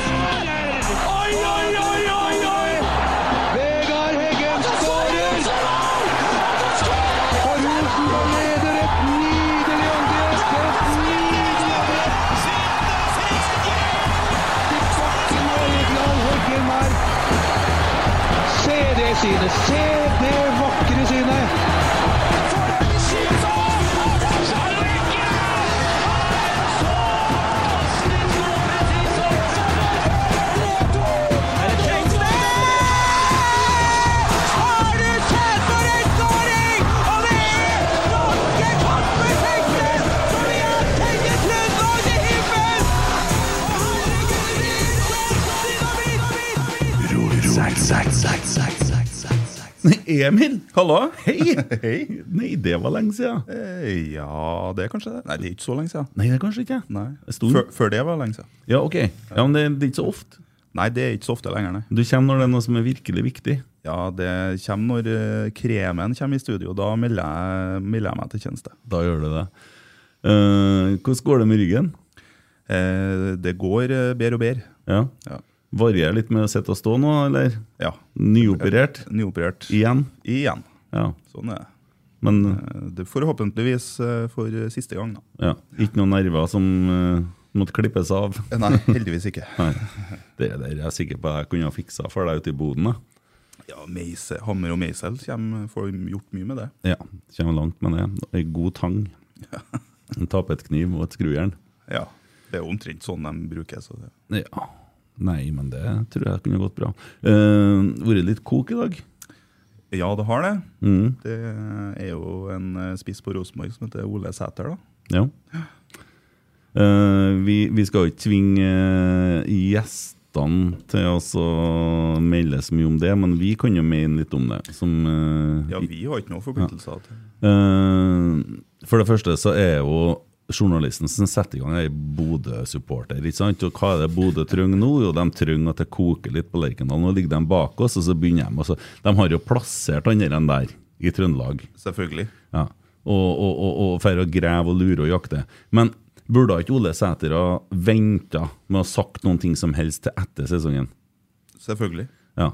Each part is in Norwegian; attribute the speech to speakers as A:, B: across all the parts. A: Oi, oi, oi, oi, oi!
B: Vegard Heggen skårer! Og Rosenborg leder et nydelig angrep! Et nydelig angrep! Tilbake nå, Egeland Heggen her. Se det synet! Se det vakre synet!
C: Emil, hallo. Hei.
D: Hei.
C: Nei, det var lenge siden.
D: Eh, Ja, det er kanskje det. Nei, det er ikke så lenge siden.
C: Nei, det er kanskje ikke.
D: Nei.
C: Det sto-
D: Før, før det var lenge siden.
C: Ja, ok. Ja, Men det, det er ikke så ofte.
D: Nei, det er ikke så ofte lenger, nei.
C: Du kommer når det er noe som er virkelig viktig.
D: Ja, det kommer når eh, kremen kommer i studio. Da melder jeg, melder jeg meg til tjeneste.
C: Da gjør du det. Eh, hvordan går det med ryggen?
D: Eh, det går eh, bedre og bedre.
C: Ja.
D: Ja.
C: Varierer litt med å sitte og stå nå, eller?
D: ja.
C: Nyoperert?
D: Eh, Nyoperert.
C: Igjen?
D: Igjen.
C: Ja.
D: Sånn er det.
C: Men
D: Eh, det. Forhåpentligvis eh, for eh, siste gang, da.
C: ja, ikke noen nerver som eh, måtte klippes av?
D: Eh, Nei, heldigvis ikke.
C: Nei. Det der er jeg sikker på jeg kunne ha fiksa for deg ute i boden. da.
D: Ja, meise, Hammer og meisel kommer, får gjort mye med det.
C: Ja, kommer langt med det. Ei god tang. En tapetkniv og et skrujern.
D: Ja. Det er jo omtrent sånn de bruker. Så det.
C: Ja. Nei, men det tror jeg kunne gått bra. Uh, vært litt kok i dag.
D: Ja, det har det.
C: Mm,
D: Det er jo en eh, spiss på Rosenborg som heter Ole Sæter, da.
C: ja. Eh, vi, vi skal jo ikke tvinge eh, gjestene til å så melde så mye om det, men vi kan jo mene litt om det. Som, eh,
D: Ja, vi har ikke noen forpliktelser til
C: Eh, For det første så er jo journalisten som setter i gang ei Bodø-supporter. ikke sant? Og hva er det Bodø trenger nå? Jo, de trenger at det koker litt på Lerkendal. Nå ligger de bak oss, og så begynner de. Og så, de har jo plassert han der enn der i Trøndelag.
D: Selvfølgelig.
C: Ja. Og, og, og, og for å grave og lure og jakte. Men burde ikke Ole Sæter ha venta med å ha sagt noen ting som helst til etter sesongen?
D: Selvfølgelig.
C: Ja.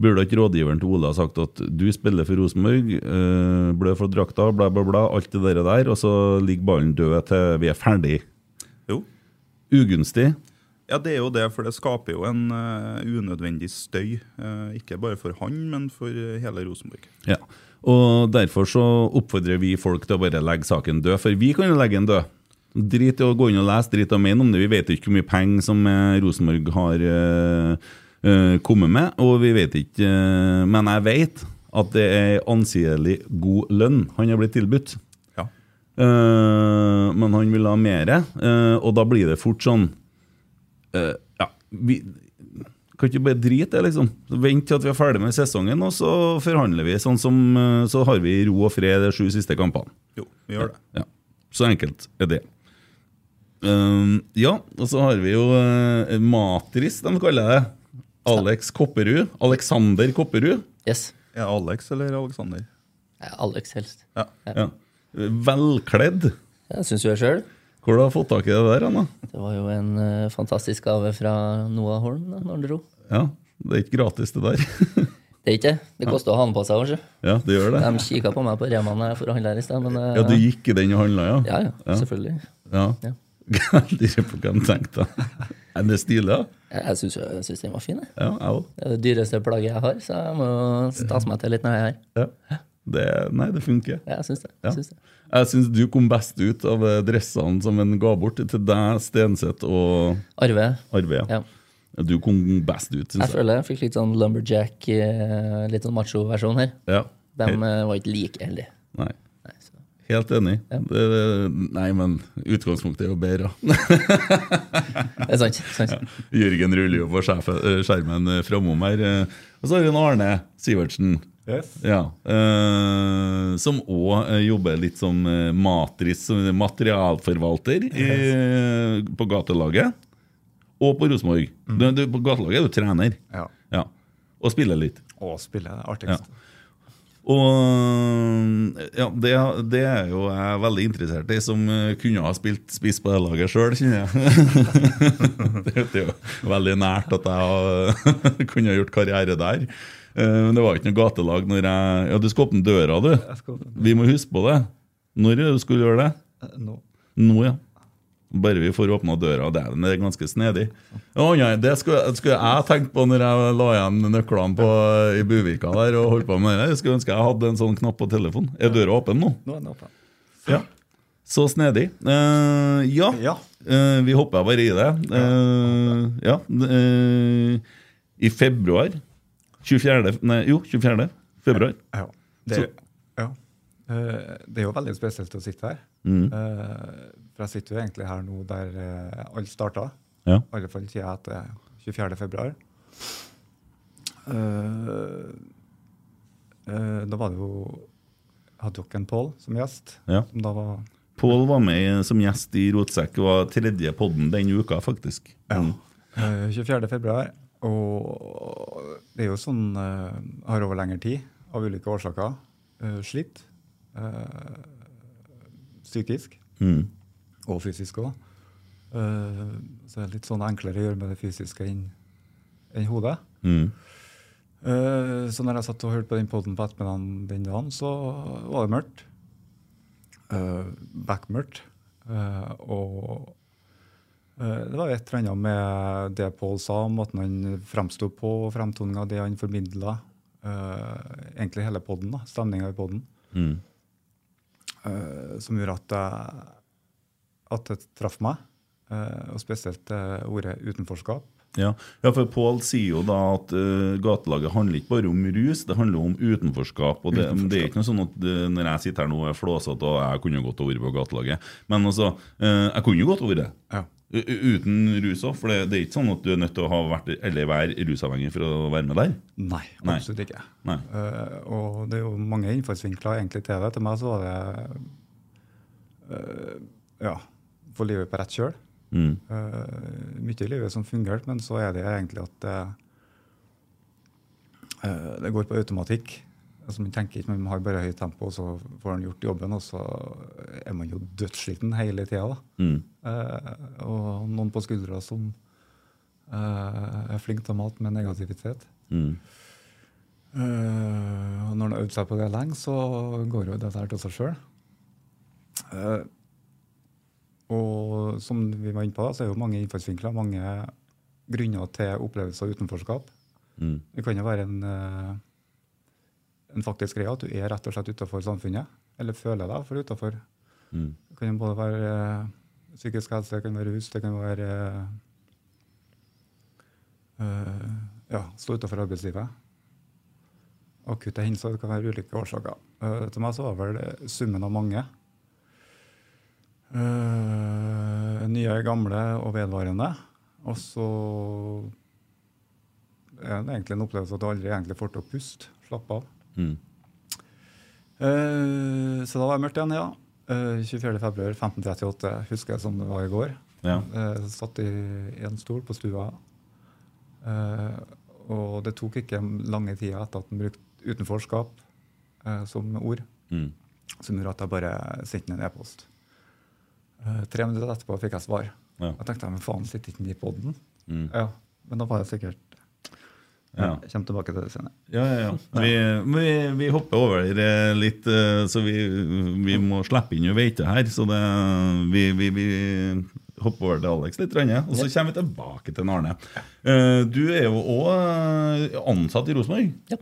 C: Burde ikke rådgiveren til Ole ha sagt at du spiller for Rosenborg, eh, blø for drakta, bla, bla, bla, alt det der, der og så ligger ballen død til vi er ferdig?
D: Jo.
C: Ugunstig.
D: Ja, det er jo det, for det skaper jo en eh, unødvendig støy. eh, ikke bare for han, men for eh, hele Rosenborg.
C: Ja. Og derfor så oppfordrer vi folk til å bare legge saken død, for vi kan jo legge den død. Drit i å gå inn og lese, drit i å mene om det. Vi vet jo ikke hvor mye penger som eh, Rosenborg har eh, eh, kommet med, og vi vet ikke eh, Men jeg vet at det er anseelig god lønn han har blitt tilbudt.
D: Ja.
C: Eh, men han vil ha mere, eh, og da blir det fort sånn eh, Ja, vi kan ikke bare drite det, liksom. Vent til at vi er ferdig med sesongen, og så forhandler vi. Sånn som eh, Så har vi ro og fred de sju siste kampene.
D: Jo, vi gjør det.
C: Ja. Så enkelt er det. Eh, ja, og så har vi jo eh, Matris, de kaller det. Alex Kopperud. Alexander Kopperud.
E: Yes.
D: Er det Alex eller Alexander?
E: Ja, Alex helst.
D: Ja.
C: Ja. Velkledd.
E: Jeg syns jo jeg sjøl.
C: Hvor har du fått tak i det der, Anna?
E: Det var jo en eh, fantastisk gave fra Noah Holm da når han dro.
C: Ja, det er ikke gratis det der.
E: Det er ikke det. Det koster å ha den på seg. Kanskje.
C: ja, det gjør det.
E: De kikka på meg på Rema når jeg forhandla her i sted. Men, eh,
C: Ja, du gikk i den og handla, ja?
E: ja, ja, selvfølgelig.
C: ja.
E: Ja.
C: Jeg lurer på hva han tenkte. Er det stilig? da?
E: Jeg, jeg syns- jeg syns den var fin. Jeg.
C: Ja, jeg òg.
E: Det er det dyreste plagget jeg har, så jeg må stase meg til litt når jeg er her.
C: Ja. Det- Nei, det funker.
E: Ja, Jeg syns det.
C: Ja.
E: Jeg syns det.
C: Jeg syns du kom best ut av eh, dressene som en ga bort til deg, Stenseth og
E: Arve.
C: Arve.
E: Ja.
C: Du kom best ut,
E: Jeg
C: syns jeg.
E: føler jeg fikk litt sånn Lumberjack, eh, litt sånn macho-versjon her.
C: Ja.
E: De eh, var ikke like heldige.
C: Nei.
E: eh, Nei, så.
C: Helt enig. Det, nei, men utgangspunktet er jo bedre.
E: Det er sant. sant.
C: Jørgen ruller jo på skjerfe- eh, skjermen eh, framom her. eh. Og så har vi en Arne Sivertsen. Ja, eh, som òg jobber litt som eh, matris, som materialforvalter i, på gatelaget. Og på Rosenborg. Du- du- På gatelaget er du trener.
F: Ja.
C: Ja. Og spiller litt.
F: Og spille det
C: Ja.
F: artigste.
C: Og eh, ja, det, det er jo jeg veldig interessert i, som eh, kunne ha spilt spiss på det laget sjøl, kjenner jeg. det er jo veldig nært at jeg har- kunne ha gjort karriere der. Eh, Men det var jo ikke noe gatelag når jeg Ja, du skal åpne døra, du.
F: skal åpne
C: Vi må huske på det. Når er det du skulle gjøre det?
F: Eh, Nå.
C: Nå, ja. Bare vi får åpna døra, og det er- det er ganske snedig. Å nei, det skulle, skulle jeg tenkt på når jeg la igjen nøklene på, i Buvika der og holdt på med det. Jeg skulle ønske jeg hadde en sånn knapp på telefonen. Er døra åpen nå?
F: Nå er den åpen.
C: Ja. Så snedig. Eh, ja.
F: Ja.
C: Eh, vi hopper bare i det. Eh, ja. eh, I februar 24. Nei, jo, 24. februar.
F: Ja. Det, er- ja. Eh, det er jo veldig spesielt å sitte her.
C: Mm.
F: Eh, for jeg sitter jo egentlig her nå der eh, alt starta.
C: Ja.
F: I alle fall sier jeg at det er 24. februar. Eh, eh, da var det jo Hadde dere en Pål som gjest?
C: Ja.
F: Som da var
C: Pål var med som gjest i Rotsekk og var tredje podden den uka, faktisk. Mm.
F: Eh, 24. februar. Og det er jo sånn eh, har over lengre tid, av ulike årsaker, eh, slitt. eh, psykisk
C: Mm.
F: og fysisk òg. så det er litt sånn enklere å gjøre med det fysiske enn enn hodet.
C: Mm.
F: Eh, så når jeg satt og hørte på den poden på ettermiddagen den dagen, så var det mørkt. Uh, Backmørkt. Eh, og eh, det var et eller annet med det Pål sa, måten han framsto på, framtoninga, det han formidla. egentlig hele poden, stemninga i poden,
C: Mm.
F: som gjorde at, jeg- at det traff meg. eh, og spesielt eh, ordet utenforskap.
C: Ja. ja, for Pål sier jo da at eh, gatelaget handler ikke bare om rus, det handler om utenforskap. Og det, det er ikke noe sånn at eh, når jeg sitter her nå og er flåsete og jeg kunne jo godt ha vært på gatelaget. Men altså, eh, jeg kunne jo godt ha vært det.
F: Ja.
C: U- u- Uten rus òg, for det, det er ikke sånn at du er nødt til å ha vært, eller være rusavhengig for å være med der.
F: Nei,
C: Nei.
F: absolutt ikke.
C: Nei.
F: Eh, og det er jo mange innfallsvinkler egentlig til det. Til meg så var det eh, ja, få livet på rett kjøl.
C: Mm.
F: Eh, mye i livet som fungerte, men så er det egentlig at eh, eh, det går på automatikk. Altså Man tenker ikke, man har bare høyt tempo, og så får man gjort jobben, og så er man jo dødssliten hele tida.
C: Mm.
F: og noen på skuldra som eh, er flink til å mate med negativitet.
C: Mm.
F: Eh, og når han har øvd seg på det lenge, så går jo det der til seg sjøl. og som vi var inne på, da, så er det jo mange innfallsvinkler, mange grunner til opplevelse av utenforskap.
C: Mm.
F: Det kan jo være en, eh, en faktisk greie at du er rett og slett utafor samfunnet, eller føler deg for utafor.
C: Mm.
F: Det kan jo både være eh, psykisk helse, det kan være rus, det kan være eh, eh, ja, stå utenfor arbeidslivet. Akutte hendelser, det kan være ulike årsaker. Eh, til meg så var vel det summen av mange. Eh, nye, gamle og vedvarende. Og så er det egentlig en opplevelse at du aldri egentlig får til å puste, slappe av.
C: Mm.
F: Eh, så da var det mørkt igjen, ja. Eh, 24. februar 1538, husker jeg som det var i går.
C: Ja.
F: Eh, satt i en stol på stua. Eh, og det tok ikke lange tida etter at han brukte utenforskap eh, som ord,
C: Mm.
F: som gjorde at jeg bare sendte ham en e-post. Eh, tre minutter etterpå fikk jeg svar.
C: Ja.
F: Jeg tenkte men faen, sitter ikke han i poden?
C: Mm.
F: Ja, men da var jeg sikkert
C: Ja.
F: Jeg kommer tilbake til det senere.
C: Ja, ja, ja. Vi, vi, vi hopper over eh, litt, eh, så vi, vi må slippe inn Veite her. Så det, vi, vi, vi hopper over til Alex litt, Ranje, og så kommer vi tilbake til Arne. Eh, Du er jo òg ansatt i Rosenborg.
E: Ja.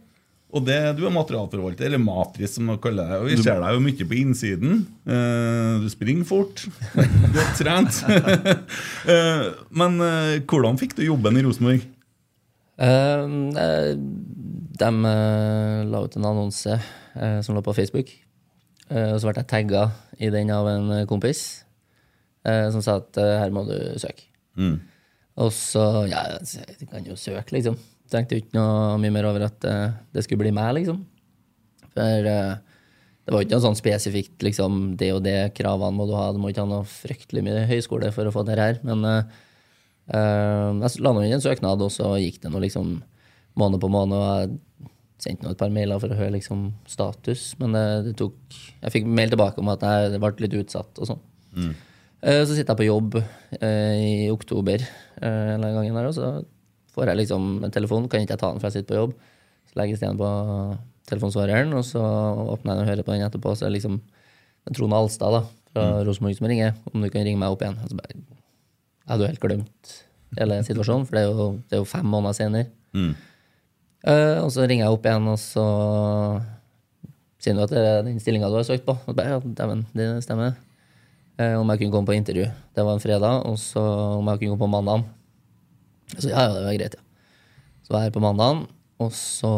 C: Og det, du er materialforvalter, eller matris, som man kaller det. Og vi ser deg jo mye på innsiden. Eh, Du springer fort. Godt trent. Eh, Men eh, hvordan fikk du jobben i Rosenborg?
E: Eh, eh, de eh, la ut en annonse eh, som lå på Facebook. Eh, og så ble jeg tagga i den av en eh, kompis eh, som sa at eh, her må du søke.
C: Mm.
E: Og så Ja, jeg kan jo søke, liksom. Tenkte jo ikke noe mye mer over at eh, det skulle bli meg, liksom. For eh, det var jo ikke noe sånn spesifikt liksom, det og det kravene må du ha. Du må ikke ha noe fryktelig mye høyskole for å få det her. Men eh, eh, jeg la nå inn en søknad, og så gikk det nå liksom måned på måned. Og jeg sendte nå et par mailer for å høre liksom, status, men det, det tok Jeg fikk mail tilbake om at jeg det ble litt utsatt og sånn. Eh, Så sitter jeg på jobb eh, i oktober eh, en eller annen gang, der, og så får jeg liksom en telefon. Kan ikke jeg ta den, for jeg sitter på jobb. Så legges den på telefonsvareren, og så åpner jeg den og hører på den etterpå. Så er det liksom det er Trond Alstad da, fra Rosenborg som ringer. Om du kan ringe meg opp igjen. Og så bare, jeg hadde jo helt glemt hele situasjonen, for det er jo, det er jo fem måneder senere. Eh, og så ringer jeg opp igjen, og så sier du at det er den stillinga du har søkt på. Og bare, ja, dæven, det stemmer. Eh, om jeg kunne komme på intervju. Det var en fredag. Og så om jeg kunne komme på mandagen. Så ja, ja, det var greit, ja. Så var jeg her på mandagen, og så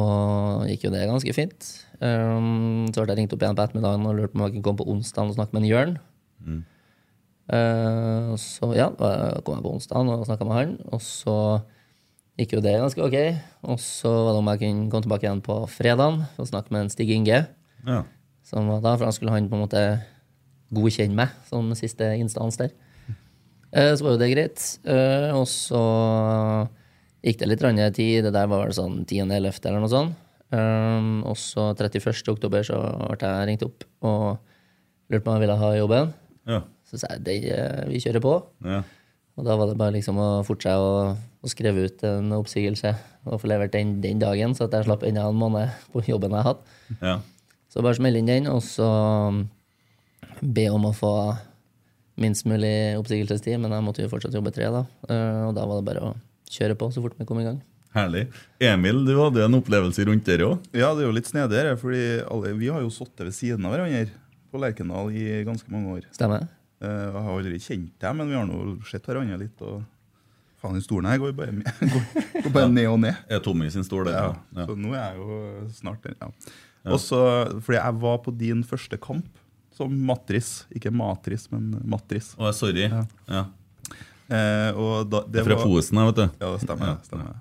E: gikk jo det ganske fint. Um, så ble jeg ringt opp igjen på ettermiddagen og lurte på om jeg kunne komme på onsdagen og snakke med en Jørn. Eh, og så ja, da kom jeg på onsdagen og snakka med han, og så gikk jo det ganske ok. Og så var det om jeg kunne komme tilbake igjen på fredagen og snakke med en Stig Inge.
C: Ja.
E: Som var da, for da skulle han på en måte godkjenne meg som siste instans der. Eh, Så var jo det greit. Eh, Og så gikk det litt rann tid. Det der var vel sånn 10.11. eller noe sånt. Um, Og så 31. oktober så ble jeg ringt opp og lurte på om jeg ville ha jobben.
C: Ja.
E: Så sa jeg det, eh, vi kjører på.
C: ja.
E: Og da var det bare liksom å fortsette å, å skrive ut en oppsigelse og få levert den den dagen, så at jeg slapp enda en måned på jobben jeg hadde.
C: ja.
E: Så bare smelle inn den, og så mm, be om å få minst mulig oppsigelsestid. Men jeg måtte jo fortsatt jobbe tre, da. Eh, Og da var det bare å kjøre på så fort vi kom i gang.
C: Herlig. Emil, du hadde jo en opplevelse rundt der òg.
D: Ja, det er jo litt snedig her, fordi alle, vi har jo sittet ved siden av hverandre på Lerkendal i ganske mange år.
E: Stemmer det?
D: Eh, Jeg har aldri kjent deg, men vi har nå sett hverandre litt. og Faen, den stolen her går bare, går, går bare ned og ned.
C: Er Tommy sin stol der?
D: Ja,
C: Ja.
D: Så nå er jeg jo snart der. Ja. Og så, fordi jeg var på din første kamp som matris. Ikke matris, men matris.
C: Å, sorry. Ja.
D: Eh, og da,
C: Det
D: det
C: er fra
D: var-
C: Fosen, jeg, vet du.
D: Ja, det stemmer. det stemmer.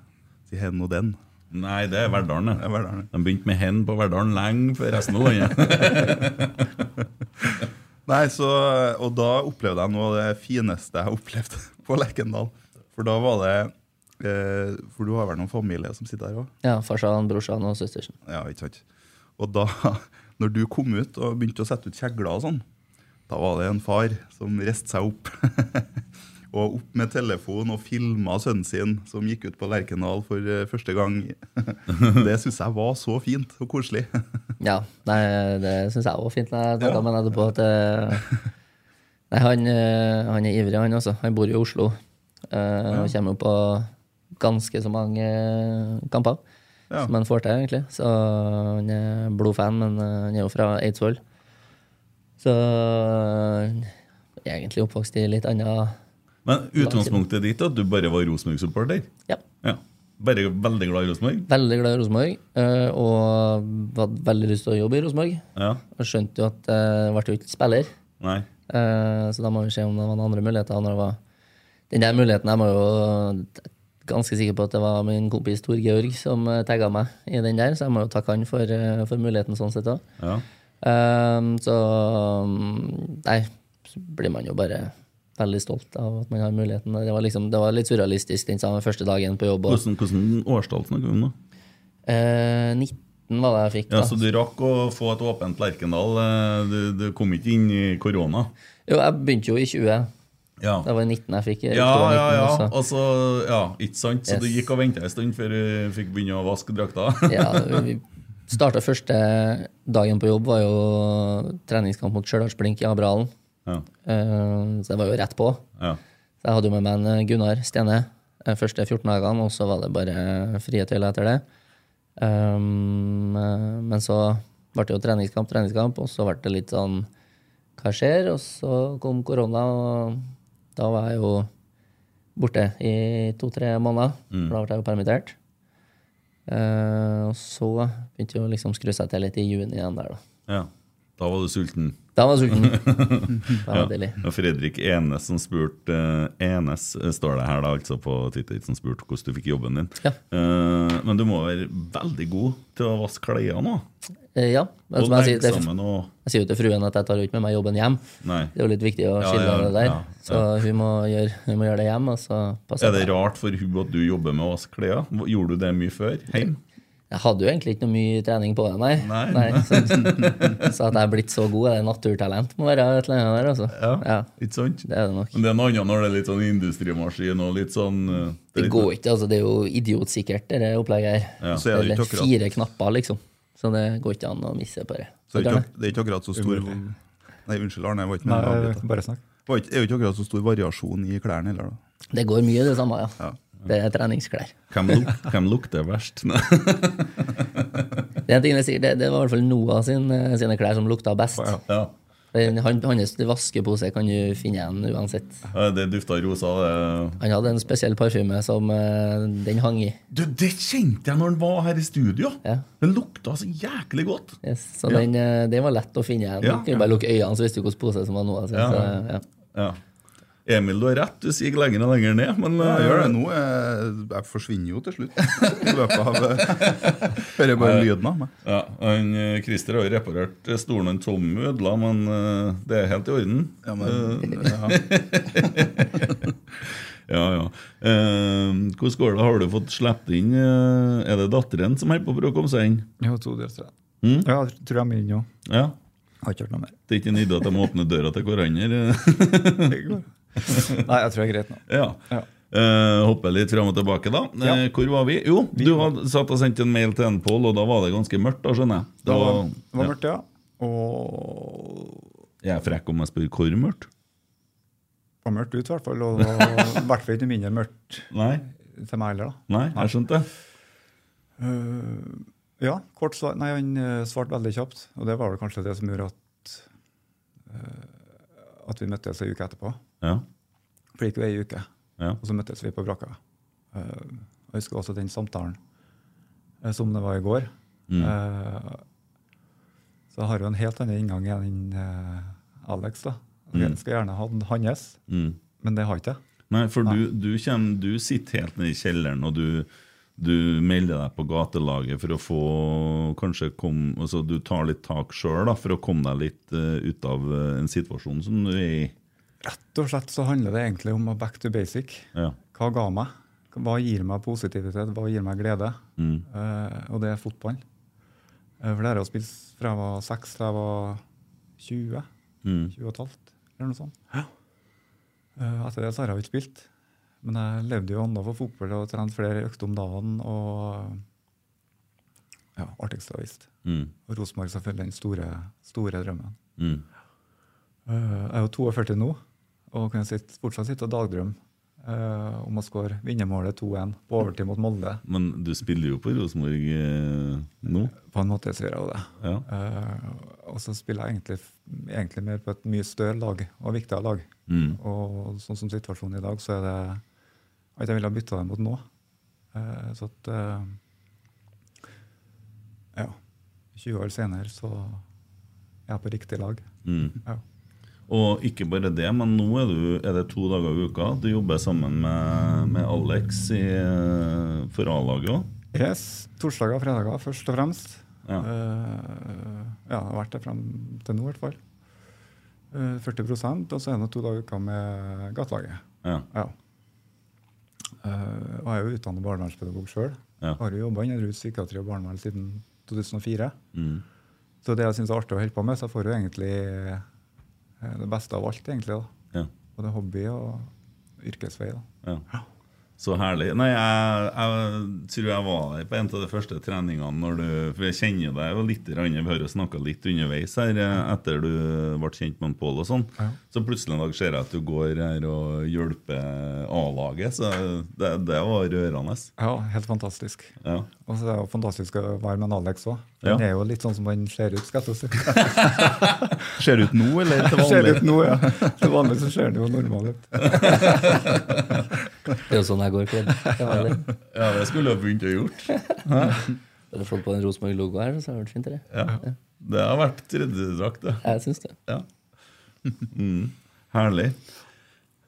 D: Si hen og den.
C: Nei, det er Verdalen.
D: Det er
C: det.
D: Verdalen.
C: De begynte med hen på Verdalen lenge før resten av landet.
D: Nei, så, og da opplevde jeg noe av det fineste jeg opplevde på Lerkendal. For da var det eh, For du har vel noen familie som sitter her òg?
E: Ja. Farsan, brorsan og søstersen.
D: Ja, ikke sant. Og da når du kom ut og begynte å sette ut kjegler og sånn, da var det en far som reiste seg opp. og opp med telefon og filma sønnen sin, som gikk ut på Lerkendal for eh, første gang. det syns jeg var så fint og koselig.
E: Ja. Nei, det syns jeg var fint. Jeg snakka
D: Ja.
E: med ham etterpå at eh, Nei, han, eh, han er ivrig, han også. Han bor jo i Oslo. eh, Og kommer jo på ganske så mange eh, kamper
D: Ja.
E: som han får til, egentlig. Så han er blodfan, men eh, han er jo fra Eidsvoll. Så han er egentlig oppvokst i litt annet
C: Men utgangspunktet ditt er at du bare var Rosenborg-supporter?
E: Ja.
C: Ja. Bare veldig glad i Rosenborg?
E: Veldig glad i Rosenborg, eh, og hadde veldig lyst til å jobbe i Rosenborg.
C: Ja.
E: Og skjønte jo at eh, jeg ble jo ikke spiller.
C: Nei.
E: Eh, Så da må vi se om det var noen andre muligheter. Når det var den der muligheten jeg var jo ganske sikker på at det var min kompis Tor Georg som tagga meg i den der, så jeg må jo takke han for, eh, for muligheten sånn sett òg.
C: Ja.
E: Så mm, Nei, så blir man jo bare veldig stolt av at man har muligheten. Det var, liksom, det var litt surrealistisk den samme første dagen på jobb. Og,
C: Hvordan, hvordan årstall snakker vi om nå?
E: eh, 19 var det jeg fikk, da.
C: Ja, Så du rakk å få et åpent Lerkendal? eh, Du, du kom ikke inn i korona?
E: Jo, jeg begynte jo i 20.
C: Ja.
E: Det var i 19 jeg fikk. i
C: Ja,
E: oktober
C: ja, ja.
E: 19, så-
C: Og så, ja, ikke sant? Så
E: altså. Yes.
C: du gikk og venta en stund før du fikk begynne å vaske drakta?
E: Ja, vi starta første dagen på jobb, var jo treningskamp mot Stjørdalsblink i Abrahalen.
C: Ja.
E: Eh, Så det var jo rett på.
C: ja.
E: Så jeg hadde jo med meg en eh, Gunnar Stene de første 14 dagene, og så var det bare frie tøyler etter det. Um, eh, men så ble det jo treningskamp, treningskamp, og så ble det litt sånn Hva skjer? Og så kom korona, og da var jeg jo borte i to-tre måneder. For da ble jeg jo permittert. Eh, og så begynte jo liksom å skru seg til litt i juni igjen der, da.
C: ja. Da var du sulten?
E: Da var jeg sulten. Da var det deilig.
C: Og Fredrik Enes som spurte eh, Enes eh, står det her da altså på Twitter som spurte hvordan du fikk jobben din.
E: Ja.
C: Eh, men du må være veldig god til å vaske klærne nå.
E: Eh, ja. Men
C: Og
E: som jeg sier,
C: legge
E: det er
C: sammen og
E: Jeg sier jo til fruen at jeg tar jo ikke med meg jobben hjem.
C: Nei.
E: Det er jo litt viktig å
C: Ja,
E: skille
C: ja,
E: det der.
C: ja,
E: Så hun må, gjøre, hun må gjøre det hjem. Og så passer
C: Er det
E: jeg.
C: rart for hun at du jobber med å vaske klær? Gjorde du det mye før? Heim?
E: Jeg hadde jo egentlig ikke noe mye trening på det, nei.
D: Nei.
E: så, så at jeg er blitt så god, er det naturtalent må være et eller annet der, altså. Ja,
D: Ikke sant?
E: det er det nok.
C: Men det er noe annet når det er litt sånn industrimaskin og litt sånn eh,
E: Det
C: litt-
E: går ikke, altså. Det er jo idiotsikkert, det der opplegget her.
D: Så er det
E: det
D: ikke
E: er
D: akkurat-
E: fire knapper, liksom. Så det går ikke an å misse på det.
D: Så det er
E: Dere,
D: ikke, det er ikke akkurat så stor Nei, unnskyld, Arne. Jeg var ikke
F: Nei,
D: med å
C: eh,
D: avbryte.
F: bare snakk.
D: Det var ikke- er jo ikke akkurat så stor variasjon i klærne heller, da.
E: det går mye det samme, ja.
D: Ja.
E: Det er treningsklær.
C: Hvem, luk, hvem lukter verst? Nei.
E: Det, er en ting jeg sier, det, det var i hvert fall Noah sin, eh, sine klær som lukta best.
C: ja.
E: Han, hans vaskepose kan du finne igjen uansett.
C: Ja, Det dufta rosa. Det.
E: Han hadde en spesiell parfyme som eh, den hang i.
C: Du, det kjente jeg når han var her i studio!
E: Ja.
C: Den lukta så jæklig godt!
E: Yes. Så den, eh, den var lett å finne igjen.
C: Ja.
E: Du kunne bare lukke øynene, så visste du hvilken pose som var Noah sin.
C: Ja.
E: Så, ja.
C: Ja. Emil, du har rett. Du siger lenger og lenger ned. Men eh,
D: Jeg gjør det
C: nå.
D: nå. Jeg, jeg forsvinner jo til slutt. I løpet av eh, Hører bare lyden av meg.
C: Ja, han, eh, Christer har jo reparert stolen han Tommy ødela, men eh, det er helt i orden. Eh,
D: Ja, men, ja.
C: Ja, ja. Eh, hvordan går det? Har du fått sluppet inn eh, Er det datteren som holder på for å komme seg inn?
F: Jo, to døtre.
C: Mm?
F: Ja, jeg tror jeg må inn nå.
C: Ja?
F: Har ikke hørt noe mer.
C: Det er ikke en idé at de må åpne døra til hverandre.
F: Det går. Nei, jeg tror det er greit nå.
C: Ja.
F: Ja.
C: Eh, hoppe litt fram og tilbake, da. Eh,
F: Ja.
C: Hvor var vi? Jo, du hadde satt og sendt en mail til en Pål, og da var det ganske mørkt, da, skjønner jeg.
F: Det
C: Da
F: var, det var
C: ja.
F: mørkt, ja. Og
C: Jeg er frekk om jeg spør hvor mørkt.
F: det var mørkt ut, i hvert fall. Og det var i hvert fall ikke noe mindre mørkt
C: Nei,
F: til meg heller, da.
C: nei, jeg skjønte.
F: Eh, ja, kort svar. Nei, han eh, svarte veldig kjapt. Og det var vel kanskje det som gjorde at, eh, at vi møttes ei uke etterpå.
C: Ja.
F: For det gikk jo ei uke,
C: Ja.
F: og så møttes vi på brakka. Eh, og jeg husker også den samtalen eh, som det var i går.
C: Mm.
F: Eh, så jeg har jo en helt annen inngang enn eh, Alex. da. Jeg skal gjerne ha den hans,
C: Mm.
F: men det har jeg ikke.
C: Nei, for du, du, kjem, du sitter helt nede i kjelleren, og du, du melder deg på gatelaget for å få Kanskje kom, altså, du tar litt tak sjøl for å komme deg litt eh, ut av eh, en situasjon som du er i.
F: Rett og slett så handler det egentlig om å back to basic.
C: Ja.
F: Hva ga meg? Hva gir meg positivitet? Hva gir meg glede?
C: Mm.
F: Eh, og det er fotball. Eh, for det har jeg jo spilt fra jeg var seks til jeg var 20.
C: Mm.
F: 20 og et halvt, eller noe sånt. Eh, etter det så har jeg jo ikke spilt. Men jeg levde jo ennå for fotball og trente flere økter om dagen. Og ja, artigste jeg visste.
C: Mm.
F: Og Rosenborg selvfølgelig den store, store drømmen.
C: Mm.
F: Eh, Jeg er jo 42 nå og kan sitte, fortsatt sitte og dagdrømme eh, om å skåre vinnermålet 2-1 på overtid mot Molde.
C: Men du spiller jo på Rosenborg eh, nå.
F: På en måte så gjør jeg jo det.
C: Ja.
F: Eh, og så spiller jeg egentlig, egentlig mer på et mye større lag og viktigere lag.
C: Mm.
F: Og sånn som situasjonen i dag, så er det at jeg ville ha bytta dem mot nå. Eh, så at eh, Ja. 20 år senere så er jeg på riktig lag. Ja.
C: mm. Og ikke bare det, men nå er, du, er det to dager i uka. Du jobber sammen med, med Alex i, eh, for A-laget òg.
F: Yes. Torsdager og fredager, først og fremst.
C: Ja.
F: Eh, ja, det har vært det frem til nå, i hvert fall. Eh, 40 og så er det nå to dager i uka med gatelaget.
C: Ja.
F: Ja. Eh, og jeg er jo utdannet barnevernspedagog sjøl.
C: Ja.
F: Har jo jobba innen rus, psykiatri og barnevern siden 2004.
C: Mm.
F: Så det jeg syns er artig å holde på med, så jeg får jo egentlig eh, det beste av alt, egentlig. da.
C: Ja.
F: Både hobby og yrkesvei. da.
C: Ja. Så herlig. Nei, jeg, jeg tror jeg var der på en av de første treningene når du For jeg kjenner deg jo litt, grann, vi har jo snakka litt underveis her eh, etter du ble kjent med Pål og sånn.
F: Ja.
C: Så plutselig en dag ser jeg at du går her og hjelper A-laget. Så det, det var rørende.
F: Ja, helt fantastisk.
C: Ja.
F: Og så er det jo fantastisk å være med en Alex òg.
C: Ja.
F: Han er jo litt sånn som han ser ut. skal jeg til å si.
D: Ser det ut nå, eller til
F: Ser ut
D: vanlig?
F: nå, ja. Til vanlig så ser det jo normal ut.
E: Det er jo sånn jeg går kledd. Det var det.
C: ja, det skulle jeg begynt å gjort.
E: Hadde fått på en Rosenborg-logo her, så hadde det vært fint. Det.
C: Ja. Det har vært tredjedrakt, det.
E: Jeg syns det.
C: Ja. Mm. Herlig.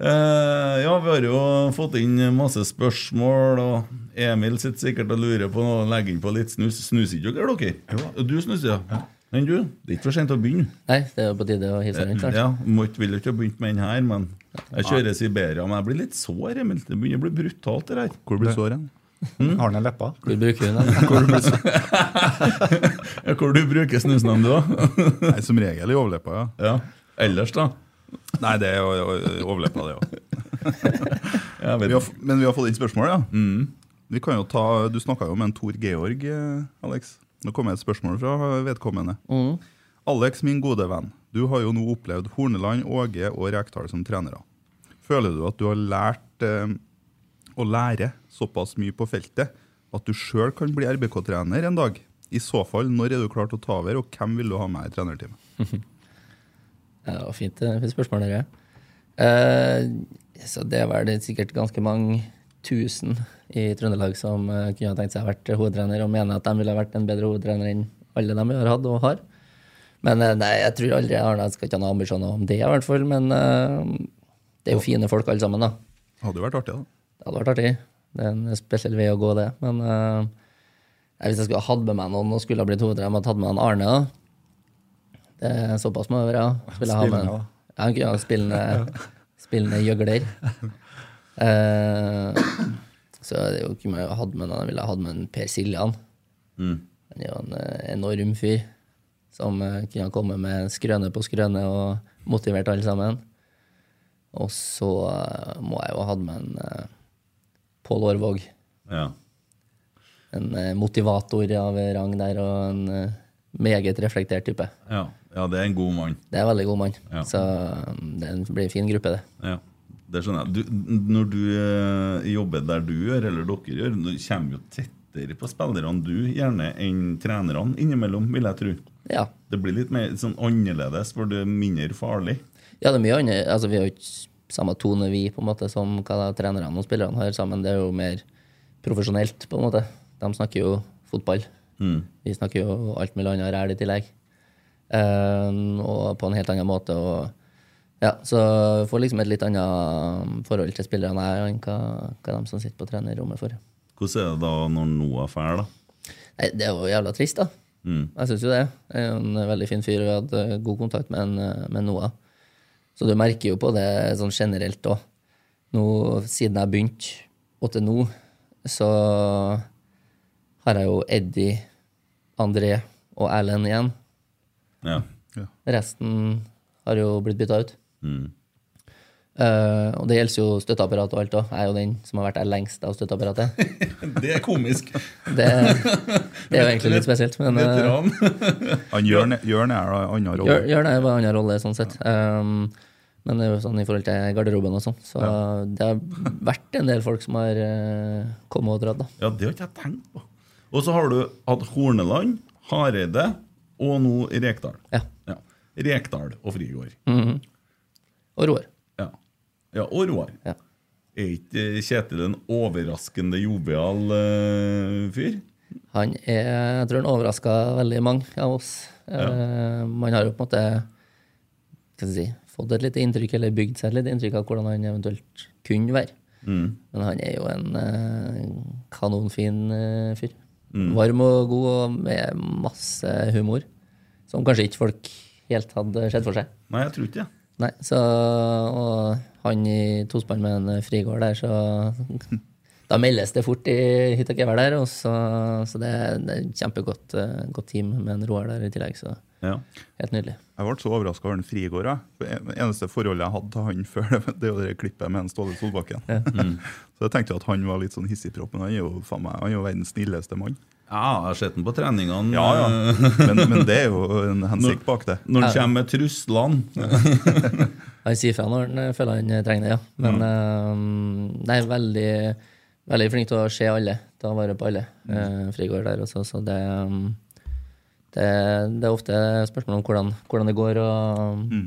C: Eh, ja, vi har jo fått inn masse spørsmål, og Emil sitter sikkert og lurer på noe. Legger inn på litt snus. Snuser ikke dere, dere? Du snuser, ja. Men du, det er ikke for sent å begynne.
E: Nei, det er jo på tide å hisse rundt. kanskje.
C: Eh, Ja, må ikke- Vil jo ikke ha begynt med den her, men jeg kjører Siberia. Men jeg blir litt sår, Emil. Det begynner å bli brutalt, det her.
D: Hvor blir såret?
C: Mm.
F: Har den i leppa?
E: Hvor bruker vi den?
C: Ja, Hvor du bruker snusnavn, du òg?
D: Nei, som regel i overleppa, ja.
C: Ja. Ellers, da?
D: Nei, det er jo- jo overleppa, det òg.
C: Jeg vet. ikke.
D: Men vi har fått inn spørsmål, ja.
C: Mm.
D: Vi kan jo ta, du snakka jo med en Tor Georg, eh, Alex. Nå kommer et spørsmål fra vedkommende.
C: Mm.
D: Alex, min gode venn. Du har jo nå opplevd Horneland, Åge og Rekdal som trenere. Føler du at du har lært eh, å lære såpass mye på feltet at du sjøl kan bli RBK-trener en dag? I så fall, når er du klar til å ta over, og hvem vil du ha med i trenerteamet?
E: Ja, det var fint, det er fint spørsmål, dere. Eh, så det var det sikkert ganske mange tusen i Trøndelag som eh, kunne ha tenkt seg å vært hovedtrener, og mener at de ville ha vært en bedre hovedtrener enn alle de har hatt og har. Men eh, nei, jeg tror aldri jeg har Jeg skal ikke ha noen ambisjoner om det, i hvert fall. Men eh, det er jo fine folk, alle sammen, da.
D: Hadde jo vært artig, da.
E: Det hadde vært artig. Det er en spesiell vei å gå, det. Men eh, nei, hvis jeg skulle ha hatt med meg noen og skulle ha blitt hovedtrener, måtte jeg hatt med en Arne. da. Det er såpass må det være. ja. Skulle jeg ha med en-
F: Spillende, da.
E: Ja, han kunne ha spillende, spillende gjøgler. Eh, så det er jo kunne jeg jo hatt med noen. Jeg ville ha hatt med en Per Siljan. Han er jo en eh, enorm fyr som eh, kunne ha kommet med skrøne på skrøne og motivert alle sammen. Og så eh, må jeg jo ha hatt med en eh, Pål Aarvåg.
C: Ja.
E: En eh, motivator av rang der, og en eh, meget reflektert type.
C: Ja. ja, det er en god mann.
E: Det er en veldig god mann.
C: Ja.
E: Så um, det blir en fin gruppe, det.
C: Ja, det skjønner jeg. Du, når du eh, jobber der du gjør, eller dere gjør, du kommer jo tettere på spillerne du gjerne enn trenerne innimellom, vil jeg tro.
E: Ja.
C: Det blir litt mer sånn annerledes, for det er mindre farlig.
E: ja, det er mye annet. Altså, vi har jo ikke samme tone, vi, på en måte, som hva da trenerne og spillerne har sammen. Det er jo mer profesjonelt, på en måte. De snakker jo fotball. Vi snakker jo alt mulig annet ræl i tillegg. Um, og på en helt annen måte. Og, ja, så jeg får liksom et litt annet um, forhold til spillerne her enn hva, hva de som sitter på trenerrommet får.
C: Hvordan er det da når Noah drar, da?
E: Nei, det er jo jævla trist, da. Jeg syns jo det. Jeg er jo en veldig fin fyr, og jeg hadde eh, god kontakt med, en, eh, med Noah. Så du merker jo på det sånn generelt òg. Siden jeg begynte, og til nå, så har jeg jo Eddie, André og Erlend igjen.
C: Ja.
E: Resten har jo blitt bytta ut.
C: Mm.
E: Eh, og det gjelder jo støtteapparat og alt òg. Jeg er jo den som har vært der lengst av støtteapparatet.
C: Det er komisk.
E: Det, det er jo egentlig litt spesielt, men eh,
C: Veteran.
D: Han Jørn Jørn er da en annen rolle.
E: Gjør, gjør det, bare annen rolle, sånn sett. Um, men det er jo sånn i forhold til garderoben og sånn. Så det har vært en del folk som har eh, kommet og dratt, da.
C: Ja, det har ikke jeg tenkt på. Og så har du hatt Horneland, Hareide og nå Rekdal.
E: Ja.
C: Ja. Rekdal og Frigård.
E: Og Roar.
C: Ja. ja og Roar.
E: Ja.
C: Er ikke eh, Kjetil en overraskende jovial eh, fyr?
E: Han er, jeg tror han overraska veldig mange av oss. Eh, man har jo på en måte hva skal jeg si, fått et lite inntrykk, eller bygd seg et lite inntrykk av hvordan han eventuelt kunne være. Men han er jo en eh, kanonfin eh, fyr. Varm og god og med masse humor. Som kanskje ikke folk helt hadde sett for seg.
C: Nei, jeg tror ikke det.
E: Nei, så, og han i tospann med en frigård der, så da meldes det fort i hytt og gevær der. Og så, så det, det er et kjempegodt eh, godt team med en Roar der i tillegg, så
C: Ja.
E: helt nydelig.
D: Jeg ble så overraska over den Frigård. jeg. For Det eneste forholdet jeg hadde til han før, det var- det er jo det klippet med en Ståle Solbakken. Så jeg tenkte at han var litt sånn hissigpropp, men han er jo, faen meg, han er jo verdens snilleste mann.
C: ja, jeg har sett den på treningene. eh,
D: Men, men det er jo en hensikt bak det.
C: Når han kommer med truslene.
E: Han sier fra når han eh, føler han trenger det, ja. Men eh, nei, veldig, veldig flink til å se alle, ta vare på alle. eh, frigård der også, så det mm, det, det er ofte spørsmål om hvordan, hvordan det går, og um,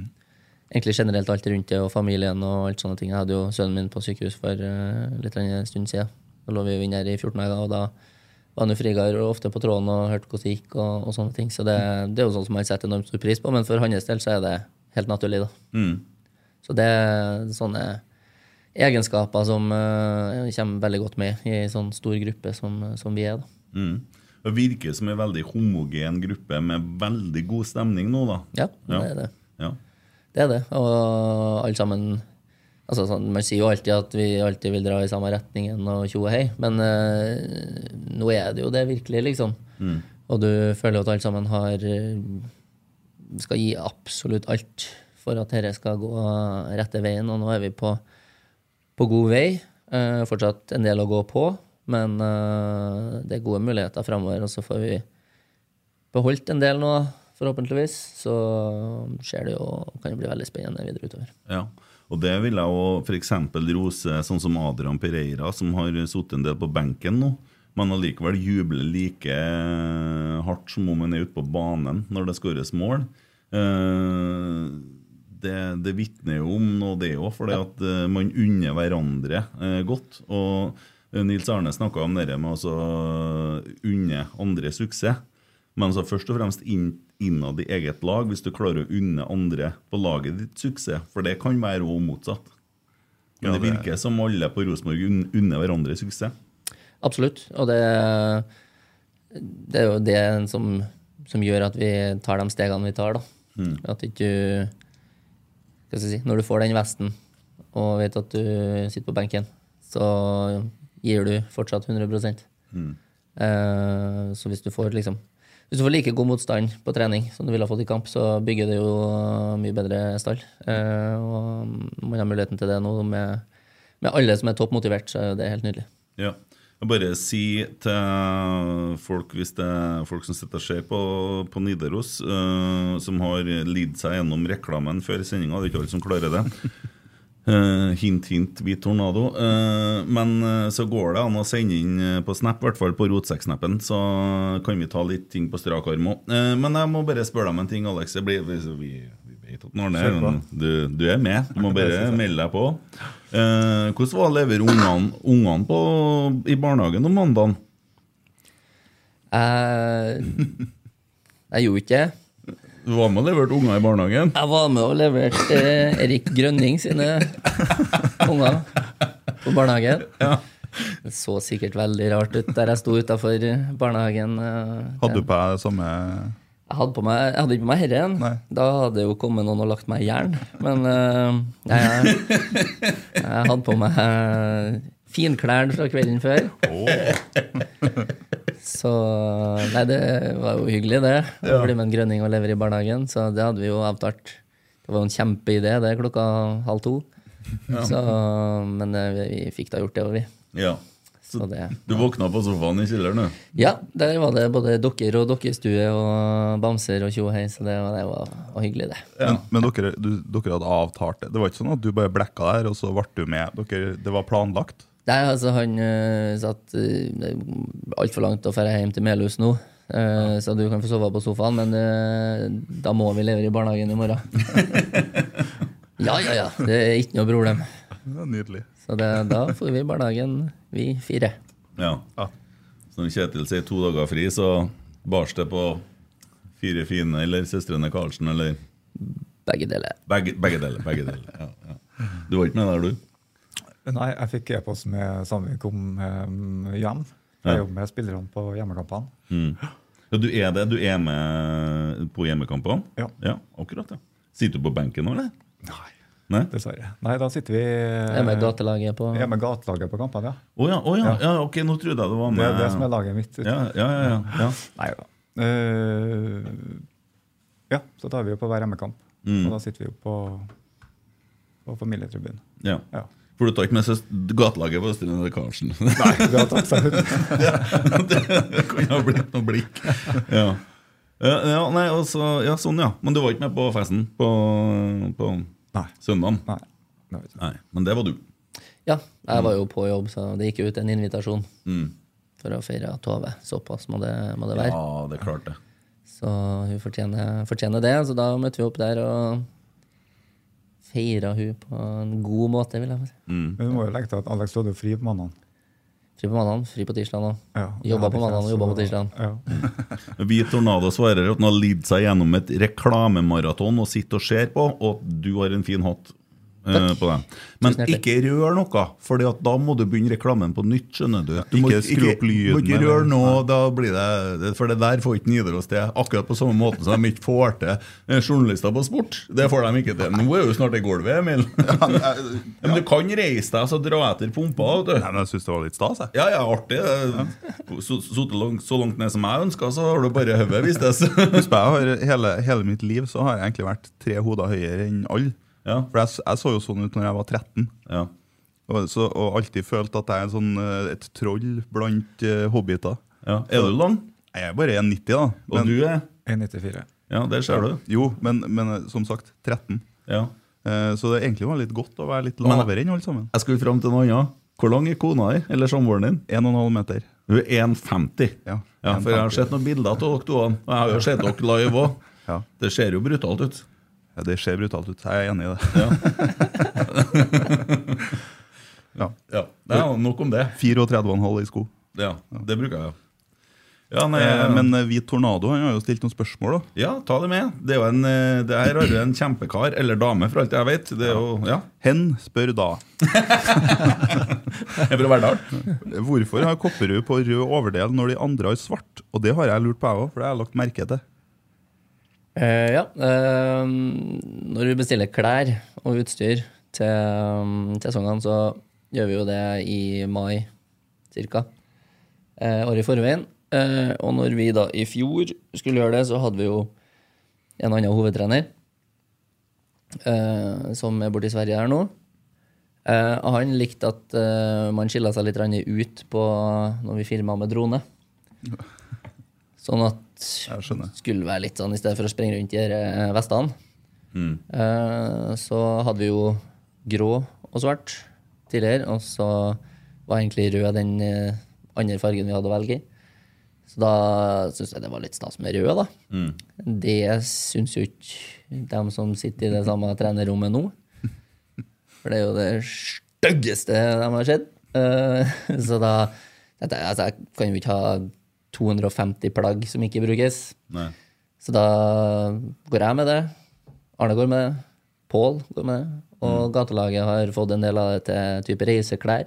E: egentlig generelt alt rundt det, og familien og alt sånne ting. Jeg hadde jo sønnen min på sykehus for eh, litt eller annen stund siden. Da lå vi jo inne her i 14 dager, og da var han jo frigard og ofte på tråden og hørte hvordan det gikk, og, og sånne ting. Så det, det er jo sånn som jeg setter enormt stor pris på, men for hans del så er det helt naturlig, da. Så det er sånne egenskaper som eh, kommer veldig godt med i en sånn stor gruppe som, som vi er, da.
C: Mm. Det virker som en veldig homogen gruppe med veldig god stemning nå, da.
E: Ja, det er det.
C: Ja.
E: Det er det. Og alle sammen Altså, sånn, man sier jo alltid at vi alltid vil dra i samme retningen og tjo og hei, men eh, nå er det jo det virkelig, liksom. Og du føler jo at alle sammen har eh, skal gi absolutt alt for at dette skal gå rette veien, og nå er vi på, på god vei. Eh, fortsatt en del å gå på, men eh, det er gode muligheter framover, og så får vi beholdt en del nå, forhåpentligvis. Så skjer det jo, kan det bli veldig spennende videre utover.
C: Ja, og det vil jeg jo f.eks. rose sånn som Adrian Pereira, som har sittet en del på benken nå. Men allikevel jubler like eh, hardt som om han er ute på banen når det skåres mål. Eh, Det, det vitner jo om noe, det òg, for at eh, man unner hverandre eh, godt. Og eh, Nils Arne snakka om det med å så unne andre suksess. Men altså først og fremst inn, innad i eget lag, hvis du klarer å unne andre på laget ditt suksess. For det kan være òg motsatt. Men
D: Ja,
C: det,
D: det-
C: virker som alle på Rosenborg un- unner hverandre suksess.
E: Absolutt. Og det, det er jo det som, som gjør at vi tar de stegene vi tar. Da. At ikke du hva skal jeg si, Når du får den vesten og vet at du sitter på benken, så gir du fortsatt 100 eh, Så hvis du får liksom hvis du får like god motstand på trening som du ville ha fått i kamp, så bygger det jo mye bedre stall. Eh, og man har muligheten til det nå med, med alle som er topp motivert, så er det helt nydelig.
C: Ja. Jeg bare si til folk hvis det er folk som sitter og ser på, på Nidaros, eh, som har lidd seg gjennom reklamen før sendinga, det er ikke alle som klarer det. Eh, hint, hint, hvit tornado. Eh, men eh, så går det an å sende inn eh, på Snap, i hvert fall på rotsekksnappen, så kan vi ta litt ting på strak arm òg. men jeg må bare spørre deg om en ting, Alex. Det blir, vi, vi, vi vet at Arne er
F: Kjør på.
C: men du, du er med. Du må bare melde deg på. Eh, hvordan var å levere ungene, ungene på, i barnehagen om mandagen?
E: Jeg, Eh, jeg gjorde ikke det.
C: Du var med og leverte unger i barnehagen?
E: Jeg var med og leverte eh, Erik Grønning sine unger på barnehagen. Det så sikkert veldig rart ut der jeg sto utafor barnehagen. eh,
D: Hadde du på deg samme
E: Jeg hadde, på meg, jeg hadde ikke på meg herren.
D: Nei.
E: Da hadde jo kommet noen og lagt meg i jern. Men eh, jeg, jeg hadde på meg eh, finklær fra kvelden før. Så Nei, det var jo hyggelig, det. Å bli med en grønning og levere i barnehagen. Så det hadde vi jo avtalt. Det var jo en kjempeidé, det, klokka halv to. Så, men eh, vi, vi fikk da gjort det, og vi.
C: Ja.
E: Så det
C: Du våkna på sofaen i kjelleren, du.
E: ja, der var det både dokker og dokkestue og bamser og tjo og hei, så det var, det var var hyggelig, det.
D: Men, men dere, du, dere hadde avtalt det? Det var ikke sånn at du bare blekka der, og så ble du med? Dere, det var planlagt?
E: Nei, altså, han øh, satt øh, Det er altfor langt å dra hjem til Melhus nå, øh, så du kan få sove på sofaen, men øh, da må vi levere i barnehagen i morgen. ja, ja, ja. Det er ikke noe problem.
D: Ja, nydelig.
E: Så det, da får vi i barnehagen, vi fire.
C: Ja.
D: Ja.
C: Så når Kjetil sier to dager fri, så bars det på fire fine, eller søstrene Karlsen, eller
E: Begge deler.
C: Begge, begge deler. begge deler. Ja, ja. Du var ikke med der, du?
F: Nei, jeg fikk e-post med samme vi kom eh, hjem.
C: Ja.
F: Jeg jobber med spillerne på hjemmekampene.
C: Ja, du er det? Du er med på hjemmekampene?
F: Ja.
C: ja. Akkurat, ja. Sitter du på benken nå, eller?
F: Nei,
C: Nei?
F: dessverre. Nei, da sitter vi
E: Jeg
C: Eh.
E: er med gatelaget på
F: Jeg er med gatelaget på kampene, ja.
C: Å ja, å ja, ja, ok, nå trodde jeg det var med.
F: Det er det som er laget mitt.
C: Ja, ja, ja, ja, ja.
F: Nei da. Eh, ja, så tar vi jo på hver hjemmekamp.
C: Mm.
F: Og da sitter vi jo på, på familietribunen.
C: ja.
F: Ja.
C: For du tar ikke med søs- gatelaget på Østerlund Karlsen?
F: Vi har tatt seg ut.
C: det kunne ha blitt noe blikk. Ja. Ja, ja, nei, altså, ja, sånn, ja. Men du var ikke med på festen på, på
F: Nei.
C: søndagen?
F: Nei. det vet jeg ikke.
C: Nei, men det var du.
E: Ja, jeg var jo på jobb, så det gikk jo ut en invitasjon
C: Mm.
E: for å feire Tove. Såpass må det, må det være.
C: Ja, det klarte jeg.
E: Så hun fortjener, fortjener det. Så da møtte vi opp der og feira hun på en god måte, vil jeg si.
F: Men du må jo legge til at Alex du hadde jo fri på mandagen.
E: Fri på mandagen, fri på tirsdagen òg.
F: Ja,
E: Jobba på
F: det hadde
E: mandagen og
F: ikke
E: jobba på
F: jeg, så-
E: tirsdagen.
F: Ja.
C: Hvit Tornado svarer at han har lidd seg gjennom et reklamemaraton og sitter og ser på, og at du har en fin hatt. eh, på dem. Men
E: Tusen hjertelig.
C: ikke rør noe, for da må du begynne reklamen på nytt. skjønner du. du må
D: Ikke skru opp lyden,
C: Må ikke
D: eller-
C: røre noe, da blir det, For det der får ikke Nidaros til. Akkurat på samme måte som de ikke får til eh, journalister på sport. Det får de ikke til. Nå er jo snart i gulvet, Emil.
D: men, eh,
C: Ja, Men du kan reise deg og så dra etter pumpa. vet du.
D: Nei, men jeg syns det var litt stas, jeg.
C: Ja, ja, artig. Så, så, langt, så langt ned som jeg ønska, så har du bare hodet, vistes.
D: Husk på, jeg har, hele, hele mitt liv så har jeg egentlig vært tre hoder høyere enn alle.
C: Ja.
D: For jeg, s- jeg så jo sånn ut når jeg var 13.
C: Ja.
D: Og, så, og alltid følt at jeg er en sånn, eh, et troll blant eh, hobbiter.
C: Ja. Er du lang?
D: Jeg er bare 1,90, da.
C: Og
D: Men,
C: du er?
F: E 1,94.
C: Ja, der ser du.
D: jo, men, men eh, som sagt, 13.
C: Ja.
D: Eh, Så det egentlig var litt godt å være litt
C: Men-
D: lavere enn alle sammen.
C: Jeg skulle fram til noe annet. Hvor lang er kona di, eller samboeren din?
D: 1,5 meter.
C: Hun er 1,50.
D: Ja,
C: ja, for jeg har
D: 1,50.
C: sett noen bilder av dere to. Og jeg har jo sett dere live òg.
D: Ja.
C: Det ser jo brutalt ut.
D: Ja, det ser brutalt ut. Jeg er enig i det. Ja.
C: Ja, det er jo Nok om det.
D: 34,5 i sko.
C: Ja, Det bruker jeg jo. Ja, nei,
D: Eh, Men eh, Hvit Tornado han har jo stilt noen spørsmål, da.
C: Ja, ta det med. Det er jo en, eh, det her er jo en kjempekar, eller dame, for alt jeg vet. Det er jo, ja,
D: Hen spør da
C: er fra Verdal.
D: hvorfor har Kopperud på rød overdel når de andre har svart. Og det har jeg lurt på, jeg òg, for det har jeg lagt merke til.
E: Eh, ja. eh, når vi bestiller klær og utstyr til um, til sesongene, så gjør vi jo det i mai cirka. Eh, året i forveien. Eh, og når vi da i fjor skulle gjøre det, så hadde vi jo en annen hovedtrener eh, som er borte i Sverige her nå. Eh, og han likte at eh, man skilla seg litt grann ut på når vi filma med drone. Sånn at
D: Jeg skjønner.
E: skulle være litt sånn, i stedet for å springe rundt i de her, eh, vestene.
D: Mm.
E: Eh, så hadde vi jo grå og svart tidligere, og så var egentlig rød den eh, andre fargen vi hadde å velge i. Så da syns jeg det var litt stas med rød, da.
D: Mm.
E: Det syns jo ikke dem som sitter i det samme trenerrommet nå. For det er jo det styggeste de har sett. Eh, så da tenkte jeg altså, jeg kan jo ikke ha 250 plagg som ikke brukes.
C: Nei.
E: Så da går jeg med det. Arne går med det. Pål går med det. Og gatelaget har fått en del av det til type reiseklær.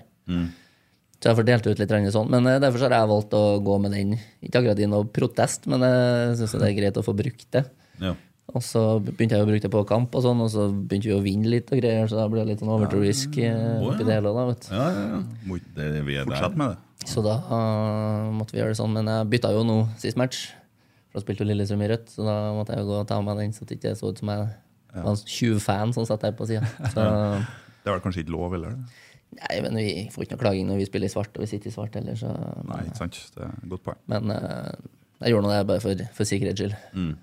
E: Så jeg får delt ut litt grann sånn. Men eh, derfor så har jeg valgt å gå med den. Ikke akkurat i noe protest, men eh, jeg syns det er greit å få brukt det.
C: Ja.
E: Og så begynte jeg å bruke det på kamp, og sånn, og så begynte vi å vinne litt, og greier, så da ble det litt sånn overtroisk eh, oppi det hele. da, vet du.
C: Ja, ja, ja. Må ikke- Mm. Det, vi er der.
D: Fortsett med det.
E: Så da eh, måtte vi gjøre det sånn. Men jeg bytta jo nå sist match, for da spilte jo Lillestrøm i rødt, så da måtte jeg jo gå og ta av meg den, så det ikke så ut som jeg var en tjuvfan som satt der på sida. Nei,
D: Det er vel kanskje ikke lov, eller?
E: men vi får ikke noe klaging når vi spiller i svart, og vi sitter i svart heller, så
D: Nei, ikke sant. Det er et godt poeng.
E: Men eh, jeg gjorde nå det bare for, for sikkerhets skyld.
D: Mm.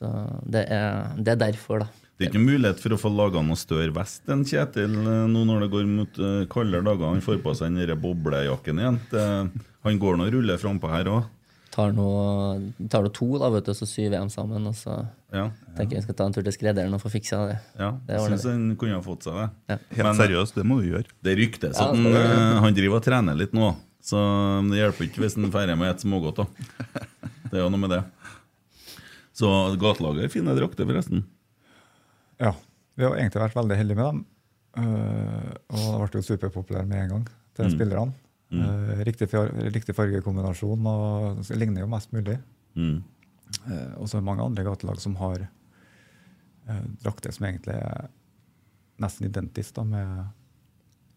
E: Så det er, det er derfor, da.
C: Det er ikke mulighet for å få laga noe større vest enn Kjetil eh, nå når det går mot eh, kaldere dager. Han får på seg den der boblejakken igjen. Det, han går nå og ruller frampå her òg.
E: tar nå tar nå to, da, vet du, og så syr vi dem sammen. Og så
C: Ja.
E: tenker jeg vi skal ta en tur til skredderen og få fiksa det.
C: Ja,
E: Det
C: jeg
E: ordner
C: syns han kunne ha fått seg det.
D: Helt
C: Men-
D: seriøst, det må du gjøre.
C: Det ryktes
E: Ja,
C: at han, eh, han driver og trener litt nå, så det hjelper ikke hvis han feirer med et smågodt. da. Det er jo noe med det. Så gatelaget har fine drakter, forresten.
F: Ja. Vi har egentlig vært veldig heldige med dem. Eh, og det ble jo superpopulære med en gang til
E: Mm.
F: spillerne. Eh, riktig, far riktig fargekombinasjon og så ligner jo mest mulig.
C: Mm.
F: Eh, og så er det mange andre gatelag som har eh, drakter som egentlig er nesten identisk da, med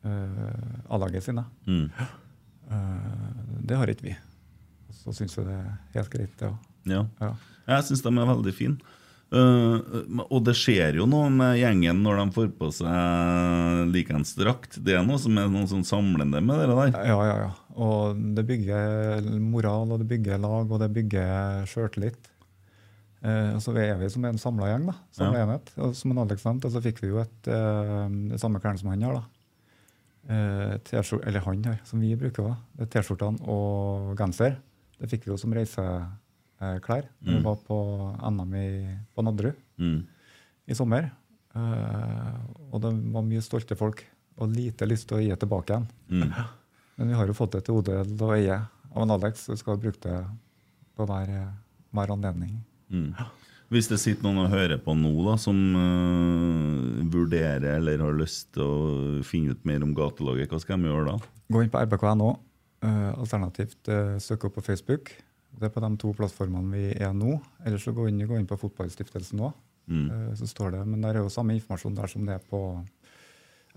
F: eh, A-laget sine.
C: Mm.
F: Eh, det har ikke vi. Og så syns jeg det er helt greit, det òg.
C: Ja.
F: Ja.
C: Jeg syns de er veldig fine. Eh, og det skjer jo noe med gjengen når de får på seg likeens drakt. Det er noe som er noe sånn samlende med det der.
F: Ja, ja, ja. Og det bygger moral, og det bygger lag, og det bygger sjøltillit. Eh, og så er vi som en samla gjeng, da. Samla enhet. Og som en Alex nevnte, så fikk vi jo et, eh, det samme klærne som han har, da. Eh, T-skjor- eller han har, som vi bruker. da. Det er T-skjortene og genser. Det fikk vi jo som reiseklær da vi var på NM i, på Nadderud
C: Mm.
F: i sommer. Eh, og det var mye stolte folk, og lite lyst til å gi det tilbake igjen.
C: Mm.
F: Men vi har jo fått det til odel og eie av en Alex, så vi skal bruke det på hver, hver anledning.
C: Mm. Hvis det sitter noen og hører på nå, da, som eh, vurderer eller har lyst til å finne ut mer om gatelaget, hva skal de gjøre da?
F: Gå inn på rbk.no, eh, alternativt eh, søk opp på Facebook. Det er på de to plattformene vi er nå. Ellers så gå inn, gå inn på Fotballstiftelsen òg.
C: Mm.
F: Så står det, men der er jo samme informasjon der som det er på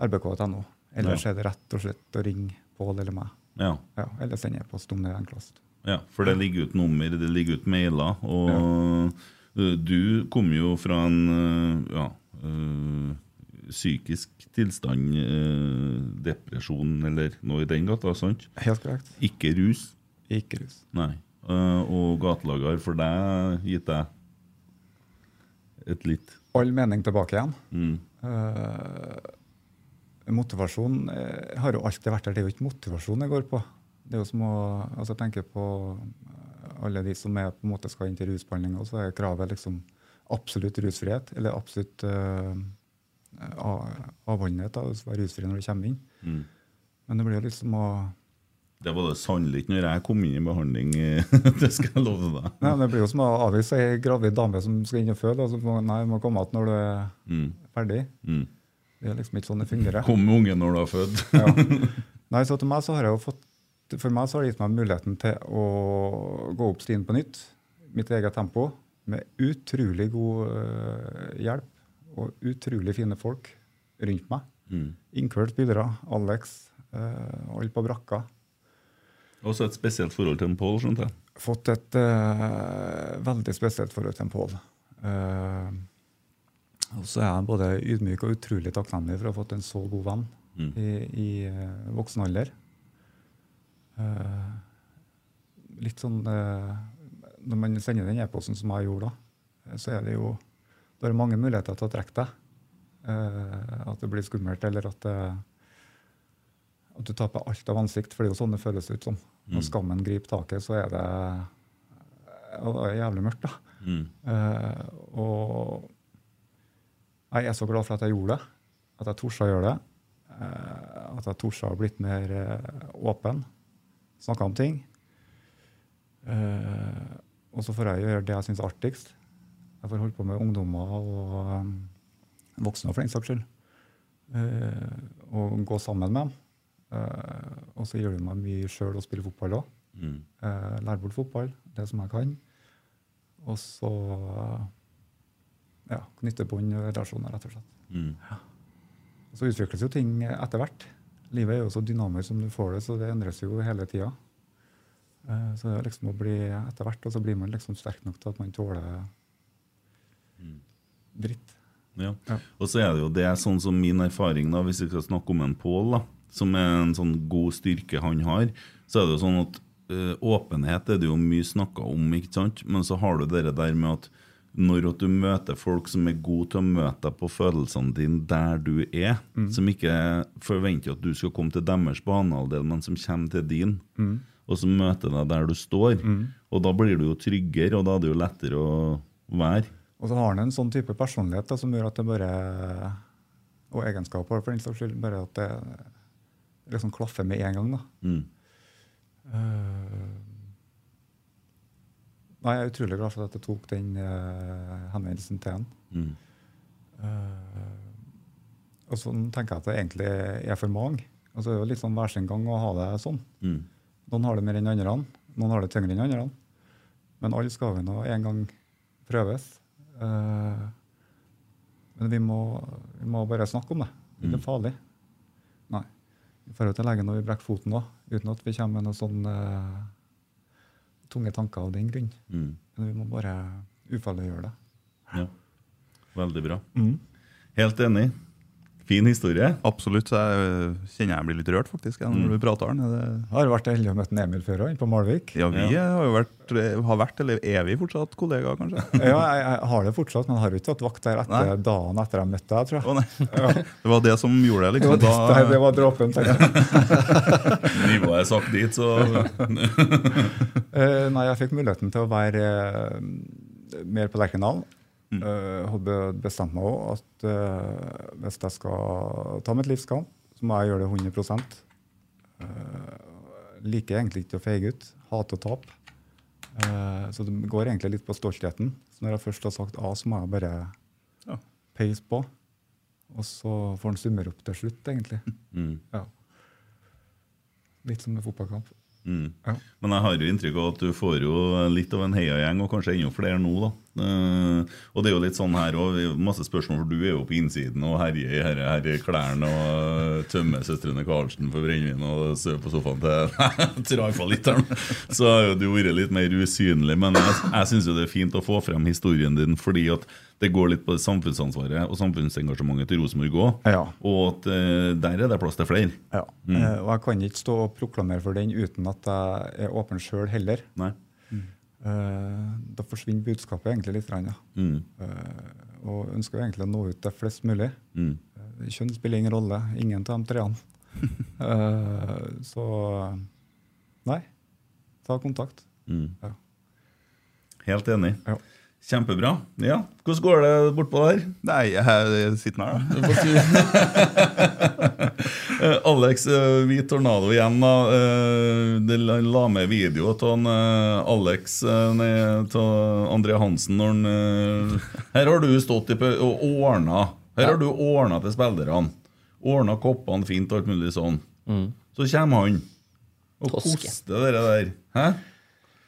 F: rbk.no. Ellers
C: Ja.
F: er det rett og slett å ringe Pål eller meg.
C: Ja,
F: Ja, eller sende e-post om det er enklest.
C: ja, for det ligger ut nummer, det ligger ut mailer, og eh, du kom jo fra en eh, ja, eh, psykisk tilstand, eh, depresjon eller noe i den gata, sant?
F: Helt korrekt.
C: Ikke rus.
F: Ikke rus.
C: Nei. Eh, og gatelaget har for deg gitt deg et litt
F: All mening tilbake igjen. Eh,
C: mm.
F: Motivasjon eh, har jo alltid vært der. Det er jo ikke motivasjon jeg går på. Det er jo som å, altså Jeg tenker på eh, alle de som er, på en måte skal inn til rusbehandling, og så er kravet liksom absolutt rusfrihet. Eller absolutt eh, a- avholdenhet. da, Du skal være rusfri når du kommer inn. Men det blir jo liksom å
C: Det var det sannelig ikke når jeg kom inn i behandling. eh, det skal jeg love deg.
F: Nei, men Det blir jo som å avvise ei gravid dame som skal inn og føde. og så må, nei, du må komme igjen når du er ferdig.
C: Mm.
F: Det er liksom ikke sånn det fungerer.
C: Kom med ungen når du er født.
F: Nei, så til meg så har jeg jo fått For meg så har det gitt meg muligheten til å gå opp stien på nytt. Mitt eget tempo. Med utrolig god øh, hjelp og utrolig fine folk rundt meg. Mm. Inkludert spillere. Alex. øh, alle på brakka.
C: Også et spesielt forhold til en Pål, skjønte jeg.
F: Fått et øh, veldig spesielt forhold til en Pål. Eh, og så er jeg både ydmyk og utrolig takknemlig for å ha fått en så god venn i, i eh, voksen alder. Eh, litt sånn eh, Når man sender den e-posten som jeg gjorde da, eh, så er det jo da er det mange muligheter til å trekke deg. Eh, at det blir skummelt, eller at, eh, det, at du taper alt av ansikt. For det er jo sånn det føles ut som. Når skammen griper taket, så er det, ja, det er jævlig mørkt. da. Eh, og jeg er så glad for at jeg gjorde det. At jeg torde å gjøre det. Eh, at jeg torde å ha blitt mer eh, åpen. Snakka om ting. Eh, og så får jeg gjøre det jeg syns er artigst. Jeg får holde på med ungdommer og em, voksne, for den saks skyld. Eh, og gå sammen med dem. Eh, og så gjør det meg mye sjøl å spille fotball òg.
C: Mm.
F: Eh, lære bort fotball, det som jeg kan. Og så eh, ja, knytte bånd og relasjoner, rett og slett.
C: Mm.
F: Og så utvikles jo ting etter hvert. Livet er jo så dynamisk som du får det, så det endres jo hele tida. Eh, Så det er liksom å bli etter hvert, og så blir man liksom sterk nok til at man tåler
C: Mm.
F: dritt.
C: Ja.
F: Ja.
C: Og så er det jo det er sånn som min erfaring, da, hvis vi skal snakke om en Pål, da, som er en sånn god styrke han har, så er det jo sånn at eh, åpenhet er det jo mye snakka om, ikke sant? Men så har du det der med at når at du møter folk som er gode til å møte deg på følelsene dine der du er, som ikke forventer at du skal komme til deres banehalvdel, men som kommer til din, og som møter deg der du står, og da blir du jo tryggere, og da er det jo lettere å være.
F: Og så har han en sånn type personlighet da, som gjør at det bare Og egenskaper, for den saks skyld. Bare at det liksom klaffer med en gang. da.
C: Mm.
F: Eh, Nei, jeg er utrolig glad for at jeg tok den eh, henvendelsen til han.
C: Mm.
F: Eh, Og så tenker jeg at det egentlig er for mange. Altså, det er jo litt sånn hver sin gang å ha det sånn.
C: Mm.
F: Noen har det mer enn andre, noen har det tyngre enn andre. Men alle skal vi nå en gang prøves. Eh, men vi må, vi må bare snakke om det. Det
D: Mm.
F: er ikke farlig. Nei. Vi drar jo til legen når vi brekker foten òg, uten at vi kommer med noen sånne eh, tunge tanker av den grunn.
C: Mm.
F: Men vi må bare ufarliggjøre det.
C: Ja. Veldig bra. Helt enig. Fin historie.
D: Absolutt. så Jeg øh, kjenner jeg blir litt rørt, faktisk, jeg, når du prater om det.
F: Jeg har vært heldig å møte en Emil før òg, på Malvik.
D: Ja, vi
C: Ja.
D: har jo vært, eh, har vært, eller er vi fortsatt kollegaer, kanskje?
F: Ja, jeg, jeg har det fortsatt, men jeg har jo ikke hatt vakt der etter
D: Nei.
F: dagen etter jeg møtte deg, tror
D: Å
F: jeg.
D: nei. Det var det som gjorde det,
F: Det
D: liksom.
F: var, det, det
D: Da,
F: var dråpen, tenkte jeg.
C: Nivået er sagt dit, så
F: Eh, nei, jeg fikk muligheten til å være eh, mer på Lerkendal. Mm. hadde bestemt meg òg at eh, hvis jeg skal ta mitt livs kamp, så må jeg gjøre det 100 Eh, Liker egentlig ikke å feige ut. Hater å tape. Eh, så det går egentlig litt på stoltheten. Så når jeg først har sagt A, så må jeg bare
D: Ja.
F: peise på. Og så får han summere opp til slutt, egentlig. Ja. Litt som en fotballkamp. Ja.
C: Men jeg har jo inntrykk av at du får jo litt av en heiagjeng, og kanskje enda flere nå, da. Eh, og det er jo litt sånn her òg, masse spørsmål, for du er jo på innsiden og herjer i herre, herre klærne og eh, tømmer søstrene Karlsen for brennevin og sover på sofaen til Traifa litt her nå. Så har jo du vært litt mer usynlig, men jeg, jeg syns jo det er fint å få frem historien din, fordi at det går litt på samfunnsansvaret og samfunnsengasjementet til Rosenborg òg,
F: Ja.
C: og at eh, der er det plass til flere.
F: Ja. Eh, og jeg kan ikke stå og proklamere for den uten at jeg er åpen sjøl heller.
C: Nei?
F: Eh, da forsvinner budskapet egentlig litt. grann, Ja. Eh, og ønsker jo egentlig å nå ut til flest mulig. Eh, Kjønn spiller ingen rolle. Ingen av de treene. eh, så nei. Ta kontakt. Ja.
C: Helt enig.
F: Ja.
C: Kjempebra. Ja, Hvordan går det bortpå der?
D: Nei, jeg sitter her, da.
C: Eh, Alex, eh, vi Tornado igjen. da. Eh, det la la med video av han, eh, Alex eh, nei, av André Hansen når han eh, Her har du stått i pau- og ordna. Her har du ordna til spillerne. Ordna koppene fint og alt mulig sånn.
D: Mm.
C: Så kommer han og
E: Toske.
C: koster det der. Hæ?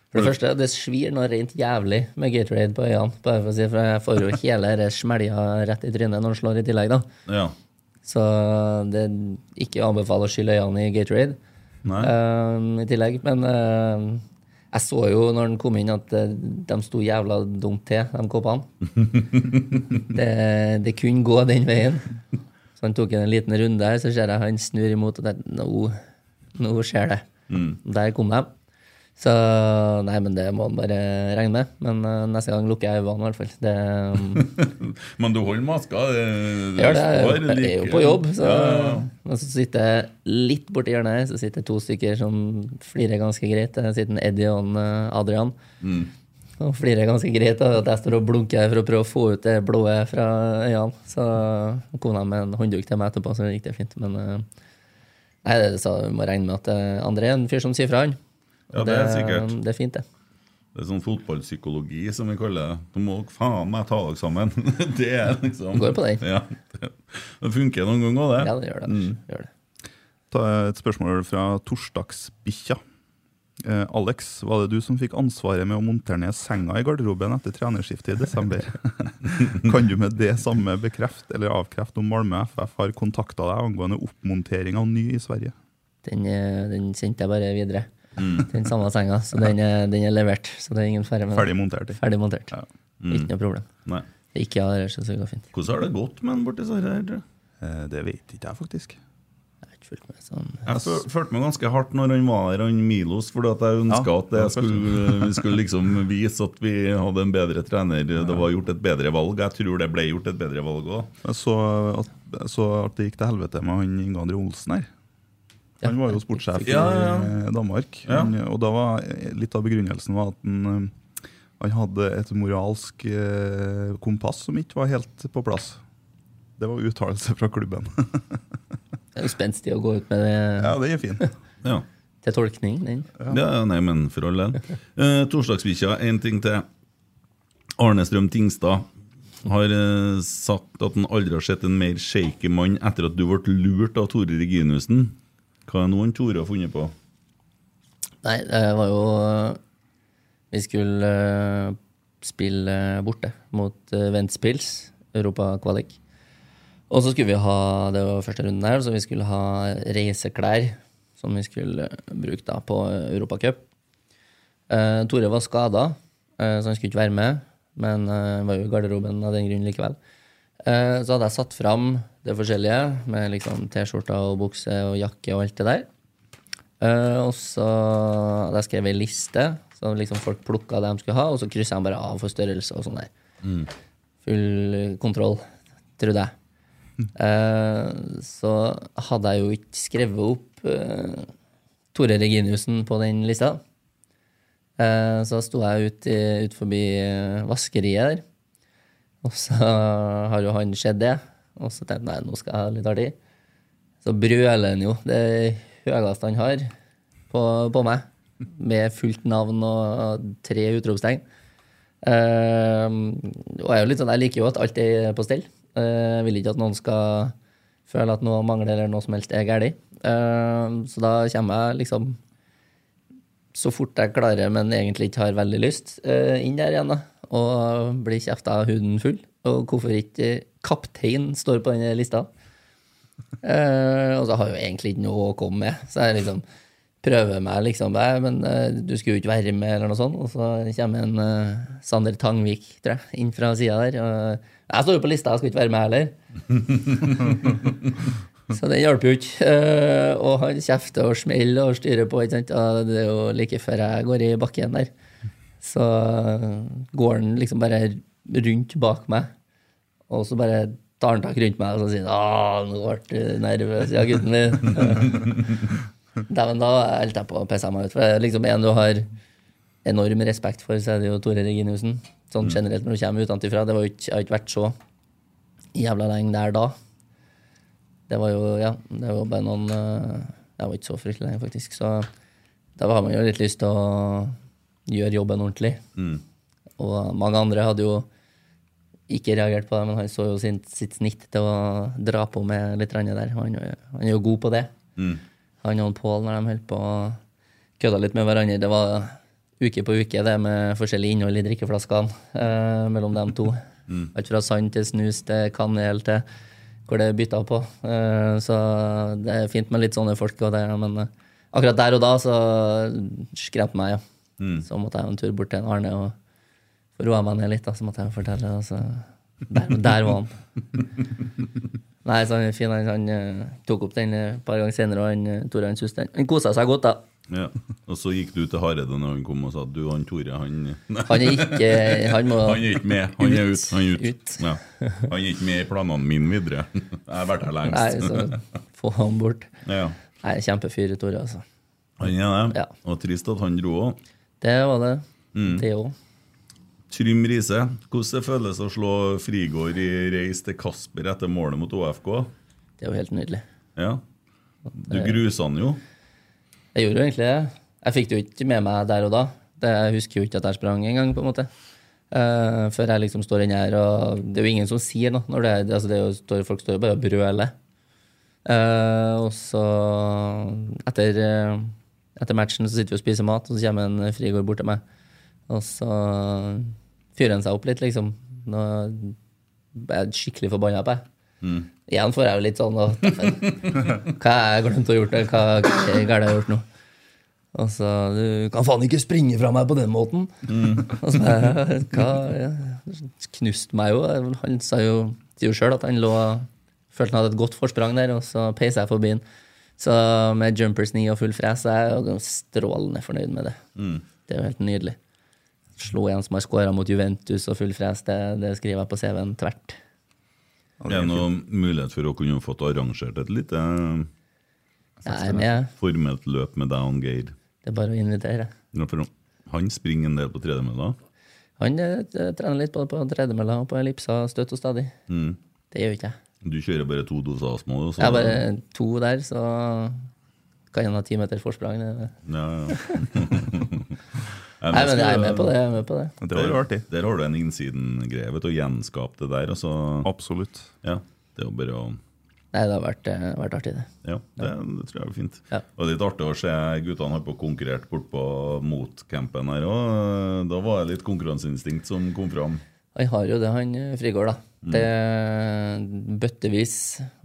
E: For det første, det svir noe rent jævlig med Gatorade på øynene. Bare for å si, for jeg får jo hele dette smelja rett i trynet når han slår i tillegg, da.
C: Ja.
E: Så det er ikke å anbefale å skylle øynene i Gatorade
C: Nei.
E: eh, i tillegg. Men eh, jeg så jo når han kom inn, at eh, de sto jævla dumt til, de koppene. det, det kunne gå den veien. Så han tok en liten runde her, så ser jeg han snur imot, og tenkte nå, nå skjer det. Der kom de. Så nei, men det må han bare regne med. Men eh, neste gang lukker jeg øynene, i hvert fall. Det, um,
C: Men du holder maska? eh,
E: jeg, gjør det, jeg, er jo-
C: står
E: jeg er jo
C: like-
E: på jobb. Så,
C: Ja, ja, ja.
E: Og så sitter jeg litt borti hjørnet her, så sitter det to stykker som flirer ganske greit. Der sitter en Eddie og en eh, Adrian.
C: Mm.
E: Og flirer ganske greit av at jeg står og blunker her for å prøve å få ut det blået fra øynene. Så kom de med en håndduk til meg etterpå, så det gikk det fint. Men eh, nei, det, så vi må regne med at eh, André er en fyr som sier fra, han.
C: Ja,
E: Og
C: det er sikkert.
E: Det er fint, det.
C: Det er sånn fotballpsykologi som vi kaller det. Du må faen meg ta dere sammen. det er liksom
E: Går på den.
C: Ja. Mm. Det funker noen ganger, også, det.
E: Ja, det gjør det. Gjør det.
D: Ta et spørsmål fra Torsdagsbikkja. Eh, Alex, var det du som fikk ansvaret med å montere ned senga i garderoben etter trenerskiftet i desember? kan du med det samme bekrefte eller avkrefte om Malmö FF har kontakta deg angående oppmontering av ny i Sverige?
E: Den, eh, den sendte jeg bare videre.
D: Mm.
E: Den samme senga. Så den er, den er levert. Så det er ingen fare med det.
D: Ferdig montert. ikke?
E: Ferdig montert.
D: Ja. Mm.
E: Ikke noe problem.
C: Nei.
E: Det er Ikke av det, så det går fint.
C: Mm. Hvordan har det gått med den borti Sverige? her, tror du?
D: Eh, Det vet ikke jeg faktisk.
E: Jeg har ikke fulgt med sånn.
C: Jeg fø- følte meg ganske hardt når han var her, han Milos, fordi at jeg ønska
D: Ja,
C: at jeg skulle, vi skulle liksom vise at vi hadde en bedre trener. Det var gjort et bedre valg. Jeg tror det ble gjort et bedre valg òg.
D: Jeg så at, så at det gikk til helvete med han Inge André Olsen her. Han var jo sportssjef i
C: Ja, ja,
D: eh, Danmark. Han, og da var eh, litt av begrunnelsen var at han, eh, han hadde et moralsk eh, kompass som ikke var helt på plass. Det var uttalelse fra klubben.
E: Det er jo spenstig å gå ut med det
D: ja, den er fin.
C: Ja.
E: til tolkning. Den.
C: Ja, ja, nei, men for all del. Eh, Torsdagsbikkja, én ting til. Arne Strøm Tingstad har eh, sagt at han aldri har sett en mer shaky mann etter at du ble lurt av Tore Reginussen. Hva er nå han Tore har funnet på?
E: Nei, det var jo Vi skulle eh, spille borte mot eh, Ventspils, Europa-kvalik. Og så skulle vi ha det var første runden her, så vi skulle ha reiseklær som vi skulle eh, bruke da på Europacup. Eh, Tore var skada, eh, så han skulle ikke være med. Men eh, han var jo i garderoben av den grunn likevel. Eh, så hadde jeg satt fram det forskjellige, med liksom T-skjorter og bukse og jakke og alt det der. Eh, og så hadde jeg skrevet ei liste, så liksom folk plukka det de skulle ha, og så kryssa de bare av for størrelse og sånn der. Full kontroll, trodde jeg. Eh, så hadde jeg jo ikke skrevet opp eh, Tore Reginiussen på den lista. Eh, så sto jeg ut, i- ut forbi eh, vaskeriet der, og så har jo han sett det. Og så tenkte jeg nei, nå skal jeg ha litt artig. Så brøler han jo det høyeste han har på, på meg, med fullt navn og tre utropstegn. Eh, og jeg, er jo litt sånn, jeg liker jo at alt er på stell. Eh, Jeg vil ikke at noen skal føle at noe mangler eller noe som helst er galt. Eh, så da kommer jeg liksom så fort jeg klarer, men egentlig ikke har veldig lyst, eh, inn der igjen da, og blir kjefta av huden full. Og hvorfor ikke eh, kaptein står på denne lista? Eh, og så har jeg jo egentlig ikke noe å komme med. Så jeg liksom prøver meg liksom «Nei, Men eh, du skulle jo ikke være med, eller noe sånt. Og så kommer en eh, Sander Tangvik, tror jeg, inn fra sida der. Og, eh, jeg står jo på lista, jeg skal ikke være med heller. Så det hjalp jo ikke. Eh, og han kjefter og smeller og styrer på. Ikke sant? Og det er jo like før jeg går i bakken der. Så eh, går han liksom bare rundt bak meg, og så bare tar han tak rundt meg og så sier han, «Ah, nå ble du nervøs, ja, gutten min. Dæven, da holdt jeg på å pisse meg ut. For det er liksom en du har enorm respekt for, så er det jo Tore Reginiussen. Sånn generelt når du kommer utenfra. Det var jo ikke, jeg har ikke vært så jævla lenge der da. Det var jo, ja, det var bare noen eh, Jeg var ikke så fryktelig lenge, faktisk. Så da har man jo litt lyst til å gjøre jobben ordentlig. Og mange andre hadde jo ikke reagert på det, men han så jo sin, sitt snitt til å dra på med litt rande der. Han, er- han er jo god på det. Han og Pål, når de holdt på og kødda litt med hverandre Det var uke på uke, det med forskjellig innhold i drikkeflaskene eh, mellom dem to. Alt fra sand til snus til kanel til hvor det er bytta på. Eh, så det er fint med litt sånne folk, og det, men eh, akkurat der og da så skremte meg, ja. Så måtte jeg en tur bort til en Arne og få roa meg ned litt, da, så måtte jeg fortelle. Og så der, der var han. Nei, så han er fin. Han, han eh, tok opp den eh, et par ganger senere, og han, eh, Tore han synes den. Han kosa seg godt, da.
C: Ja. Og så gikk du til Hareide når han kom og sa at du, han Tore, han Nei,
E: Han er ikke eh, Han må
C: han er ikke med. Han er ut. Han er, ut.
E: Ut.
C: Ja. han er ikke med i planene mine videre. Jeg har vært her
E: Nei,
C: lengst.
E: så få han bort.
C: Ja.
E: Nei, kjempefyr, Tore, altså.
C: Han er det.
E: Ja.
C: Og trist at han dro òg.
E: Det var det.
C: Mm.
E: Det òg.
C: Trym Riise, hvordan det føles å slå Frigård i reis til Kasper etter målet mot OFK?
E: Det er jo helt nydelig.
C: Ja. Du grusa han jo.
E: Jeg gjorde jo egentlig det. Jeg fikk det jo ikke med meg der og da. Det, jeg husker jo ikke at jeg sprang engang, på en måte. Eh, før jeg liksom står inne her, og det er jo ingen som sier noe. Når det, er- altså det er jo, står, folk står jo bare og brøler. Eh, og så, etter, eh, etter matchen, så sitter vi og spiser mat, og så kommer en frigård bort til meg. Og så fyrer han seg opp litt, liksom. Nå er jeg skikkelig forbanna på deg. Igjen får jeg jo litt sånn og, Hva har jeg glemt å gjort? Hva, hva, hva er det jeg har gjort nå? Og så Du kan faen ikke springe fra meg på den måten! Og så bare, hva, ja, Knust meg jo. Han sa jo sier jo sjøl at han lå Følte han hadde et godt forsprang der, og så peisa jeg forbi han. Så med jumpers knee og full fres så er jeg jo strålende fornøyd med det. Det er jo helt nydelig. Slå en som har skåra mot Juventus og full fres, det, det skriver jeg på CV-en tvert.
C: Er det noen mulighet for å kunne fått arrangert et lite eh,
E: Jeg er med.
C: formelt løp med deg og Geir?
E: Det er bare å invitere.
C: Ja, for Han springer en del på tredemølla.
E: Han eh, trener litt både på tredemølla og på ellipsa støtt og stadig.
C: Mm.
E: Det gjør ikke jeg.
C: Du kjører bare to doser astma? og så-
E: Jeg er bare to der, så kan han ha ti meter forsprang. Det.
C: Ja, ja.
E: Nei, men jeg er med på det. Jeg er med på det.
D: Men Det var jo artig.
C: Der har du en innsiden-greie. vet du, Å gjenskape det der. Og så,
D: Absolutt.
C: ja, det er jo bare å
E: Nei, det har vært, eh, vært artig, det.
C: Ja, det, det tror jeg var fint.
E: Ja.
C: Og det er litt artig å se guttene har på konkurrert bort på motcampen her òg. Da var det litt konkurranseinstinkt som kom fram.
E: Han har jo det, han eh, Frigård, da.
C: Mm.
E: Det bøttevis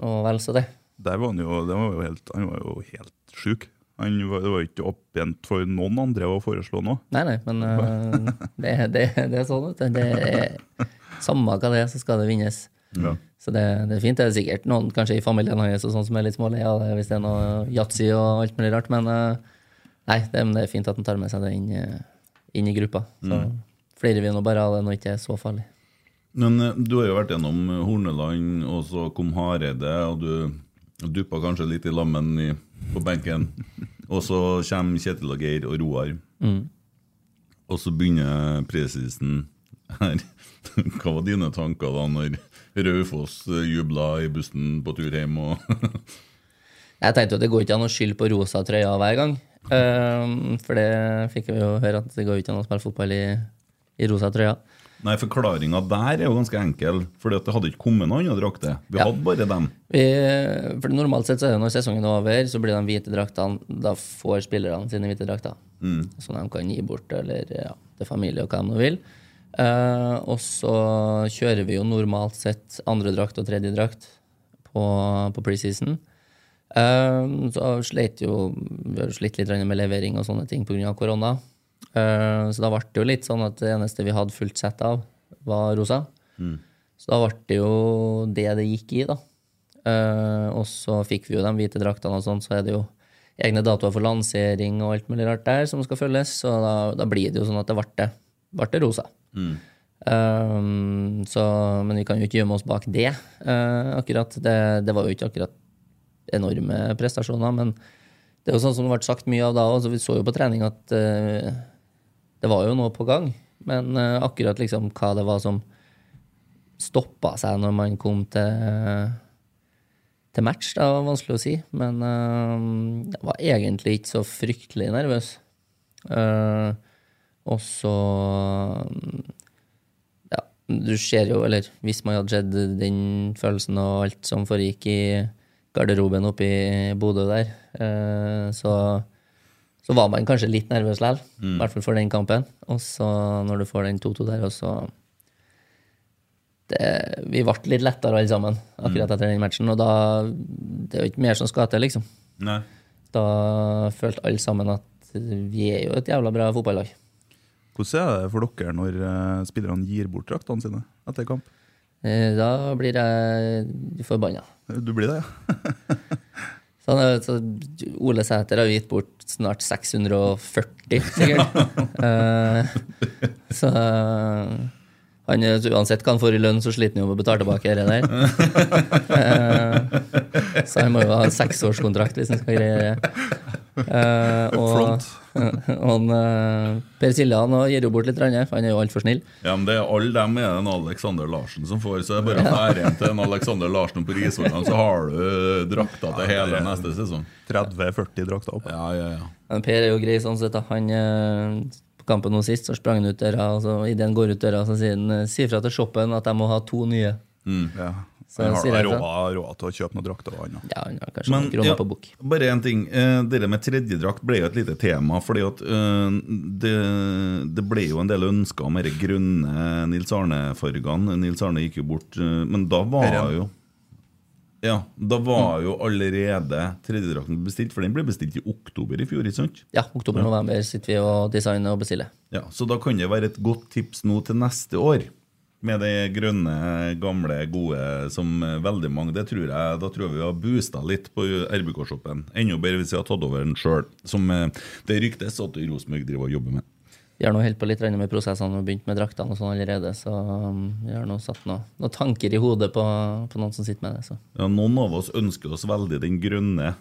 E: og vel så det.
D: Der var han jo, det var jo helt, han var jo helt sjuk. Han var, det var jo ikke åpent for noen andre å foreslå noe.
E: Nei, nei, men eh, det, det, det er sånn, vet du. Det er samme hva det er, så skal det vinnes. Så det, det er fint. Det er sikkert noen kanskje i familien hans og sånn som er litt smålig av det, hvis det er noe yatzy og alt mulig rart, men eh, nei, det, men det er fint at han tar med seg det inn, eh, inn i gruppa. Så flirer vi nå bare av det når det ikke er så farlig.
C: Men eh, du har jo vært gjennom eh, Horneland, og så kom Hareide, og du duppa kanskje litt i lammen i, på benken. Og så kommer Kjetil og Geir og Roar. Og så begynner presisen her. Hva var dine tanker da når Raufoss eh, jubla i bussen på tur hjem? Og
E: Jeg tenkte jo at det går ikke an å skylde på rosa eh, trøya hver gang. Ehm, for det fikk vi jo høre, at det går jo ikke an å spille fotball i i rosa trøya.
C: Nei, forklaringa der er jo ganske enkel. For det hadde ikke kommet noen andre drakter. Vi
E: Ja.
C: hadde bare dem.
E: Vi, for Normalt sett så er det når sesongen er over, så blir de hvite draktene Da får spillerne sine hvite drakter. Som de kan gi bort eller ja, til familie og hva de nå vil. Eh, og så kjører vi jo normalt sett andre drakt og tredje drakt på, på preseason. Eh, så sleit jo Vi har jo slitt litt grann med levering og sånne ting pga. korona. Eh, så da ble det jo litt sånn at det eneste vi hadde fullt sett av, var rosa. Så da ble det jo det det gikk i, da. Eh, og så fikk vi jo de hvite draktene, og sånn, så er det jo egne datoer for lansering og alt mulig rart der som skal følges, så da, da blir det jo sånn at det ble, det- ble det rosa. Eh, så, men vi kan jo ikke gjemme oss bak det, eh, akkurat. Det, det var jo ikke akkurat enorme prestasjoner, men det er jo sånn som det ble sagt mye av da òg, vi så jo på trening at eh, det var jo noe på gang, men eh, akkurat liksom hva det var som stoppa seg når man kom til til match, det var vanskelig å si. Men eh, jeg var egentlig ikke så fryktelig nervøs. Eh, og så mm, Ja, du ser jo, eller hvis man hadde sett den følelsen og alt som foregikk i garderoben oppe i Bodø der, eh, så, så var man kanskje litt nervøs likevel. I hvert fall for den kampen. Og så når du får den 2-2 der, og så det, eh, vi ble litt lettere alle sammen akkurat etter den matchen. Og da Det er jo ikke mer som skal til, liksom.
C: Nei.
E: Da følte alle sammen at vi er jo et jævla bra fotballag.
D: Hvordan er det for dere når eh, spillerne gir bort draktene sine etter kamp?
E: Eh, Da blir jeg forbanna.
D: Du blir det, ja?
E: Så, han er- så Ole Sæter har jo gitt bort snart 640, sikkert. Eh, så eh, han, er- så uansett hva han får i lønn, så sliter han jo med å betale tilbake det der. Eh, så han må jo ha en seksårskontrakt hvis han skal greie det. Eh, og, og han, eh, per Silje han også gir jo bort litt, rann, for han er jo altfor snill.
C: Ja, men det er Alle dem er det en Alexander Larsen som får, så det er bare å ta æren til en Alexander Larsen på Risvollan, så har du eh, drakta til hele neste sesong.
D: 30-40 drakter opp.
C: Ja, ja, ja.
E: Men Per er jo grei sånn sett. da. Han, eh, på kampen nå sist så sprang han ut døra, og så idet han går ut døra, så sier han eh, si fra til shoppen at jeg må ha to nye.
D: Ja.
E: Så
D: Han
E: sier
D: har
E: jeg
D: da råd
E: det.
D: råd til å kjøpe noen drakter og annet.
E: Ja, han har kanskje
C: Men,
E: noen kroner
C: ja,
E: på bok.
C: bare en ting. Eh, Det der med tredjedrakt ble jo et lite tema. fordi at eh, det, det ble jo en del ønsker om de grønne Nils Arne-fargene. Nils Arne gikk jo bort. eh, Men da var
D: Herren.
C: jo Ja, da var jo allerede tredjedrakten bestilt, for den ble bestilt i oktober i fjor. ikke sant?
E: Ja, oktober-november sitter vi og designer og bestiller.
C: Ja, Så da kan det være et godt tips nå til neste år. Med det grønne, gamle, gode som eh, veldig mange det tror jeg, Da tror jeg vi har boosta litt på RBK-shoppen. Enda bedre hvis vi har tatt over den sjøl, som eh, det ryktes at Rosenborg driver og jobber med.
E: Vi har nå holdt på litt grann med prosessene og begynt med draktene og sånn allerede, så um, vi har nå satt noe, noen tanker i hodet på, på noen som sitter med det. Så.
C: Ja, noen av oss ønsker oss veldig den grønne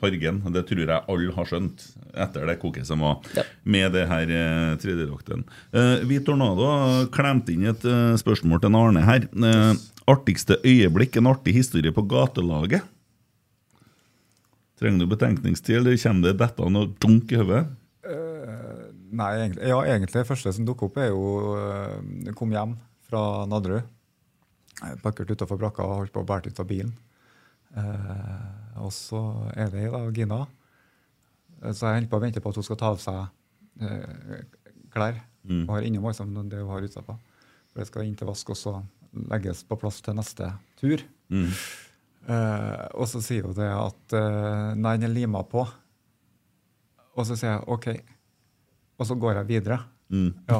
C: fargen. og Det tror jeg alle har skjønt etter det koket som var
E: Ja.
C: med det her eh, tredjedrakten. Eh, vi Tornado har klemt inn et eh, spørsmål til en Arne her. Eh, artigste øyeblikk, en artig historie på gatelaget? Trenger du betenkningstid, eller kommer det dette og dunk i hodet?
F: Nei, egentlig, ja, egentlig det første som dukket opp, er jo øh, jeg Kom hjem fra Nadderud. Jeg Parkert utafor brakka og holdt på å bære ut av bilen. Eh, og så er det da Gina. Eh, Så jeg holder på å vente på at hun skal ta av seg eh, klær. Og har innom liksom, det hun har utapå. For det skal inn til vask og så legges på plass til neste tur. Eh, og så sier hun det at eh, Nei, den er lima på. Og så sier jeg OK og så går jeg videre. Ja.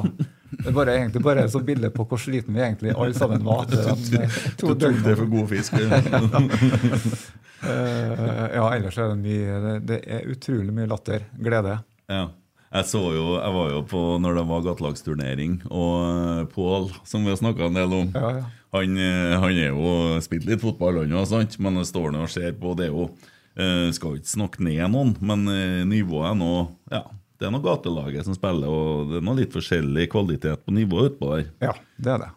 F: Det er bare, egentlig bare så bilde på hvor sliten vi egentlig alle sammen var. etter de, eh, to døgnene.
C: for god fisk.
F: Eh, ja, ellers er det mye det- Det er utrolig mye latter. Glede.
C: Ja. Jeg, så jo, jeg var jo på når det var gatelagsturnering, og eh, Pål, som vi har snakka en del om,
F: Ja, ja.
C: Han, eh, han er jo spilt litt fotball, han òg, sant? men han står nå og ser på. Det er jo eh, Skal jo ikke snakke ned noen, men eh, nivået er nå Ja, det er nå gatelaget som spiller, og det er nå litt forskjellig kvalitet på nivået utpå der.
F: Ja, det er det.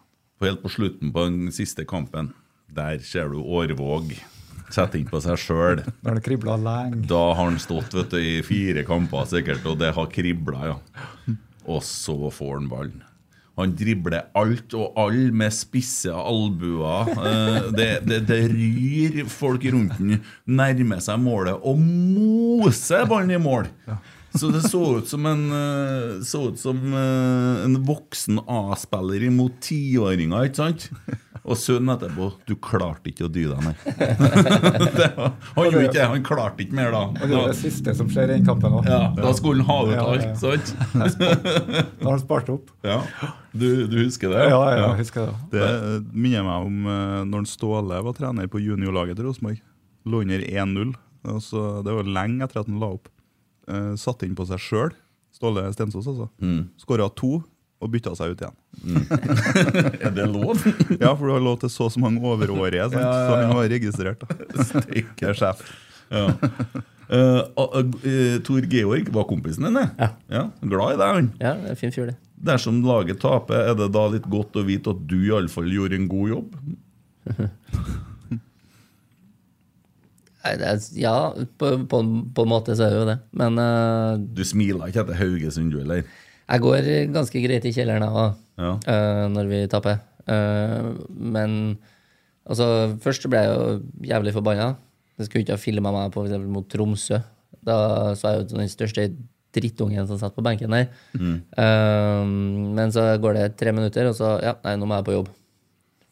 C: For helt på slutten på den siste kampen, der ser du Årvåg sette inn på seg sjøl.
F: Da har det kribla lenge.
C: Da har han stått vet du, i fire kamper sikkert, og det har kribla, ja. Og så får han ballen. Han dribler alt og alle med spisse albuer. Eh, Det, det, det ryr folk rundt den, nærmer seg målet og moser ballen i mål. Så det så ut som en, eh, så ut som eh, en voksen A-spiller imot tiåringer, ikke sant? Og sønnen etterpå 'Du klarte ikke å dy deg, nei'. det var, han gjorde ikke det. Han klarte ikke mer da.
F: Og det er det siste som skjer i den kampen òg.
C: Ja, da skulle han ha ut
F: Ja, ja.
C: alt, sant?
F: Da har han spart opp.
C: Ja. Du, du husker det?
F: Ja, ja, jeg husker det.
D: Det eh, minner meg om eh, når Ståle var trener på juniorlaget til Rosenborg. Lå under 1-0. og så- Det var lenge etter at han la opp. Eh, Satt inn på seg sjøl, Ståle Stensås, altså. Skåra to og bytta seg ut igjen.
C: Er det lov?
D: Ja, for du har lov til så og så mange overårige, sant? så han var registrert. da. Det er sjef.
C: Ja. Eh, og, eh, Tor Georg var kompisen din, det?
E: Ja.
C: Glad i deg, han.
E: Ja, det er en fin fyr, det.
C: Dersom laget taper, er det da litt godt å vite at du iallfall gjorde en god jobb?
E: Nei, det er, ja, på, på, på en måte så er det jo det. Men eh,
C: Du smiler ikke etter Haugesund, du heller?
E: jeg går ganske greit i kjelleren da,
C: Ja.
E: eh, når vi taper. Eh, men altså, først så ble jeg jo jævlig forbanna. Jeg skulle ikke ha filma meg på, for eksempel, mot Tromsø. Da så jeg jo den største drittungen som satt på benken der. Eh, men så går det tre minutter, og så Ja, nei, nå må jeg på jobb.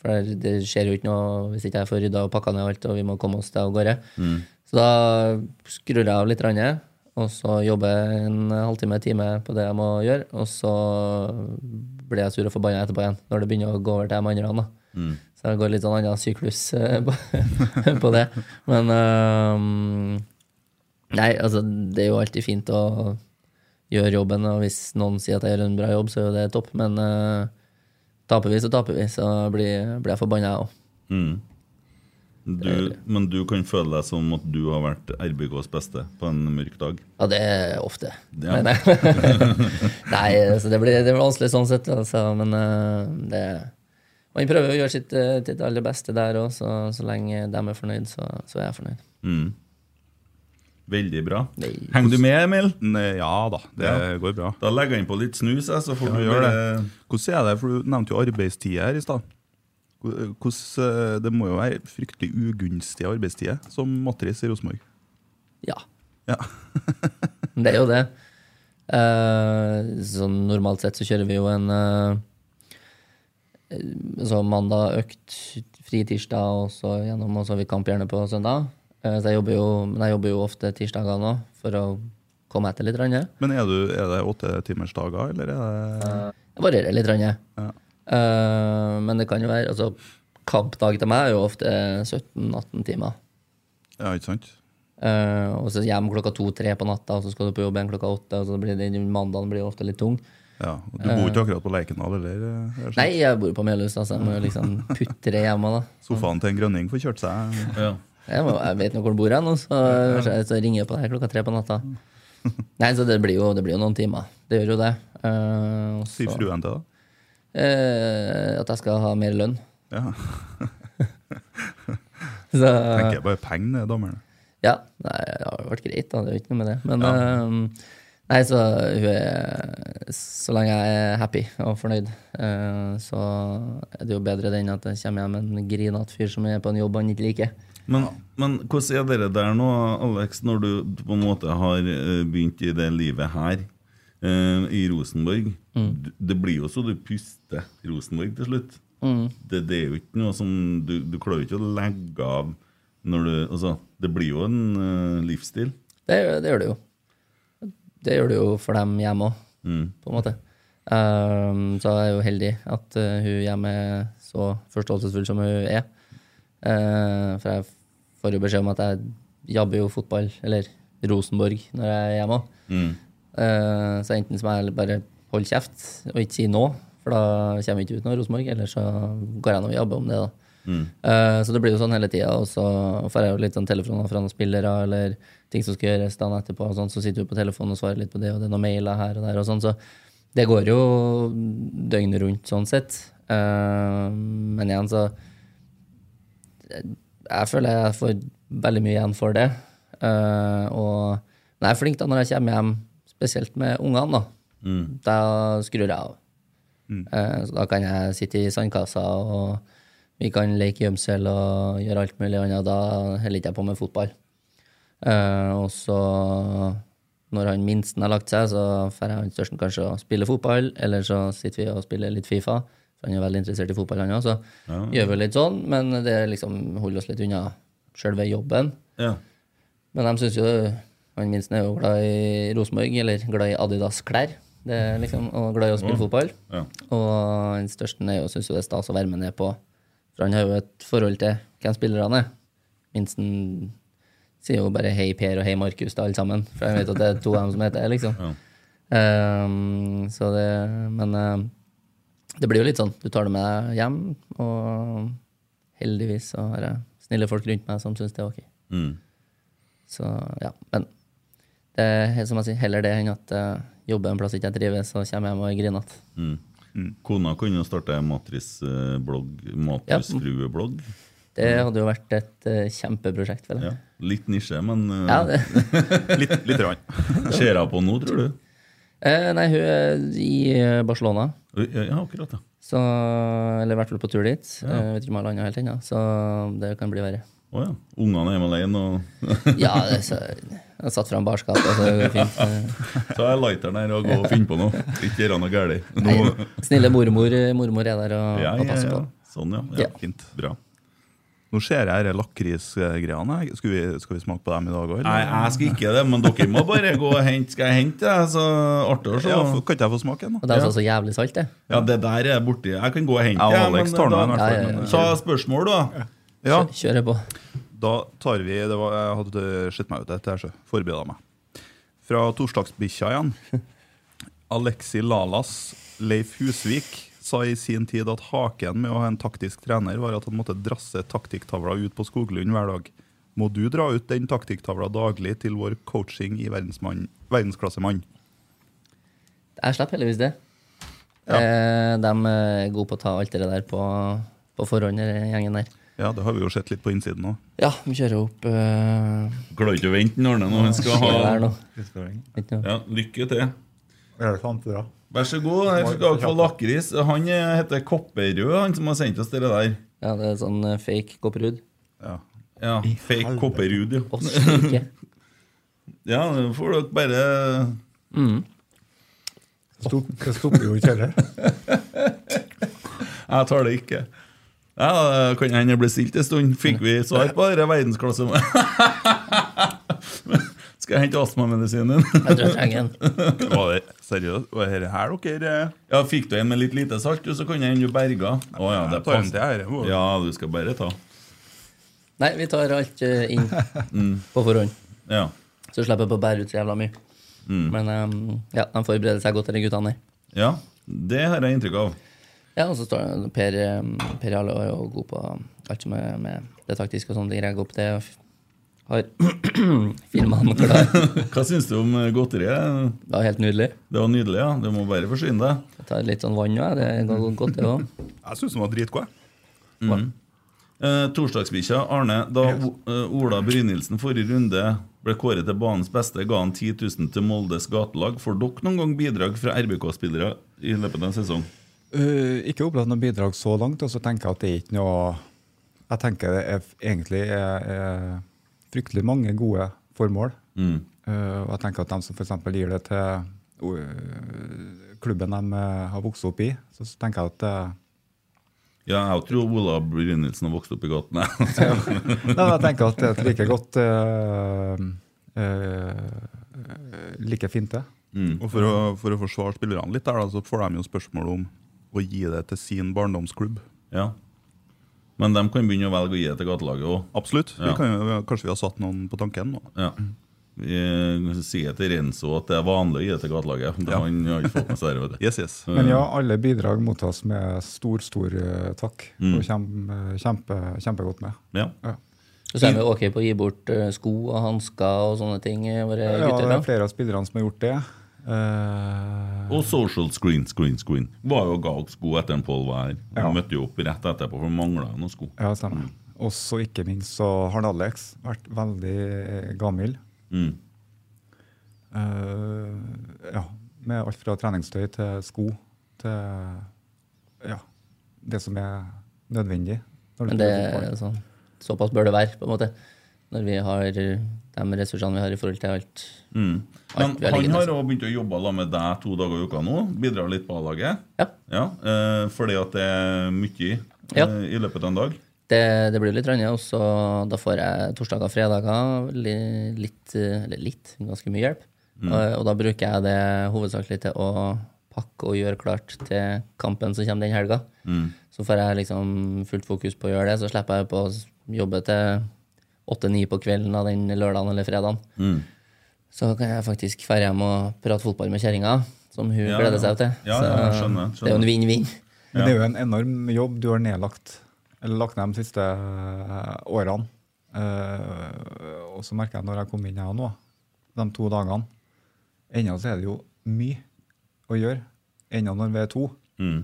E: For det, det skjer jo ikke noe hvis ikke jeg får rydda og pakka ned alt, og vi må komme oss til av gårde. Så da skrur jeg av litt, randet, og så jobber jeg en halvtime, time på det jeg må gjøre. Og så blir jeg sur og forbanna etterpå igjen, når det begynner å gå over til de andre. da. Så det går litt sånn annen syklus eh, på, på det. Men øhm, Nei, altså, det er jo alltid fint å gjøre jobben, og hvis noen sier at jeg gjør en bra jobb, så er jo det topp, men eh, Taper vi, så taper vi. Så blir, blir jeg forbanna, jeg òg.
C: Du, men du kan føle deg som at du har vært RBKs beste på en mørk dag?
E: Ja, det er ofte.
C: Ja.
E: Men, eh, nei, så det blir, det blir vanskelig sånn sett, altså, men eh, det Man prøver jo å gjøre sitt, eh, sitt aller beste der òg, så, så lenge de er fornøyd, så, så er jeg fornøyd.
C: Veldig bra.
E: Nei.
C: Henger du med, Emil?
D: Nei, Ja da, det
C: Ja.
D: går bra.
C: Da legger jeg inn på litt snus, jeg, så får du eh,
D: gjør
C: gjøre
D: det.
C: det.
D: Hvordan er det, for Du nevnte jo arbeidstid her i stad. Hvordan, eh, Det må jo være fryktelig ugunstig arbeidstid eh, som matris i Rosenborg.
E: Ja.
D: Ja.
E: det er jo det. Eh, sånn normalt sett så kjører vi jo en eh, Så mandag økt, fri tirsdag, og så gjennom, og så har vi kamp gjerne på søndag. Eh, så jeg jobber jo, men jeg jobber jo ofte tirsdager nå for å komme etter litt. Rann,
D: Men er, du, er det åttetimersdager, eller er det
E: Det varierer litt. Rann,
D: Ja.
E: Eh, men det kan jo være altså, Kampdag til meg er jo ofte 17-18 timer.
D: Ja, ikke sant?
E: Eh, og så hjem klokka to-tre på natta, og så skal du på jobb igjen klokka åtte. Og så blir det, mandagen blir jo ofte litt tung.
D: Ja, og Du bor ikke akkurat på Lerkendal, eller? eh, er det sånn?
E: Nei, jeg bor på Melhus, altså. Jeg må jo liksom putre hjemme, da.
D: Sofaen til en grønning får kjørt seg.
C: Ja.
E: Jeg, må, jeg vet nå hvor du bor hen, og så, så ringer jeg på deg klokka tre på natta. Nei, så det blir jo, det blir jo noen timer. Det gjør jo det. Eh, og
D: Sier
E: så-
D: fruen til deg.
E: Eh, at jeg skal ha mer lønn.
D: Ja,
E: Så,
D: tenker jeg bare penger, det, damene.
E: Ja, nei, det har jo vært greit, da. Det er jo ikke noe med det. Men ehm, nei, så hun er Så lenge jeg er happy og fornøyd, eh, så er det jo bedre det enn at jeg kommer hjem med en grinete fyr som er på en jobb han ikke liker.
C: Men, men hvordan er dere der nå, Alex, når du på en måte har eh, begynt i det livet her, eh, i Rosenborg? D- Det blir jo så du puster Rosenborg til slutt. Det, det er jo ikke noe som Du, du klarer jo ikke å legge av når du Altså, det blir jo en eh, livsstil.
E: Det, det gjør det jo. Det gjør det jo for dem hjemme òg, på en måte. Ehm, så jeg er jo heldig at eh, hun hjemme er så forståelsesfull som hun er. Eh, for jeg får jo beskjed om at jeg jabber jo fotball, eller Rosenborg, når jeg er hjemme òg. Eh, så enten så må jeg bare holde kjeft og ikke si noe, for da kommer vi ikke ut noe Rosenborg, eller så går jeg nå og jabber om det, da. Eh, Så det blir jo sånn hele tida, og så får jeg jo litt sånn telefoner fra noen spillere eller ting som skal gjøres dagen etterpå, og sånn, så sitter du på telefonen og svarer litt på det, og det er noen mailer her og der og sånn, så det går jo døgnet rundt sånn sett. Eh, Men igjen, så Jeg føler jeg får veldig mye igjen for det. Eh, Og men jeg er flink da når jeg kommer hjem, spesielt med ungene, da. Da skrur jeg av. Eh, Så da kan jeg sitte i sandkassa, og vi kan leke gjemsel og gjøre alt mulig annet. Da holder ikke jeg på med fotball. Eh, og så, når han minsten har lagt seg, så får jeg han størsten kanskje å spille fotball, eller så sitter vi og spiller litt Fifa. For han er veldig interessert i fotball, han òg, så gjør vi litt sånn. Men det er liksom holder oss litt unna sjølve jobben.
C: Ja.
E: Men de syns jo Han minsten er jo glad i Rosenborg, eller glad i Adidas-klær. Det er liksom, og glad i å spille fotball.
C: Ja.
E: Og den største er jo, syns jo det er stas å være med ned på For han har jo et forhold til hvem spillerne er. Minsten sier jo bare 'hei Per' og 'hei Markus' til alle sammen. For jeg vet at det er to av dem som heter det, liksom. Ehm, så det Men ehm, det blir jo litt sånn. Du tar det med deg hjem, og heldigvis så har jeg snille folk rundt meg som syns det er ok.
C: Mm.
E: Så ja, men det er helt som jeg sier, heller det enn at jeg jobber en plass ikke jeg trives, så kommer jeg hjem og griner igjen.
C: Mm. Kona kunne jo starte matrisblogg, matrisfrueblogg.
E: Det hadde jo vært et eh, kjempeprosjekt, føler
C: Mm. Ja.
E: jeg.
C: Litt nisje, men eh,
E: Ja, det.
D: Litt, litt rann.
C: ser jeg på nå, tror du?
E: Eh, Nei, hun er i eh, Barcelona,
C: Oi, Ja, ja, akkurat, ja.
E: så, eller i hvert fall på tur dit. Eh, Vet ikke om jeg har landa helt ennå, så det kan bli verre.
C: Å ja. Ungene er hjemme alene, og
E: Ja, det, så, jeg satt fram barskapet, så det går fint. Eh,
C: så er lighteren her og gå og finne på noe. Ikke gjøre noe galt. Nå-
E: Snille mormor, mormor er der og,
C: Ja,
E: og
C: ja,
E: passer
C: ja.
E: på.
C: Sånn, ja.
E: Ja.
C: ja. Fint. Bra.
D: Nå ser jeg disse lakrisgreiene. her. Skal, vi- skal vi smake på dem i dag òg?
C: Nei, jeg skal ikke det, men dere må bare gå og hente. Skal jeg hente det? Så artig å se.
D: Ja, for- kan ikke jeg få smake en,
E: Og
D: da?
E: det er altså så jævlig salt, det.
C: Ja, det der er borti. Jeg kan gå og hente
D: Jeg og
C: ja,
D: Alex
C: men
D: tar den i
C: da-
D: hvert
E: Ja, ja,
D: fall.
E: ja.
D: men-
C: Så spørsmål, da.
D: Ja,
E: Kjører på.
D: Da tar vi det var, Jeg hadde sett meg ut etter, så forberedt meg. Fra torsdagsbikkja igjen. Alexi Lalas, Leif Husvik, sa i sin tid at haken med å ha en taktisk trener var at han måtte drasse taktikktavla ut på Skoglund hver dag. Må du dra ut den taktikktavla daglig til vår coaching i verdensmann, verdensklassemann?
E: Jeg slapp heldigvis det.
D: Ja.
E: Eh, de er gode på å ta alt det der på, på forhånd, den gjengen der.
D: Ja, det har vi jo sett litt på innsiden òg.
E: Ja, vi kjører opp eh,
C: Klarer ikke å vente den Arne nå. Han skal ha
E: det der nå.
F: Utføring.
E: Ikke noe.
C: ja, Lykke til.
F: I hvert fall ikke bra.
C: Vær så god. Her skal dere få lakris. Han eh, heter Kopperød, han som har sendt oss det der.
E: Ja, det er sånn eh, fake kopperud.
D: Ja.
C: Ja, Fake Kopperud, jo.
E: Oss ikke.
C: Ja, nå får dere bare
F: Stopp- Det stopper jo ikke heller.
C: Jeg tar det ikke. Ja, det Kan hende det blir stilt en stund. Fikk vi svar på dette verdensklasse? Skal jeg hente astmamedisinen?
E: Jeg tror jeg trenger en.
D: Var det seriøst? Var det her dere eh,
C: Ja, fikk du en med litt lite salt, du, så kan jeg hende du berga. Å ja, det
D: jeg tar en
C: passer.
D: til her, jeg må-
C: Ja, du skal bare ta.
E: Nei, vi tar alt eh, inn på forhånd.
C: Ja.
E: Så slipper jeg på å bære ut så jævla mye. Men eh, ja, de forbereder seg godt, de guttene der.
C: ja. Det har jeg inntrykk av.
E: Ja, og så står det Per, eh, per Jarle er jo god på alt som er med det taktiske og sånne ting. Jeg går på det og f- har filmene klar.
C: Hva syns du om eh, godteriet?
E: Det var helt nydelig.
C: Det var nydelig, ja. Du må bare forsyne deg.
E: Jeg tar litt sånn vann òg. Det går godt, det òg.
D: Jeg syns den var dritgod, jeg.
C: Eh, Torsdagsbikkja, Arne. Da O- eh, Ola Brynildsen forrige runde ble kåret til banens beste, ga han 10 000 til Moldes gatelag. Får dere noen gang bidrag fra RBK-spillere i løpet av en sesong?
F: Uh, ikke opplevd noe bidrag så langt, og så tenker jeg at det er ikke noe Jeg tenker det er f- egentlig er, er fryktelig mange gode formål.
C: Mm.
F: Uh, og jeg tenker at de som f.eks. gir det til uh, klubben de uh, har vokst opp i, så, så tenker jeg at uh,
C: Ja, jeg tror Ola Brynildsen har vokst opp i gatene.
F: Nei, men jeg tenker at det er et like godt uh, uh, Like fint, det.
D: Og for å, for å forsvare spillerne litt, der, da, så får de jo spørsmål om å gi det til sin barndomsklubb.
C: ja. Men de kan begynne å velge å gi det til gatelaget òg.
D: Absolutt. Vi
C: Ja.
D: kan, jo- kanskje vi har satt noen på tanken nå.
C: Ja. Vi sier til Renzo at det er vanlig å gi det til gatelaget. Det Han har ikke fått med seg det. vet du.
D: Yes, yes.
F: Men ja, alle bidrag mottas med stor, stor uh, takk. Og kommer kjempe, kjempegodt med.
C: Ja.
F: Ja.
E: Så er vi ok på å gi bort eh, sko og hansker og sånne ting. eh, Våre
F: Ja,
E: gutter
F: det
E: da.
F: er flere av spillerne som har gjort det. Eh,
C: Og social screen, screen, screen. Var jo ga oss sko etter en Pål Wær.
F: Ja.
C: Han Møtte jo opp rett etterpå, for mangla noen sko.
F: ja, stemmer. Også ikke minst så har Alex vært veldig eh, gammel.
C: Mm.
F: Eh, ja, med alt fra treningstøy til sko til ja, det som er nødvendig. når du
E: Men det
F: spiller fotball.
E: er sånn, såpass bør det være, på en måte. Når vi har eh, de ressursene vi har i forhold til alt.
D: Men
E: Mm. alt vi har
D: han
E: liggende.
D: har også begynt å jobbe sammen med deg to dager i uka nå. Bidrar litt på A-laget.
E: Ja.
D: eh, fordi at det er mye
E: Ja.
D: eh, i løpet av en dag.
E: Det, det blir litt annet, og så da får jeg torsdager og fredager li- litt, eh, eller litt, ganske mye hjelp.
D: Mm.
E: Og, og da bruker jeg det hovedsakelig til å pakke og gjøre klart til kampen som kommer den helga.
D: Mm.
E: Så får jeg liksom fullt fokus på å gjøre det, så slipper jeg på å s- jobbe til åtte-ni på kvelden av den lørdagen eller fredagen. Så kan jeg faktisk dra hjem og prate fotball med kjerringa, som hun
D: Ja,
E: gleder
D: ja.
E: seg til.
D: Ja,
E: så
D: ja, jeg skjønner,
E: det er
D: skjønner.
E: jo en vinn-vinn.
F: Men det er jo en enorm jobb du har nedlagt, eller lagt ned de siste eh, årene. Eh, og så merker jeg når jeg kom inn her nå, de to dagene Ennå så er det jo mye å gjøre. Ennå når vi er to.
D: Mm.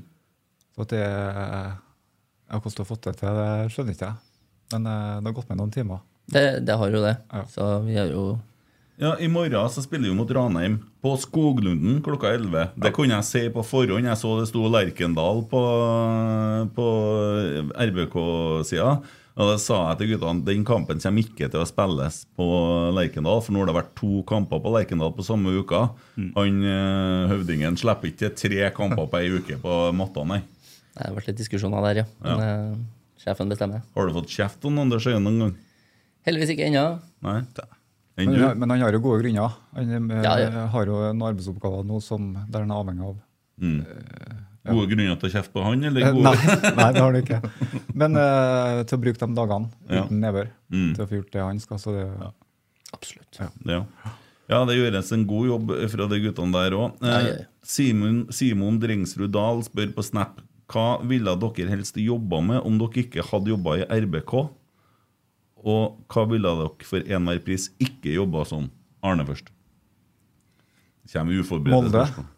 F: Så at det ja, Hvordan du har fått det til, det skjønner ikke jeg. Men eh, det har gått med noen timer.
E: Det, det har jo det.
F: Ja.
E: Så vi har jo
D: Ja, I morgen så spiller vi mot Ranheim på Skoglunden klokka 11. Det kunne jeg se på forhånd. Jeg så det sto Lerkendal på, på RBK-sida. Og da sa jeg til guttene den kampen kommer ikke til å spilles på Lerkendal. For nå har det vært to kamper på Lerkendal på samme uka.
F: Mm.
D: Han eh, høvdingen slipper ikke til tre kamper på ei uke på matta, nei.
E: Det har vært litt diskusjoner der, ja. Men eh, sjefen bestemmer.
D: Har du fått kjeft om Anders Øyen noen gang?
E: Heldigvis ikke ennå.
D: Nei? Enn
F: Men,
D: du?
F: ja, men han har jo gode grunner. Han eh,
E: Ja, ja.
F: har jo en arbeidsoppgave nå som, der han er avhengig av
D: Gode grunner til å kjefte på han, eller
F: Eh,
D: gode
F: Nei, nei, det har du ikke. Men eh, til å bruke de dagene uten
D: Ja.
F: nedbør
D: Mm.
F: til å få gjort det han skal. Så det,
E: Absolutt.
F: Ja.
D: Ja. ja, det gjøres en god jobb fra de guttene der òg.
E: Ja, ja, ja.
D: Simon, Simon Drengsrud Dahl spør på Snap hva ville dere helst jobba med om dere ikke hadde jobba i RBK? Og hva ville dere for enhver pris ikke jobba som? Arne først. Det Kommer uforberedte
F: Molde.
D: spørsmål.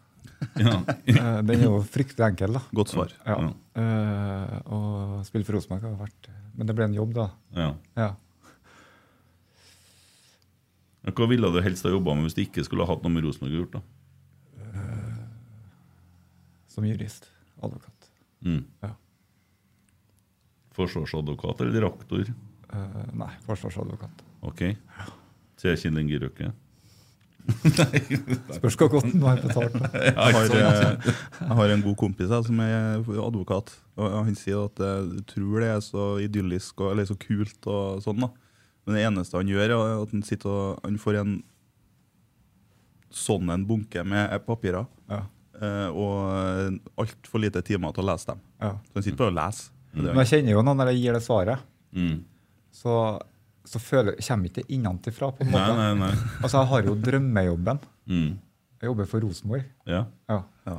D: Ja.
F: eh, den er jo fryktelig enkel, da.
C: Godt svar.
F: Ja.
D: Ja.
F: Eh, og spille for Rosenborg har vært Men det ble en jobb, da.
D: ja.
F: Ja.
D: Hva ville du helst ha jobba med hvis du ikke skulle ha hatt noe med Rosenborg å gjort? da?
F: Som jurist. Advokat.
D: Mm.
F: Ja.
D: Forsvarsadvokat eller reaktor?
F: Eh, nei, forsvarsadvokat.
D: Ok. Sier Kjell Inge Røkke.
F: Spørs hvor godt han har betalt. da.
C: Jeg har, eh, jeg har en god kompis jeg, som er advokat. og Han sier at eh, du tror det er så idyllisk og, eller så kult, og sånn da. men det eneste han gjør, er at han, sitter og, han får en sånn en bunke med eh, papirer.
F: Ja.
C: eh, Og altfor lite timer til å lese dem.
F: Ja.
C: Så han sitter bare og leser. Det er
F: Men
C: jo-
F: jeg kjenner jo noen når jeg gir det svaret,
D: Mm.
F: så, så føler, kommer ikke det innenfra. på en
D: Nei,
F: måte.
D: nei, nei.
F: Altså, jeg har jo drømmejobben.
D: Mm.
F: Jeg jobber for Rosenborg.
D: Ja.
F: Ja.
C: Ja.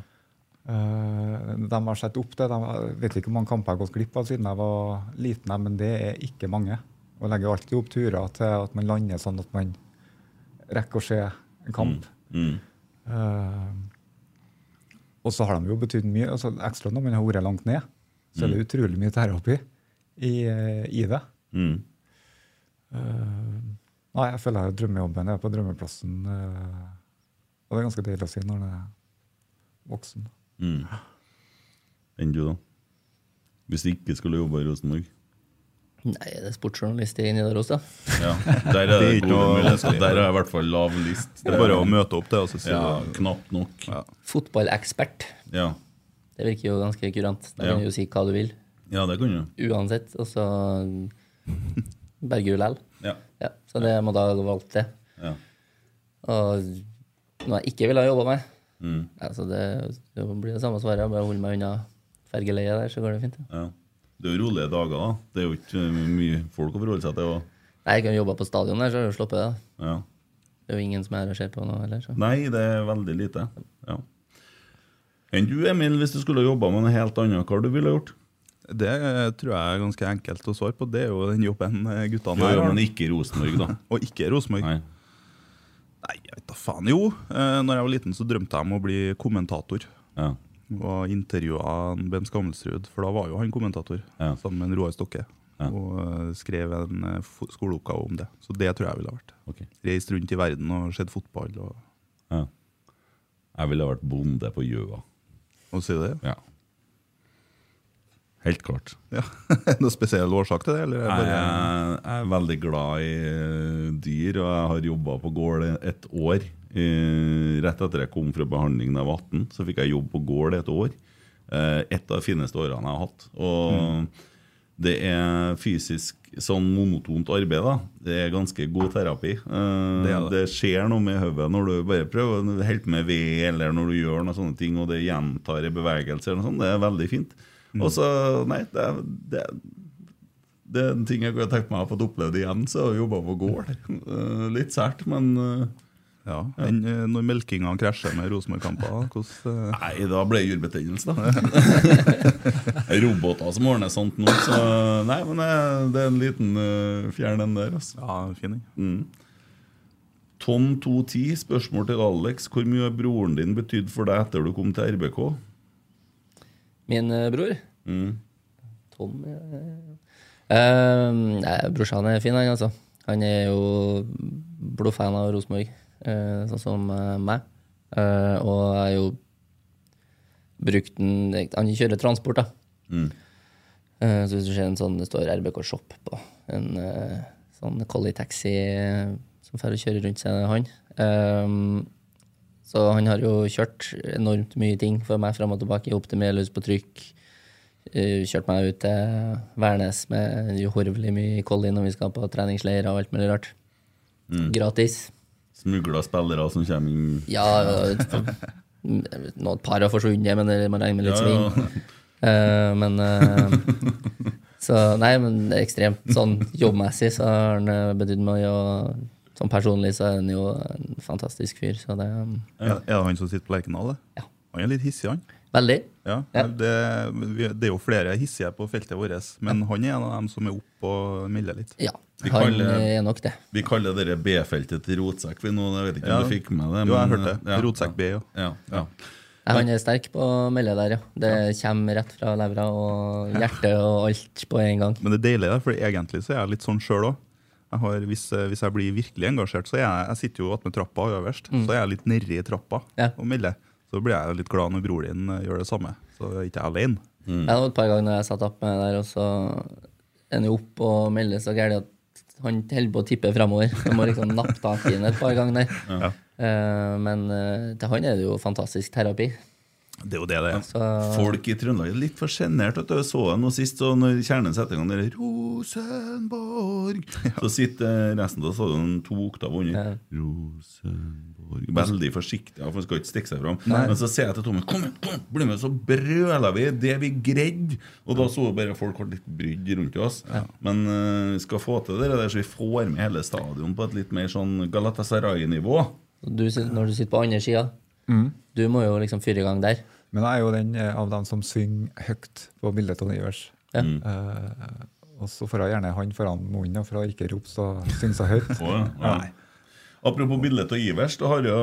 F: Eh, de har sett opp det. De jeg vet ikke hvor mange kamper jeg har gått glipp av siden jeg var liten, jeg, men det er ikke mange. Og jeg legger jo alltid opp turer til at man lander sånn at man rekker å se en kamp.
D: Mm.
F: Eh, og så har de jo betydd mye. altså Ekstra når man har vært langt ned, så er det utrolig mye terapi i, eh, i det. Eh,
D: Mm.
F: Nei, jeg føler jeg har drømmejobben. Jeg er på drømmeplassen. eh, og det er ganske deilig å si når man er voksen.
D: Mm. Enn du, da? Hvis du ikke skulle jobba i Rosenborg?
E: Nei, det er sportsjournalist i Nidaros, da.
D: Ja. Der, er det
C: Det er ikke
D: gode
C: noe
D: muligheter.
C: vanskelig.
D: Der har jeg i hvert fall lav list.
C: Det er bare å møte opp, det. og så sier
D: Ja,
C: du-
D: knapt nok.
C: Ja.
E: Fotballekspert.
D: Ja.
E: Det virker jo ganske kurant. Da kan
D: Ja.
E: du jo si hva du vil.
D: ja, det kan du.
E: Uansett. Og så berger du lell.
D: Ja.
E: Ja, så det må da ha valgt det.
D: Ja.
E: Og noe jeg ikke ville ha jobba med.
D: Mm.
E: Altså det, det blir det samme svaret. Bare hold meg unna fergeleiet der, så går det fint. Ja.
D: ja. Det er jo rolige dager, da. Det er jo ikke uh, mye folk å forholde seg til. Og,
E: Nei, jeg kan jobbe på stadion der, så har jeg jo sluppet det. da.
D: ja.
E: Det er jo ingen som er her og ser på nå heller. Så.
D: Nei, det er veldig lite. Ja. Enn du, Emil, hvis du skulle jobba med noe helt annet, hva du ville du gjort?
C: Det eh, tror jeg er ganske enkelt å svare på. Det er jo den jobben eh, guttene
D: Jo,
C: her
D: jo,
C: har.
D: men ikke i Rosenborg, da.
C: Og ikke Rosenborg.
D: Nei.
C: Nei, jeg vet da faen. Jo, eh, når jeg var liten, så drømte jeg om å bli kommentator.
D: Ja.
C: Og intervjua Ben Skammelsrud, for da var jo han kommentator
D: Ja.
C: sammen med Roar Stokke.
D: Ja.
C: Og eh, skrev en eh, fo- skoleoppgave om det. Så det tror jeg ville ha vært.
D: ok.
C: Reist rundt i verden og sett fotball. og,
D: Ja. Jeg ville vært bonde på Gjøa.
C: og si det.
D: Ja.
C: Helt klart.
D: Ja. Noen spesiell årsak til det? Eller er det
C: Jeg,
D: bare...
C: jeg er veldig glad i eh, dyr, og jeg har jobba på gård et år. Eh, Rett etter jeg kom fra behandling da jeg var 18, så fikk jeg jobb på gård et år. Eh, Et av de fineste årene jeg har hatt.
D: Mm.
C: Og det er fysisk sånn monotont arbeid. da. Det er ganske god terapi. Eh,
D: Det er det.
C: det skjer noe med hodet når du bare prøver å holde med ved, eller når du gjør noen sånne ting, og det gjentar en bevegelse. eller noe sånt. Det er veldig fint.
D: Mm.
C: Og så, nei, det, er- det, er- det er en ting jeg kunne tenkt meg å ha fått opplevd igjen, så har jeg jobba på gård. Eh, Litt sært, men eh,
D: Ja, enn eh, når melkinga krasjer med Rosenborg-kamper. Hvordan eh,
C: Nei, da ble det jurbetennelse, da. Roboter som ordner sånt nå, så Nei, men eh, det er en liten eh, fjern, den der, altså. Mm.
D: Ja, fin den.
C: Tom 210, spørsmål til Alex. Hvor mye har broren din betydd for deg etter du kom til RBK?
E: Min eh, bror.
C: Mm.
E: Tom ja, ja, ja. Eh, nei, Brorsan er fin, han, altså. Han er jo blodfan av Rosenborg, eh, sånn som eh, meg. Eh, og jeg har jo brukt den Han kjører transport, da. Eh, så hvis du ser en sånn, det står RBK Shop på en eh, sånn collie taxi eh, som får kjøre rundt seg, det er han. Eh, så han har jo kjørt enormt mye ting for meg fram og tilbake. Opp til Melhus på trykk. Eh, Kjørt meg ut til Værnes med uhorvelig mye collie når vi skal på treningsleirer og alt mulig rart.
C: Mm.
E: Gratis.
C: Smugla spillere som kommer inn
E: Ja, noen par har forsvunnet, men det må regne med litt
C: Ja,
E: sving.
C: ja.
E: Eh, men eh, Så nei, men det er ekstremt sånn jobbmessig så har han eh, betydd mye, og sånn personlig så er han jo en fantastisk fyr, så det um,
D: Er, er det han som sitter på Lerkendal? det?
E: Ja.
D: Han er litt hissig, han.
E: Veldig.
D: Ja,
E: Ja.
D: Det, vi- det er jo flere hissige på feltet vårt, men han er en av dem som er oppe og melder litt.
E: Ja.
C: Vi
E: Han
C: kaller-
E: eh, er nok det.
C: Vi kaller dere B-feltet til rotsekk. Vi nå, jeg vet ikke
D: Ja.
C: om du fikk med det?
D: Jo, jeg
C: men-
D: hørte det.
C: Ja,
D: Rotsekk B, ja.
C: Ja, ja.
E: Nei, han er sterk på å melde der, ja. Det kommer rett fra levra og hjertet og alt på en gang.
D: Men det deilige er, for egentlig så er jeg litt sånn sjøl òg. Hvis, eh, hvis jeg blir virkelig engasjert, så er jeg, jeg sitter jo attmed trappa øverst. Så er jeg litt nedi trappa
E: Ja.
D: og melder. Så blir jeg jo litt glad når bror din eh, gjør det samme. Så er jeg ikke alene.
C: Mm.
E: Jeg hadde et par ganger når jeg satt opp med det der, og så er han jo opp og melder så gærent at han holder på å tippe framover. Jeg må liksom nappe tak i ham et par ganger der. Eh, Men eh, til han er det jo fantastisk terapi.
D: Det er jo det det er.
E: Så
C: Folk i Trøndelag er litt for sjenerte. vet du. Jeg så henne nå sist, og når kjernen setter i gang der, Rosenborg Så sitter resten av stadion to oktaver under. Rosenborg Veldig forsiktig, ja, for han skal ikke stikke seg fram. Men så sier jeg til Tommy Kom igjen, kom, igjen, bli med! Så brøler vi det vi greide! Og da så bare folk ble litt brydd rundt oss. Men eh, vi skal få til det der, så vi får med hele stadion på et litt mer sånn Galatasaray-nivå.
E: du, sit- når du sitter på andre sida, du må jo liksom fyre i gang der.
F: Men jeg er jo den eh, av dem som synger høyt på bildet av Nivers.
E: Ja.
F: Eh, og så får jeg gjerne han foran munnen, da, for å ikke rope så synger så høyt.
C: Å, ja. Apropos bildet av Ivers, da har, jo,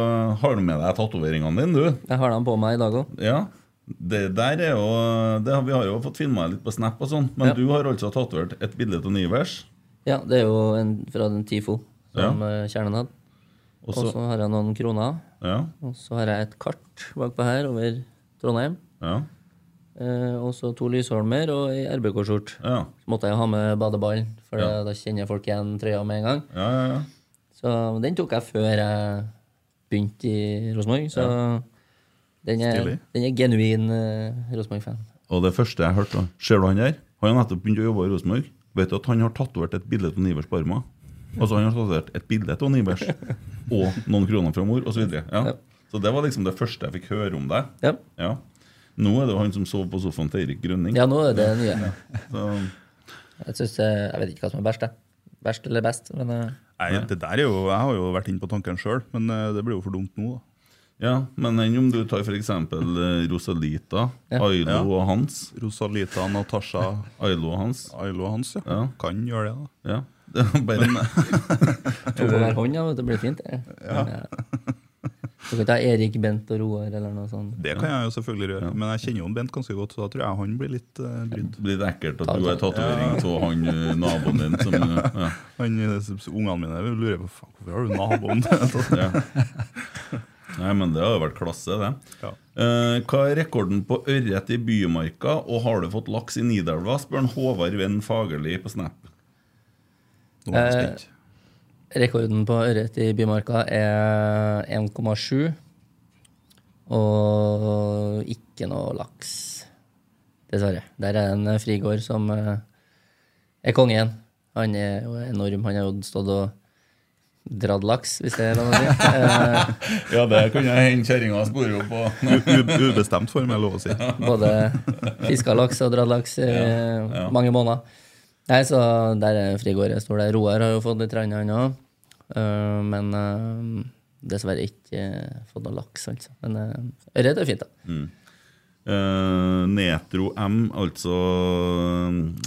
C: har du med deg tatoveringene dine, du.
E: Jeg har dem på meg i dag òg.
C: Ja. Det der er jo det har, Vi har jo fått filma litt på Snap, og sånn men
E: Ja.
C: du har altså tatovert et bilde av Nivers.
E: Ja, det er jo en, fra den TIFO som
C: Ja.
E: eh, kjernen hadde.
C: Og
E: Og
C: så-
E: så har jeg noen kroner.
C: Ja,
E: Og så har jeg et kart bakpå her over Trondheim.
C: ja,
E: Eh, og så to lysholmer og ei RBK-skjort.
C: ja,
E: Så måtte jeg ha med badeballen, for
C: Ja.
E: da kjenner folk igjen trøya med en gang.
C: ja, ja, ja.
E: Så den tok jeg før jeg begynte i Rosenborg. Så den, er,
D: Stilig.
E: den er genuin eh, Rosenborg-fan.
C: Og det første jeg hørte, da, ser du han der? Han har nettopp begynt å jobbe i Rosenborg. Vet du at han har tatovert et bilde av Nivers på armen? Altså, han har tatovert et bilde av Nivers og noen kroner fra mor, osv. Ja.
E: Ja.
C: Så det var liksom det første jeg fikk høre om deg.
E: Ja.
C: Ja. Nå er det jo han som sov på sofaen til Eirik Grønning.
E: ja, nå er det nye.
C: Så,
E: Jeg, synes, eh, jeg vet ikke hva som er verst, jeg. Verst eller best, men eh,
D: Nei, det der er jo, Jeg har jo vært inne på tanken sjøl, men eh, det blir jo for dumt nå. da.
C: ja, men enn om du tar f.eks. Rosalita,
E: Ja.
C: Ailo
D: Ja.
C: og Hans.
D: Rosalita, Natasha,
C: Ailo og Hans.
D: Ailo og Hans, ja.
C: Ja.
D: Kan gjøre det, da.
C: Ja. Det er bare
E: to på hver hånd, ja, vet du, det blir fint. det. Ja. Du kan ta Erik, Bent og Roar eller noe sånt.
D: Det kan jeg jo selvfølgelig gjøre, men jeg kjenner jo Bent ganske godt, så da tror jeg han blir litt eh, brydd.
C: blir det ekkelt at du har tatovering av han eh, naboen din som eh, ja.
D: Han, eh, s- s- Ungene mine lurer på "Faen, hvorfor har du naboen.
C: Ja. Nei, men det har jo vært klasse, det.
D: Ja.
C: Eh, hva er rekorden på ørret i Bymarka, og har du fått laks i Nidelva? spør han Håvard Venn Fagerli på Snap.
D: Nå er jeg spent.
E: Rekorden på ørret i Bymarka er 1,7. Og ikke noe laks, dessverre. Der er det en frigård som eh, er konge igjen. Han er jo enorm. Han har jo stått og dratt laks, hvis det er lov å si. Eh,
C: Ja, det kunne hende kjerringa sporer jo på.
D: U- u- Ubestemt form, er lov å si.
E: Både fiska laks og dratt laks i mange måneder. Nei, så der er Frigård jeg står der. Roar har jo fått litt rann, han òg. men eh, dessverre ikke eh, fått noe laks, altså. Men eh, ørret er fint, da.
C: Eh, Netro M, altså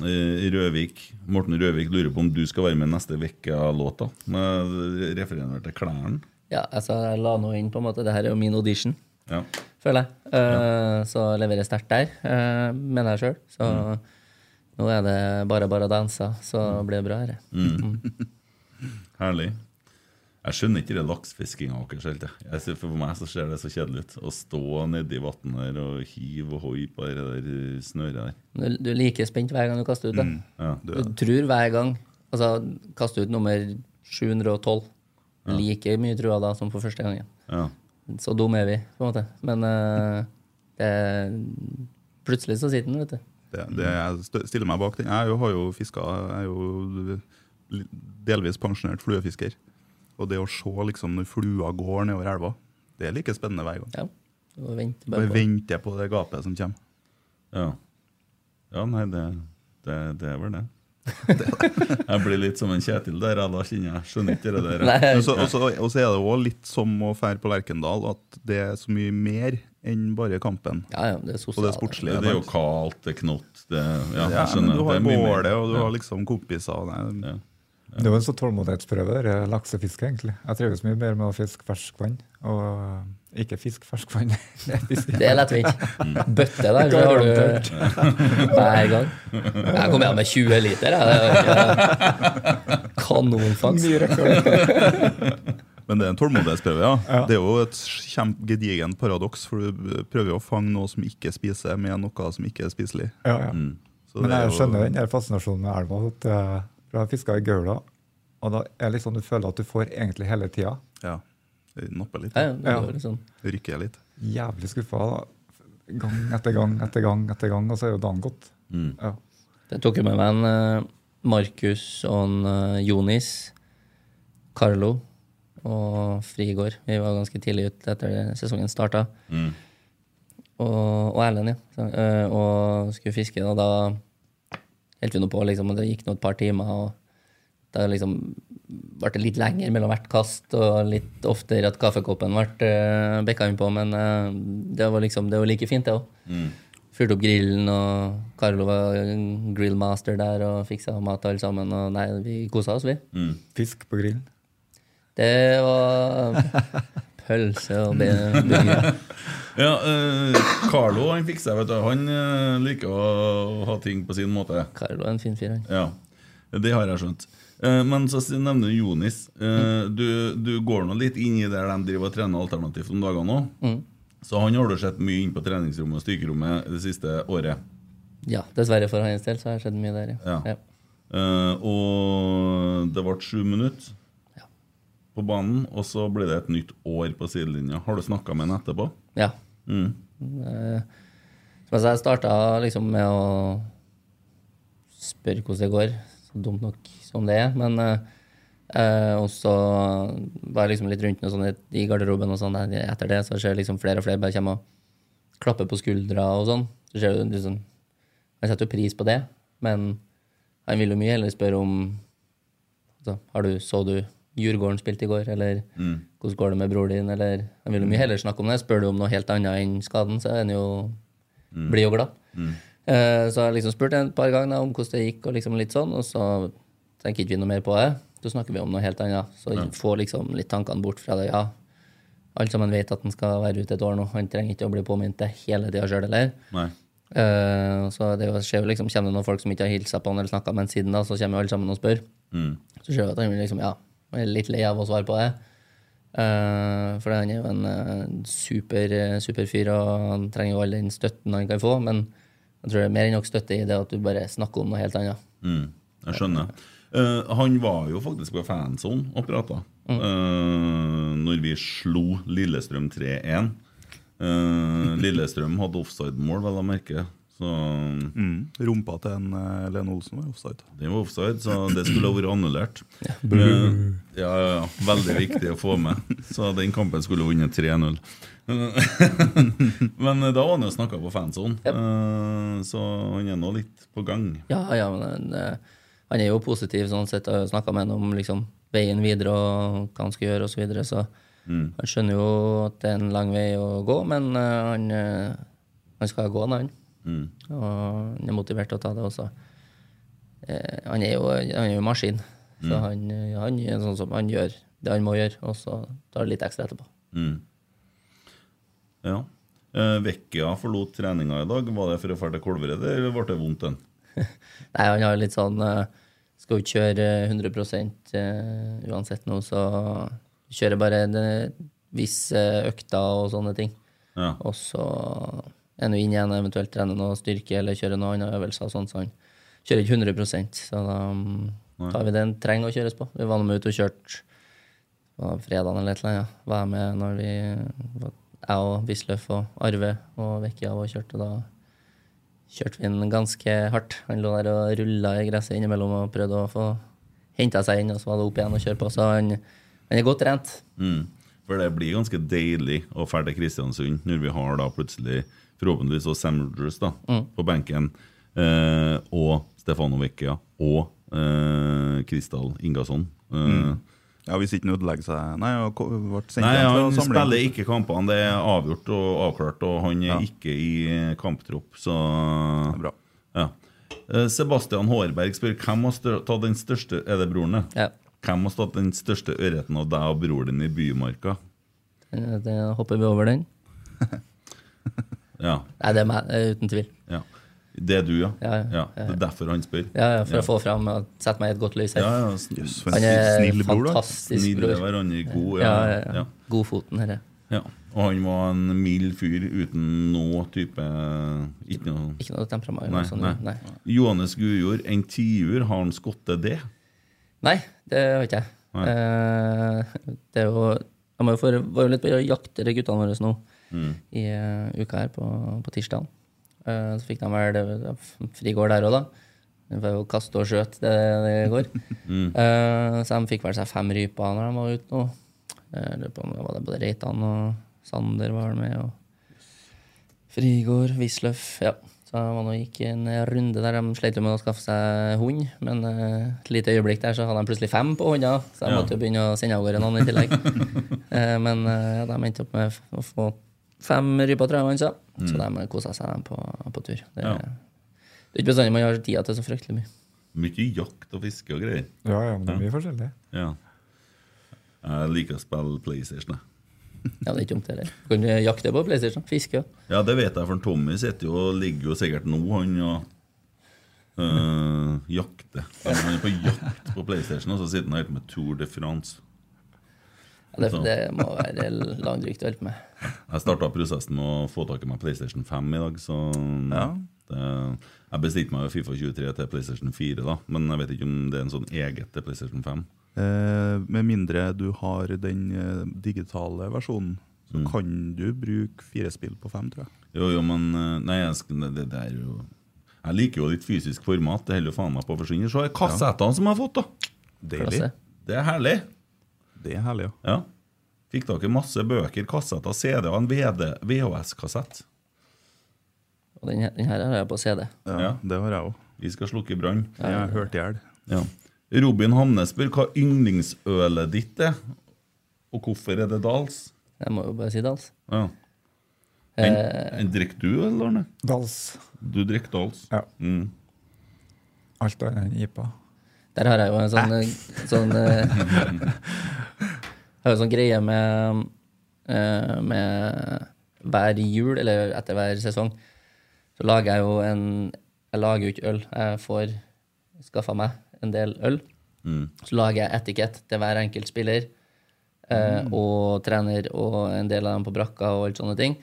C: eh, Røvik. Morten Røvik lurer på om du skal være med neste uke av låta. Eh, Refererer vel til klærne.
E: Ja, altså, jeg la nå inn på en måte. Det her er jo min audition,
C: Ja.
E: føler jeg. Eh, Så leverer jeg sterkt der, eh, mener jeg sjøl. Så nå er det bare bare å danse, så blir det bra. Her.
C: Herlig. Jeg skjønner ikke det laksefiskinga deres helt. jeg. Jeg ser- For meg så ser det så kjedelig ut. Å stå nedi vannet der og hive og hoi på det der eh, snøret der.
E: Du, du er like spent hver gang du kaster ut,
D: Mm.
E: da.
C: Ja.
E: Du tror hver gang Altså, kaste ut nummer 712. Like mye trua da som på første gangen.
C: Ja.
E: Så dum er vi, på en måte. Men eh, det, plutselig så sitter den, vet du.
D: Det, det, jeg stø- stiller meg bak den. Jeg er jo- har jo fiska Jeg er jo li- delvis pensjonert fluefisker. Og det å se liksom når flua går nedover elva, det er like spennende hver gang.
E: Ja. Og venter bare
D: Bare
E: på.
D: venter på det gapet som kommer.
C: Ja, ja nei, det, det, det er vel det. jeg blir litt som en Kjetil der, jeg, da kjenner jeg. Skjønner ikke det der. jeg.
E: Nei,
D: Men så- Og så og så er det òg litt som å fære på Lerkendal, at det er så mye mer enn bare kampen.
E: ja, ja,
D: Og
E: det er
D: det
E: sosialt.
D: sportslige.
C: Det, det er jo kaldt, det er knott det, Ja,
D: Ja,
C: jeg
D: men
C: skjønner.
D: du har
C: det er mye mer.
D: bålet, og du har liksom kompiser. og det er-
C: Ja.
F: Det er jo en sånn tålmodighetsprøve, det der laksefiske, egentlig. Jeg trives mye bedre med å fiske ferskvann, og eh, ikke fiske ferskvann. Fiske-
E: Det er lettvint. Bøtte der, så har du hver gang. Jeg kom hjem med 20 liter, jeg. Det er jo Kanonfangst.
F: Ny rekord.
D: Men det er en tålmodighetsprøve, ja. Det er jo et kjempe- gedigent paradoks, for du prøver jo å fange noe som ikke spiser, med noe som ikke er spiselig.
F: Ja, ja.
D: Så
F: Men
D: det er
F: jeg
D: jo-
F: skjønner den der fascinasjonen med elva. At eh, for jeg har fiska i Gaula, og da er det liksom du føler at du får egentlig hele tida.
D: Ja. Jeg Napper litt.
E: Ja, ja, det er jo
F: Ja.
E: litt sånn.
D: Rykker litt.
F: Jævlig skuffa. da. Gang etter gang etter gang, etter gang, og så er jo dagen gått. Ja.
E: Det tok jo med meg en eh, Markus og en eh, Jonis, Carlo og Frigård. Vi var ganske tidlig ute etter det sesongen starta. Og, og Erlend, ja. Så, eh, og skulle fiske, og da holdt vi nå på, liksom, og det gikk nå et par timer. og da liksom ble det litt lenger mellom hvert kast, og litt oftere at kaffekoppen ble uh, bekka innpå, men eh, det var liksom, det var like fint, det òg. Fyrte opp grillen, og Carlo var grillmaster der og fiksa mat alle sammen. Og nei, vi kosa oss, vi.
F: Fisk på grillen.
E: Det var pølse og be- burger.
C: Ja, eh, Carlo han fikk seg, vet du. Han eh, liker å ha ting på sin måte.
E: Carlo er en fin fyr, han.
C: Ja, det har jeg skjønt. Eh, Men så s- nevner du Jonis. Eh, Du, du går nå litt inn i der de driver og trener alternativt om dagene nå. Så han har du sett mye inn på treningsrommet og styrkerommet det siste året.
E: Ja, dessverre for hans del, så har det skjedd mye der, ja.
C: Ja. Eh, Og det ble sju minutter
E: Ja.
C: på banen, og så ble det et nytt år på sidelinja. Har du snakka med han etterpå?
E: ja. Eh, Som jeg sa, jeg starta liksom med å spørre hvordan det går. Så dumt nok som det er. Men eh, eh, og så var jeg liksom litt rundt noe sånt i garderoben, og sånn der. etter det så ser jeg liksom flere og flere bare kommer og klapper på skuldra og sånn. Så ser du liksom Jeg setter jo pris på det, men han vil jo mye heller spørre om altså, har du, Så du Djurgården spilte i går, eller hvordan går det med bror din, eller Han vil jo mye heller snakke om det. Spør du om noe helt annet enn skaden, så er han jo blir jo glad. Eh, så har jeg liksom spurt en par ganger om hvordan det gikk, og liksom litt sånn, og så tenker ikke vi noe mer på det. Så snakker vi om noe helt annet. Så får liksom litt tankene bort fra det. Ja, alle sammen vet at han skal være ute et år nå. Han trenger ikke å bli påminnet det hele tida sjøl heller.
C: Nei.
E: Eh, så det jo- skjer jo liksom, kommer det noen folk som ikke har hilsa på han eller snakka med han siden, da, så kommer jo alle sammen og spør. Så ser du at han blir liksom, ja, han er litt lei av å svare på det. Eh, for han er jo en eh, super, eh, super fyr, og han trenger jo all den støtten han kan få. Men jeg tror det er mer enn nok støtte i det at du bare snakker om noe helt annet.
C: Mm, jeg skjønner. Eh, han var jo faktisk på fansonen og prata når vi slo Lillestrøm 3-1. Eh, Lillestrøm hadde offside-mål, vel å merke. Så
D: Mm. Rumpa til en eh, Lene Olsen var offside.
C: det var offside, så det skulle ha vært annullert. Eh, ja, ja, ja. Veldig viktig å få med. Så den kampen skulle ha vunnet 3-0. Men eh, da var han jo snakka på fansonen,
E: Yep.
C: Eh, så han er nå litt på gang.
E: Ja, ja, men han, eh, han er jo positiv sånn sett. Jeg har snakka med han om liksom, veien videre og hva han skal gjøre osv. Så, videre, så han skjønner jo at det er en lang vei å gå, men eh, han, eh, han skal gå, han.
C: Mm.
E: Og han er motivert til å ta det også. Eh, han er jo han er jo en maskin, så han, eh, han er sånn som han gjør det han må gjøre, og så tar det litt ekstra etterpå.
C: Mm. Ja. Eh, Vecchia forlot treninga i dag. Var det for å dra til Kolvereid, eller ble det vondt? den?
E: Nei, han har litt sånn eh, Skal jo ikke kjøre eh, 100 eh, uansett nå, så kjører bare en eh, viss eh, økter og sånne ting.
C: Ja.
E: Og så er han jo inn igjen og eventuelt trener noe styrke eller kjører noen andre øvelser. og sånn, Så han kjører ikke 100 så da mm, tar vi det han trenger å kjøres på. Vi var nå med ut og kjørte på fredagen eller et eller annet. Ja. Var med når vi Jeg og Wisløff og Arve og Vekkia var og kjørte. Da kjørte vi inn ganske hardt. Han lå der og rulla i gresset innimellom og prøvde å få henta seg inn, og så var det opp igjen og kjøre på. Så han, han er godt trent.
C: Mm. For det blir ganske deilig å dra til Kristiansund når vi har da plutselig forhåpentligvis og Sam Rogers da, på benken, eh, og Stefano Vecchia og eh, Kristal Ingasson. Eh,
D: Mm. Ja, Hvis ikke han ødelegger seg Nei, han ko- ble sendt
C: Nei,
D: hjem til
C: han
D: samling.
C: spiller ikke kampene. Det er avgjort og avklart, og han er
D: Ja.
C: ikke i eh, kamptropp, så
D: Det er Bra.
C: Ja. Eh, Sebastian Hårberg spør hvem har stør- tatt den største Er det broren, det?
E: Ja.
C: Hvem har tatt den største ørreten av deg og bror din i Bymarka?
E: Eh, Det hopper vi over den.
C: Ja.
E: Nei, det er meg, eh, uten tvil.
C: ja. Det er du, ja?
E: Ja, ja.
C: Det er derfor han spør?
E: Ja, ja, for å få fram og sette meg i et godt lys her.
C: Ja, ja. sn-
D: Jøss, for
E: Han
D: en
E: er
D: snill bror, da.
E: fantastisk
C: Snille
E: bror.
C: hverandre god.
E: Ja,
C: Ja,
E: ja, ja. Godfoten, herre.
C: ja. Og han var en mild fyr uten noe type Ikke noe
E: Ikke noe temperament.
C: Nei,
E: Nei, sånn,
C: nei.
E: nei.
C: Johannes Gujord, en tiur, har han skottet det?
E: nei, det har ikke jeg.
C: Nei.
E: Eh, det er jo Jeg må jo få var jo litt på jakt etter guttene våre nå
C: Mm.
E: i eh, uka her, på, på tirsdag. så fikk de vel det var frigård der òg, da. Det var jo kaste og skjøte det det går.
C: Mm.
E: Eh, så de fikk vel seg fem ryper når de var ute nå. Eh, Jeg lurer på om det var det både Reitan og Sander var med. og Frigård, Wisløff, ja. Så man gikk en runde der de slet jo med å skaffe seg hund, men eh, et lite øyeblikk der så hadde de plutselig fem på hånda, så de
C: Ja.
E: måtte jo begynne å sende av gårde noen i tillegg. Eh, men eh, de endte opp med f- å få fem ryper, tror jeg man sa, så de kosa seg dem på, på tur. Det,
C: Mm. Ja.
E: det er ikke bestandig man har tida til så fryktelig mye.
C: Mye jakt og fiske og greier.
F: Ja, ja, men det er mye forskjellig.
C: Ja. Jeg liker å spille PlayStation. jeg.
E: Ja, det er ikke dumt, heller. Du kan jakte på PlayStation, fiske. ja.
C: Ja, det vet jeg, for Tommy sitter jo og ligger jo sikkert nå, han og øh, jakter. Han er på jakt på PlayStation, og så sitter han helt med Tour de France.
E: Ja, det,
C: Så.
E: det må være langdrygt å hjelpe med.
C: Jeg starta prosessen med å få tak i meg PlayStation 5 i dag, så
D: Ja.
C: det, Jeg bestilte meg jo Fifa 23 til PlayStation 4, da, men jeg vet ikke om det er en sånn eget til PlayStation 5.
D: Eh, med mindre du har den eh, digitale versjonen, så kan du bruke fire spill på fem, tror jeg.
C: Jo, jo, men øh, Nei, jeg, sk- det, det, det er jo Jeg liker jo litt fysisk format, det holder jo faen meg på å forsvinne. Se kassettene som jeg har fått, da!
D: Deilig.
E: Klasse.
C: Det er herlig.
D: Det er herlig, ja.
C: Ja. Fikk dere masse bøker, kassetter, CD og en VD VHS-kassett.
E: Og den, her- den her har jeg på CD.
D: ja,
C: Ja.
D: Det har jeg òg.
C: Vi skal slukke brann.
D: Jeg har hørt i hjel.
C: Ja. Robin Hamne spør hva yndlingsølet ditt er, og hvorfor er det Dals?
E: Jeg må jo bare si det, altså.
C: Ja. En,
G: Eh.
C: en drikker du, eller, Arne?
F: Dals.
C: Du drikker Dals.
F: Ja.
C: Mm.
F: Alt annet enn IPA.
E: Der har jeg jo en sånn, eh, sånn eh, Jeg har jo sånn greie med, eh, med hver jul, eller etter hver sesong, så lager jeg jo en Jeg lager jo ikke øl. Jeg får skaffa meg en del øl. Så lager jeg etikett til hver enkelt spiller. eh, eh, og trener og en del av dem på brakka og alt sånne ting,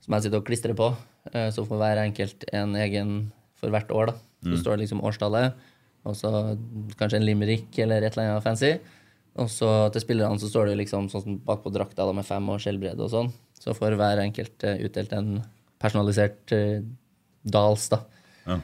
E: som jeg sitter og klistrer på. Eh, så får hver enkelt en egen for hvert år, da. Så står det liksom årstallet, og så kanskje en limerick eller et eller annet fancy. Og så til spillerne så står det liksom sånn som bakpå drakta da, med fem og skjellbredde og sånn. Så får hver enkelt eh, utdelt en personalisert eh, dals, da. Eh,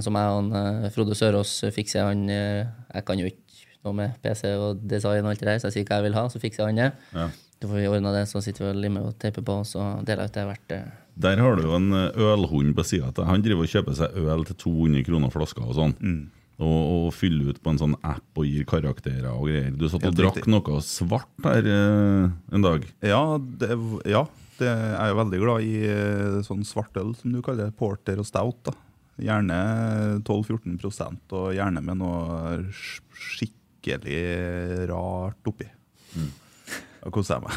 E: som jeg og han, eh, Frode Sørås fikser. Han, eh, jeg kan jo ikke noe med PC og design og alt det der, så jeg sier hva jeg vil ha, så fikser han det.
C: Ja.
E: Så får vi ordna det, så sitter vi og limer og teiper på, og så deler jeg ut det hvert eh,
C: Der har du jo en eh, ølhund på sida av deg. Han driver og kjøper seg øl til 200 kroner flaska og sånn.
G: Mm.
C: Og, og fyller ut på en sånn app og gir karakterer og greier. Du satt og
G: Helt
C: drakk
G: riktig.
C: noe svart her eh, en dag.
G: Ja, det, ja det, jeg er jo veldig glad i eh, sånn svartøl, som du kaller det. Porter og stout. da. Gjerne 12-14 prosent, og gjerne med noe sk- skikkelig rart oppi.
D: Mm.
G: Da koser jeg meg.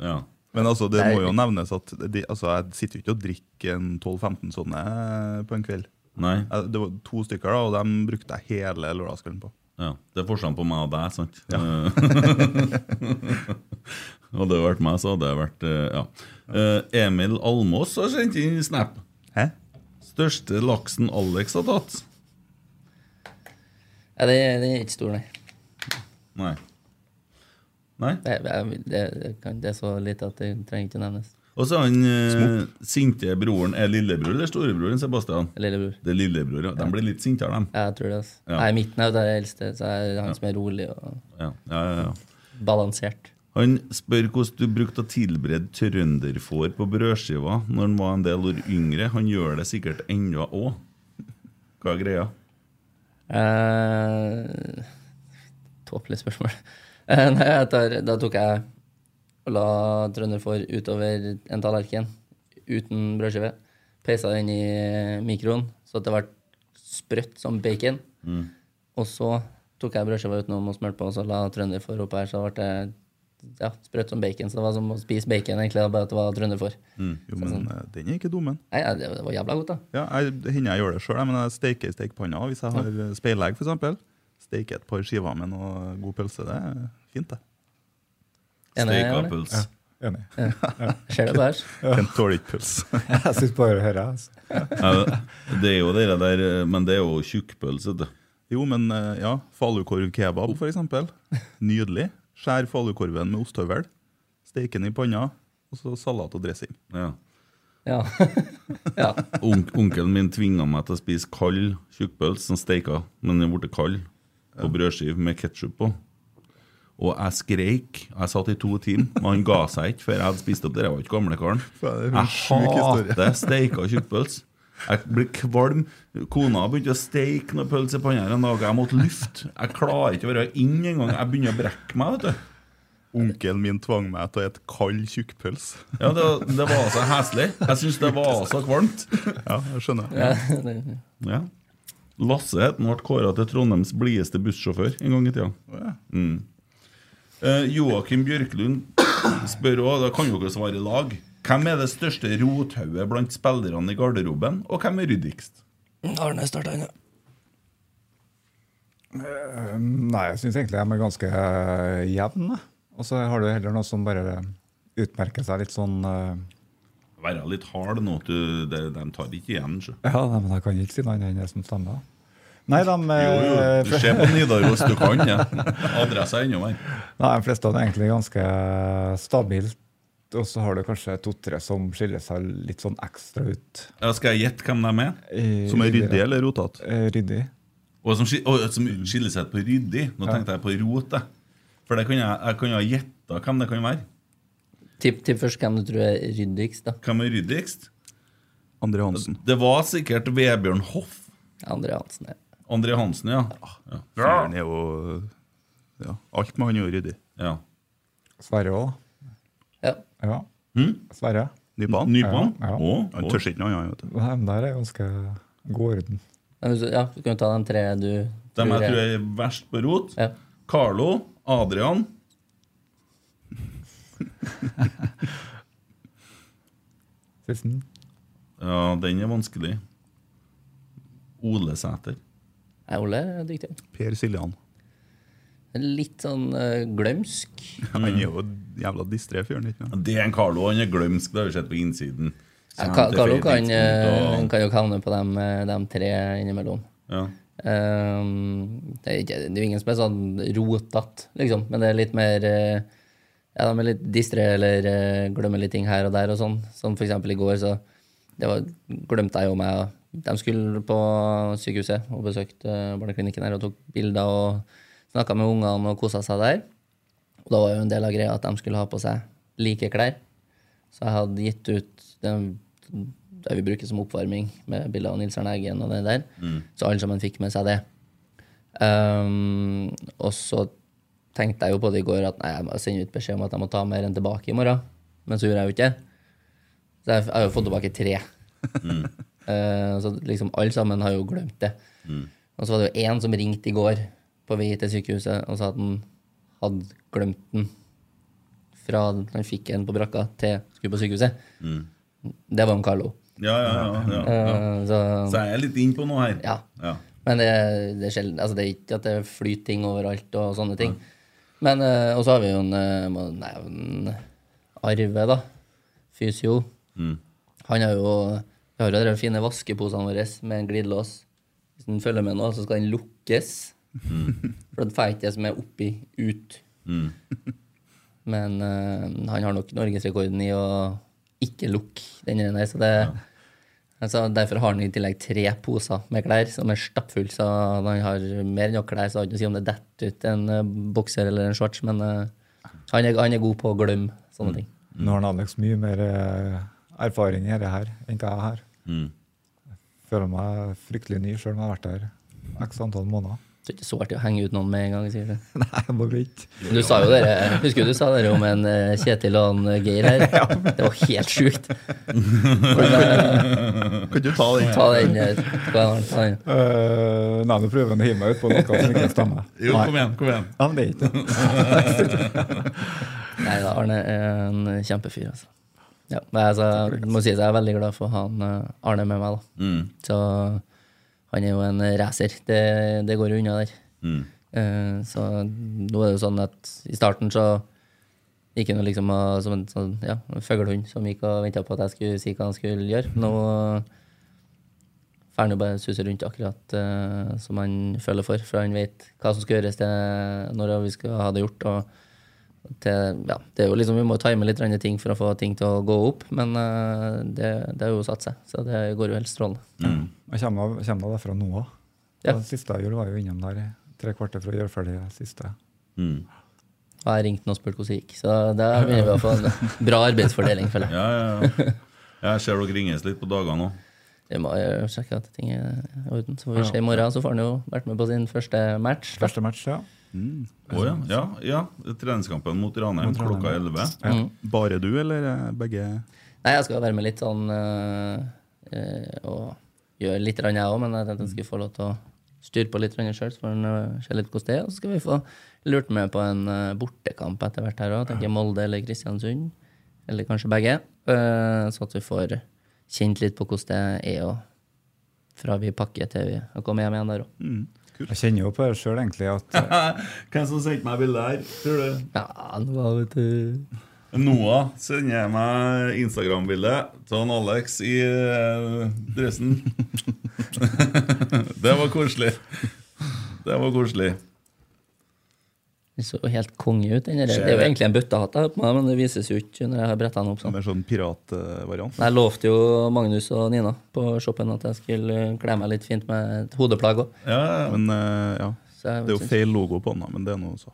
C: Ja.
G: Men altså, det
E: Nei.
G: må jo nevnes at de, altså, jeg sitter jo ikke og drikker en 12-15 sånne eh, på en kveld.
C: Nei.
G: Jeg- Det var to stykker, da, og dem brukte jeg hele lørdagskvelden på.
C: Ja. Det er forskjellen på meg og deg, sant? Eh, hadde det vært meg, så hadde det vært eh, Ja. Eh, Emil Almås har sendt inn snap.
G: Hæ?
C: Største laksen Alex har tatt.
E: Ja, det, det er ikke stor, nei.
C: Nei. Nei.
E: Det, det, det, kan, det er så lite at det trenger ikke å nevnes.
C: Og så er han eh, sinte broren Er lillebror eller storebroren Sebastian?
E: Lillebror.
C: Det er lillebror, ja. De blir litt sintere, dem.
E: Ja, Jeg tror det. altså.
C: Ja.
E: Jeg er midten av det eldste, så jeg er han som er rolig og
C: Ja. Ja, ja, ja.
E: balansert.
C: Han spør hvordan du brukte å tilberede trønderfår på brødskiva når han var en del år yngre. Han gjør det sikkert ennå òg. Hva er greia?
E: Eh, Tåpelig spørsmål. Eh, nei, jeg tar, da tok jeg og la trønderfår utover en tallerken uten brødskive. Peisa den i mikroen så at det ble sprøtt som bacon. Og så tok jeg brødskiva utenom og smurte på, og så la trønderfår oppå her. Så ble det ja, sprøtt som bacon. Så det var som å spise bacon, egentlig, da, bare at det var trønderfår.
C: Mm.
G: Jo,
C: Sånn.
G: men eh, den er ikke dum, den.
E: Nei, ja, det det var jævla godt, da.
G: Ja, jeg, det hender jeg gjør det sjøl, men jeg steker i stekepanna hvis jeg har eh, speilegg. For eksempel. Steker et par skiver med noe god pølse. Det er fint, det.
E: Enig, Arne?
C: Stekeappels.
F: Enig.
E: Ser du det her?
G: En tåler ikke pølse.
F: Jeg sitter bare og hører. Altså.
C: Ja, det er jo det der, eh, men det er jo tjukkpølse. vet du.
G: Jo, men eh, ja, falukorv kebab, for eksempel. Nydelig. Skjær falukorven med ostehøvel, steik den i panna, og så salat og dressing.
C: Ja.
E: Ja. ja.
C: Onk, onkelen min tvinga meg til å spise kald tjukkpølse som steika, men den ble kald, på brødskive med ketsjup på. Og jeg skreik. Jeg satt i to timer, og han ga seg ikke før jeg hadde spist opp det. Jeg var ikke gamlekaren.
G: Faen, det er en sjuk
C: Jeg
G: historie.
C: hater steika tjukkpølse. Jeg blir kvalm. Kona begynte å steike noe pølse i panna her en dag. Jeg måtte lufte. Jeg klarer ikke å være inn engang. Jeg begynner å brekke meg. vet du
G: Onkelen min tvang meg til å spise kald tjukkpølse.
C: ja, det, det var så heslig. Jeg syns det var så kvalmt.
G: Ja, jeg skjønner.
E: det-
C: Ja. Lasse het han ble kåra til Trondheims blideste bussjåfør en gang i tida. Mm. Eh, Joakim Bjørklund spør òg, da kan jo dere svare i lag. Hvem er det største rothauget blant spillerne i garderoben, og hvem er ryddigst?
E: Arne starta ennå.
F: Nei, jeg syns egentlig de er ganske eh, jevne. Og så har du heller noe som bare utmerker seg litt sånn eh,
C: Være litt hard nå, du, de, de tar ikke igjen. sjø.
F: Ja, nei, men jeg kan ikke si noe annet enn det som stemmer. Nei, de,
C: Jo, jo,
F: eh,
C: du ser på Nidaros, du kan ja. Adressa er enda mer.
F: Nei, de fleste er egentlig ganske stabilt. Og så har du kanskje to-tre som skiller seg litt sånn ekstra ut.
C: Ja, skal jeg gjette hvem de er?
F: I-
G: Som er ryddig eller rotete?
F: Eh, Ryddig.
C: Og som, skil- og som
F: Mm.
C: skiller seg ut på ryddig. Nå tenkte jeg på rot. jeg. For det kan jeg, jeg kan jo ha gjetta hvem det kan være.
E: Tipp, tipp først hvem du tror er ryddigst, da.
C: Hvem er ryddigst?
G: André Hansen.
C: Det var sikkert Vebjørn Hoff.
E: André Hansen. ja.
C: André Hansen, ja.
F: Ah,
C: ja.
G: Fyren er jo ja, Alt med han er jo ryddig.
C: ja.
F: Sverre òg.
E: Ja.
F: Ja. Sverre.
G: Nypan.
C: Nypan?
F: Ja, ja.
C: Å,
G: Han
C: å.
G: tør ikke noe annet. vet du.
F: Nei, men der er ganske god orden.
E: Men hvis du- ja, du kan jo ta de tre du
C: Dem jeg tror er verst på rot.
E: Ja.
C: Carlo. Adrian.
F: Sisten.
C: Ja, den er vanskelig. Ole Sæter.
E: Er Ole er dyktig.
G: Per Siljan.
E: Litt sånn eh, glømsk.
D: Han er jo jævla distré fyren. ikke sant?
C: Det er en Carlo, han er glømsk, det har vi sett på innsiden.
E: Ja,
C: Så
E: Ka-
C: han til
E: Carlo kan,
C: Fredriksen,
E: eh, kan jo havne på dem, eh, dem tre innimellom.
C: og- ja.
E: Ehm, det, er ikke, det er jo ingen som er sånn rotete, liksom, men det er litt mer eh, Ja, de er litt distré eller eh, glemmer litt ting her og der og sånn. Som for eksempel i går, så det var, glemte jeg jo meg. og De skulle på sykehuset og besøkte eh, barneklinikken her og tok bilder og snakka med ungene og kosa seg der. Og da var jo en del av greia at de skulle ha på seg like klær. Så jeg hadde gitt ut den, det vi bruker som oppvarming, med bilder av Nils Arne Eggen og det der. Så alle sammen fikk med seg det. Ehm, og så tenkte jeg jo på det i går at nei, jeg må sende ut beskjed om at jeg må ta mer enn tilbake i morgen. Men så gjorde jeg jo ikke det. Så jeg f- jeg har jo fått tilbake tre. Eh, så liksom alle sammen har jo glemt det. Og så var det jo én som ringte i går på vei til sykehuset og sa at han hadde glemt den fra han fikk en på brakka til skulle på sykehuset. Det var om Carlo.
C: Ja, ja, ja, ja, ja.
E: Eh, så-
C: Så jeg er litt innpå noe her.
E: Ja.
C: Ja.
E: Men det, det, er sjelden, altså det er ikke at det flyter ting overalt og sånne ting. Men, eh, og så har vi jo en, eh, må nevne Arve, da. Fysio. Han har jo Vi har jo de fine vaskeposene våre med en glidelås. Hvis han følger med nå, så skal den lukkes. For den får ikke det som er oppi, ut. Men eh, han har nok norgesrekorden i å ikke lukke den der, så det Altså, derfor har han i tillegg tre poser med klær som er stappfulle. Så når han har mer enn nok klær, så har han ikke å si om det detter ut en eh, bokser eller en shorts. Men eh, han, er, han er god på å glemme sånne ting.
F: Nå har Alex mye mer eh, erfaring i dette her enn hva jeg har. Jeg føler meg fryktelig ny, selv om jeg har vært her x antall måneder.
E: Så det er ikke så artig å henge ut noen med en gang. sier du.
F: Nei, jeg må vente.
E: Du sa jo dere, Husker du du sa dere om en eh, Kjetil og en eh, Geir her? Det var helt sjukt.
D: Kan du ta den?
E: Ta den. eh, hva var det han sa?
F: Eh, nei, nå prøver han å hive meg ut på noe som ikke stemmer.
C: Jo, kom igjen, kom igjen.
F: Ja, men det er ikke det.
E: Nei da, Arne er en kjempefyr, altså. Ja, men altså, jeg må si at jeg er veldig glad for å ha han, eh, Arne med meg, da. Så han er jo en racer. Det, det går jo unna der. Eh, så nå er det jo sånn at i starten så gikk han jo liksom og- som en sånn, ja, en fuglehund som gikk og venta på at jeg skulle si hva han skulle gjøre. Nå får han jo bare suse rundt akkurat eh, som han føler for, for han vet hva som skal gjøres til når vi skal ha det gjort. og til, ja, det er jo liksom, vi må time litt grann ting for å få ting til å gå opp, men eh, det, det har jo satt seg. Så det går jo helt strålende.
F: Jeg kommer, av- kommer derfra nå òg.
E: Ja.
F: Det siste jeg gjorde, var jo innom der i tre kvarter for å gjøre ferdig det siste.
C: Mm.
E: Og jeg ringte han og spurte hvordan det gikk, så da begynner vi å få en bra arbeidsfordeling, føler jeg.
C: Ja, ja, ja. Jeg ser dere ringes litt på dagene òg.
E: Vi må jo sjekke at ting er i orden. Så får vi se i morgen, så får han jo vært med på sin første match. da.
F: Første match, ja.
C: Å ja. ja, ja. Treningskampen mot Ranheim
F: Mot Ranheim.
C: klokka 11.
D: Bare du, eller eh, begge?
E: Nei, jeg skal være med litt sånn eh, eh, og gjøre litt rann jeg òg, men jeg tenkte jeg skulle få lov til å styre på litt sjøl, så får han eh, se litt hvordan det er. Og så skal vi få lurt med på en eh, bortekamp etter hvert her òg. Tenker Molde eller Kristiansund, eller kanskje begge. Eh, så at vi får kjent litt på hvordan det er og fra vi pakker til vi har kommet hjem igjen der òg.
F: Jeg kjenner jo på det sjøl, egentlig, at eh,
C: Hvem som sendte meg bildet her? Tror du?
E: Ja, nå var eh, vet du
C: Noah sender meg Instagram-bilde av han Alex i eh, dressen. det var koselig. Det var koselig.
E: Det så jo helt konge ut. Den der.
C: Ser
E: Det er jo
C: det.
E: egentlig en bøttehatt jeg har på meg, men det vises jo ikke når jeg har bretta den opp sånn.
D: Mer sånn piratvariant?
E: Jeg lovte jo Magnus og Nina på shoppen at jeg skulle eh, kle meg litt fint med et hodeplagg òg.
C: Ja, ja, ja.
D: Men eh, ja.
E: Det
D: Det er jo feil logo på den, da, men det er noe så.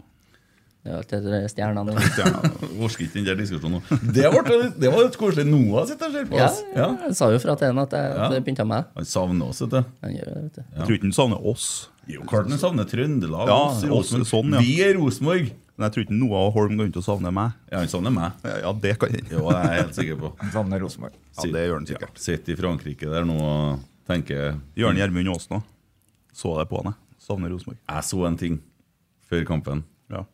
E: Det er alltid det der stjernene. og-
C: Orker ikke den der diskusjonen nå. Det, ble litt- det var litt koselig. Noah sitter og ser på
E: Ja,
C: oss. Ja.
E: ja, jeg sa jo fra til henne at jeg at det pynta meg.
C: Han savner oss, vet du.
E: Han gjør det, vet du.
D: Jeg tror ikke den savner oss.
C: Jo, klart han savner Trøndelag.
D: Ja,
C: oss,
D: oss,
C: Rosenborg.
D: sånn, ja.
C: Vi er Rosenborg.
D: Men jeg tror ikke Noah og Holm går rundt og savner meg.
C: Ja, han savner meg.
D: Ja, ja, det kan jeg.
C: Jo, det er jeg helt sikker på.
F: han savner Rosenborg.
D: Ja, det gjør han sikkert.
C: Sitter i Frankrike der nå og tenker
D: Gjør han Gjermund Aas nå? Så det på han, jeg. Savner Rosenborg.
C: Jeg så en ting før kampen.
D: Ja.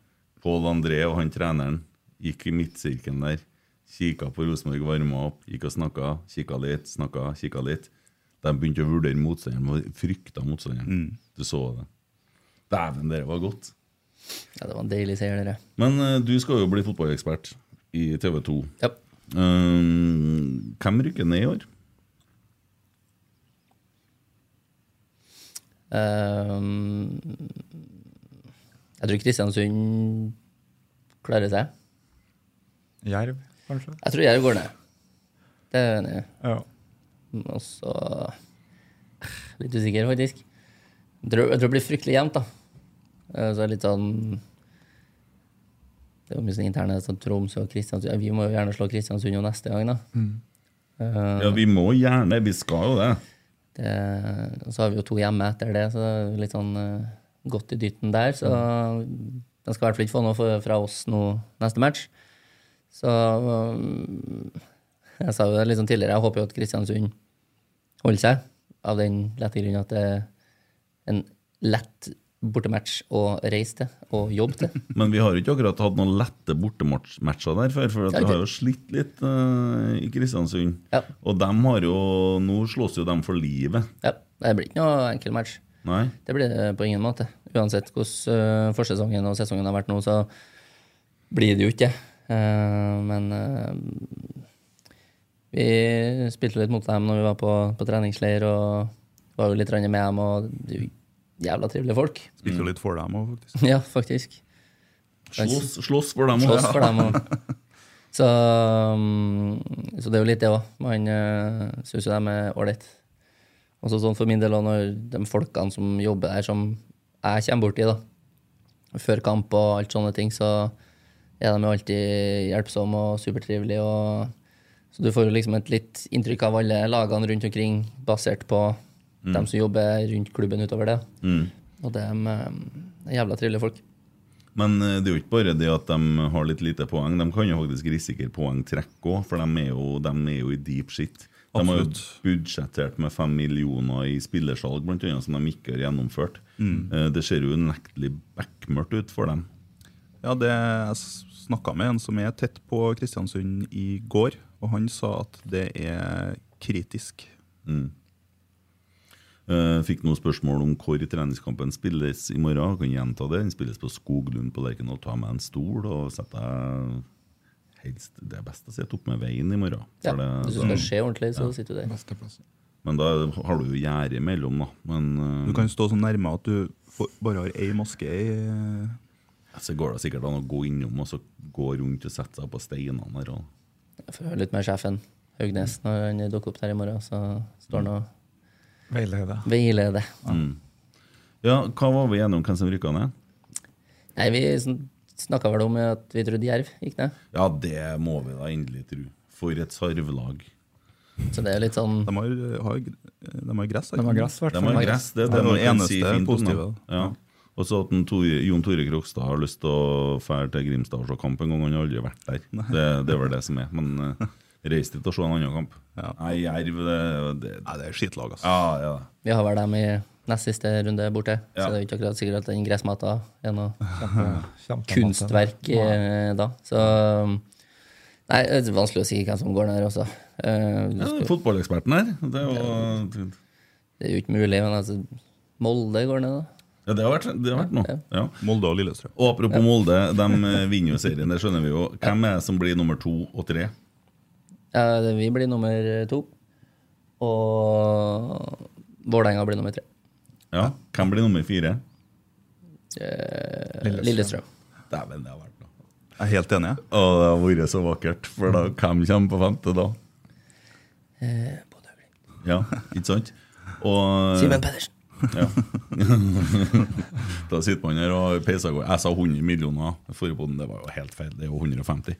C: Pål André og han treneren gikk i midtsirkelen der. Kikka på Rosenborg, varma opp, gikk og snakka, kikka litt, snakka, kikka litt. De begynte å vurdere motstanderen, og frykta motstanderen. Du så det. Dæven, det var godt.
E: Ja, det var en deilig seier, dere.
C: Men eh, du skal jo bli fotballekspert i TV 2.
E: Ja.
C: Eh, hvem rykker ned i år?
E: Ehm, jeg tror Kristiansund klarer seg.
F: Jerv, kanskje?
E: Jeg tror Jerv går ned. Det er jeg enig i.
F: Ja.
E: Og så Litt usikker, faktisk. Jeg tror, jeg tror det blir fryktelig jevnt, da. Eh, Så er det litt sånn Det er jo mye sånn interne så Tromsø og Kristiansund ja, Vi må jo gjerne slå Kristiansund jo neste gang, da. Eh,
C: Ja, Vi må gjerne, vi skal jo det.
E: det, og så har vi jo to hjemme etter det, så det er jo litt sånn eh, godt i dytten der. Så den skal i hvert fall ikke få noe for- fra oss nå neste match. Så um, Jeg sa jo det litt sånn tidligere, jeg håper jo at Kristiansund holder seg. Av den lette grunn at det er en lett bortematch å reise til og jobbe til.
C: Men vi har jo ikke akkurat hatt noen lette bortematcher der før, for at
E: Ja,
C: vi
E: det-
C: har jo slitt litt eh, i Kristiansund.
E: Ja.
C: Og dem har jo Nå slåss jo dem for livet.
E: Ja, Det blir ikke noe enkel match.
C: Nei?
E: Det blir det på ingen måte. Uansett hvordan øh, forsesongen og sesongen har vært nå, så blir det jo ikke det. Eh, men eh, vi spilte litt mot dem når vi var på, på treningsleir og var jo litt grann med dem. Og de er jo jævla trivelige folk.
D: Spilte jo litt for dem òg, faktisk.
E: ja, faktisk.
C: Slåss, slåss for dem
E: Slåss
C: òg.
E: for dem. Og. Så, mm, så det er jo litt det òg. Man uh, syns jo de er ålreit. Og så sånn for min del òg, når de folkene som jobber der, som jeg kommer borti, da, før kamp og alt sånne ting, så er de jo alltid hjelpsomme og supertrivelige. Og, så du får jo liksom et litt inntrykk av alle lagene rundt omkring, basert på dem som jobber rundt klubben utover det. Og de eh, er jævla trivelige folk.
C: Men eh, det er jo ikke bare det at de har litt lite poeng. De kan jo faktisk risikere poengtrekk òg, for de er, jo, de er jo i deep shit. De har jo
D: Absolutt.
C: budsjettert med fem millioner i spillersalg, blant annet, som de ikke har gjennomført. Eh, Det ser jo unektelig bekmørkt ut for dem.
D: Ja, det, Jeg snakka med en som er tett på Kristiansund i går, og han sa at det er kritisk.
C: Eh, Fikk noen spørsmål om hvor treningskampen spilles i morgen. Jeg kan gjenta det. Den spilles på Skoglund på Lerkendal. Ta med en stol og sett deg helst Det er best å sitte opp med veien i morgen.
E: Ja,
C: for det-
E: hvis du skal se ordentlig, så sitter du der.
F: Besteplassen.
C: men da har du jo gjerde imellom, da. Men
D: Du
C: eh,
D: kan stå så nærme at du får- bare har ei maske i eh,
C: så går det sikkert an å gå innom og så gå rundt og sette seg på steinene her. Og
E: Jeg får høre litt med sjefen Haugnes når han dukker opp der i morgen. Så står han og
F: Veilede.
E: veileder.
C: ja, hva var vi enige om hvem som rykka ned?
E: Nei, vi snakka vel om at vi trodde Jerv gikk ned.
C: Ja, det må vi da endelig tro. For et sarvlag.
E: Så det er jo litt sånn
D: De har, har, de har gress. har
F: De
D: ikke
F: har gress, i hvert
C: De
F: fall.
C: har gress, det er det
D: Det var
C: man
D: det
C: kan
D: eneste
C: si fint om
D: positive,
C: dem.
D: da.
C: Ja. Og så at en Tore, Jon Tore Krokstad har lyst til å dra til Grimstad og se kamp en gang. Han har aldri vært der. Det, det er vel det som er. Men uh, reis dit og se en annen kamp.
D: Ja.
C: Nei, Jerv det, det,
D: Nei, det er skitlag, altså.
C: Ja, ja.
E: Vi har vel dem i nest siste runde borte,
C: Ja.
E: så det er jo ikke akkurat sikkert at den gressmata er noe
F: Kjempe-
E: kunstverk eh, da. Så Nei, det er vanskelig å si hvem som går ned også. Eh, du
C: ja
E: skal-
C: Fotballeksperten her. Det, var,
E: Det er jo ikke mulig, men altså Molde går ned, da.
C: ja, det har vært, det har vært noe. Ja.
D: Molde og Lillestrøm.
C: Og apropos Molde, de eh, vinner jo serien, det skjønner vi jo. Hvem er det som blir nummer to og tre?
E: Ja, det- vi blir nummer to. Og Vålerenga blir nummer tre.
C: Ja, Hvem blir nummer fire?
E: Eh, Lillestrøm.
C: Dæven, det har vært noe.
D: Jeg er helt enig. jeg.
C: Å, det har vært så vakkert. For da, hvem kommer på femte da?
E: Eh, Bodø Glimt.
C: Ja, ikke sant? Og
E: Simen Pedersen.
C: ja. Da sitter man her og peiser av gårde. Jeg sa 100 millioner forrige podden, det var jo helt feil. Det er jo 150.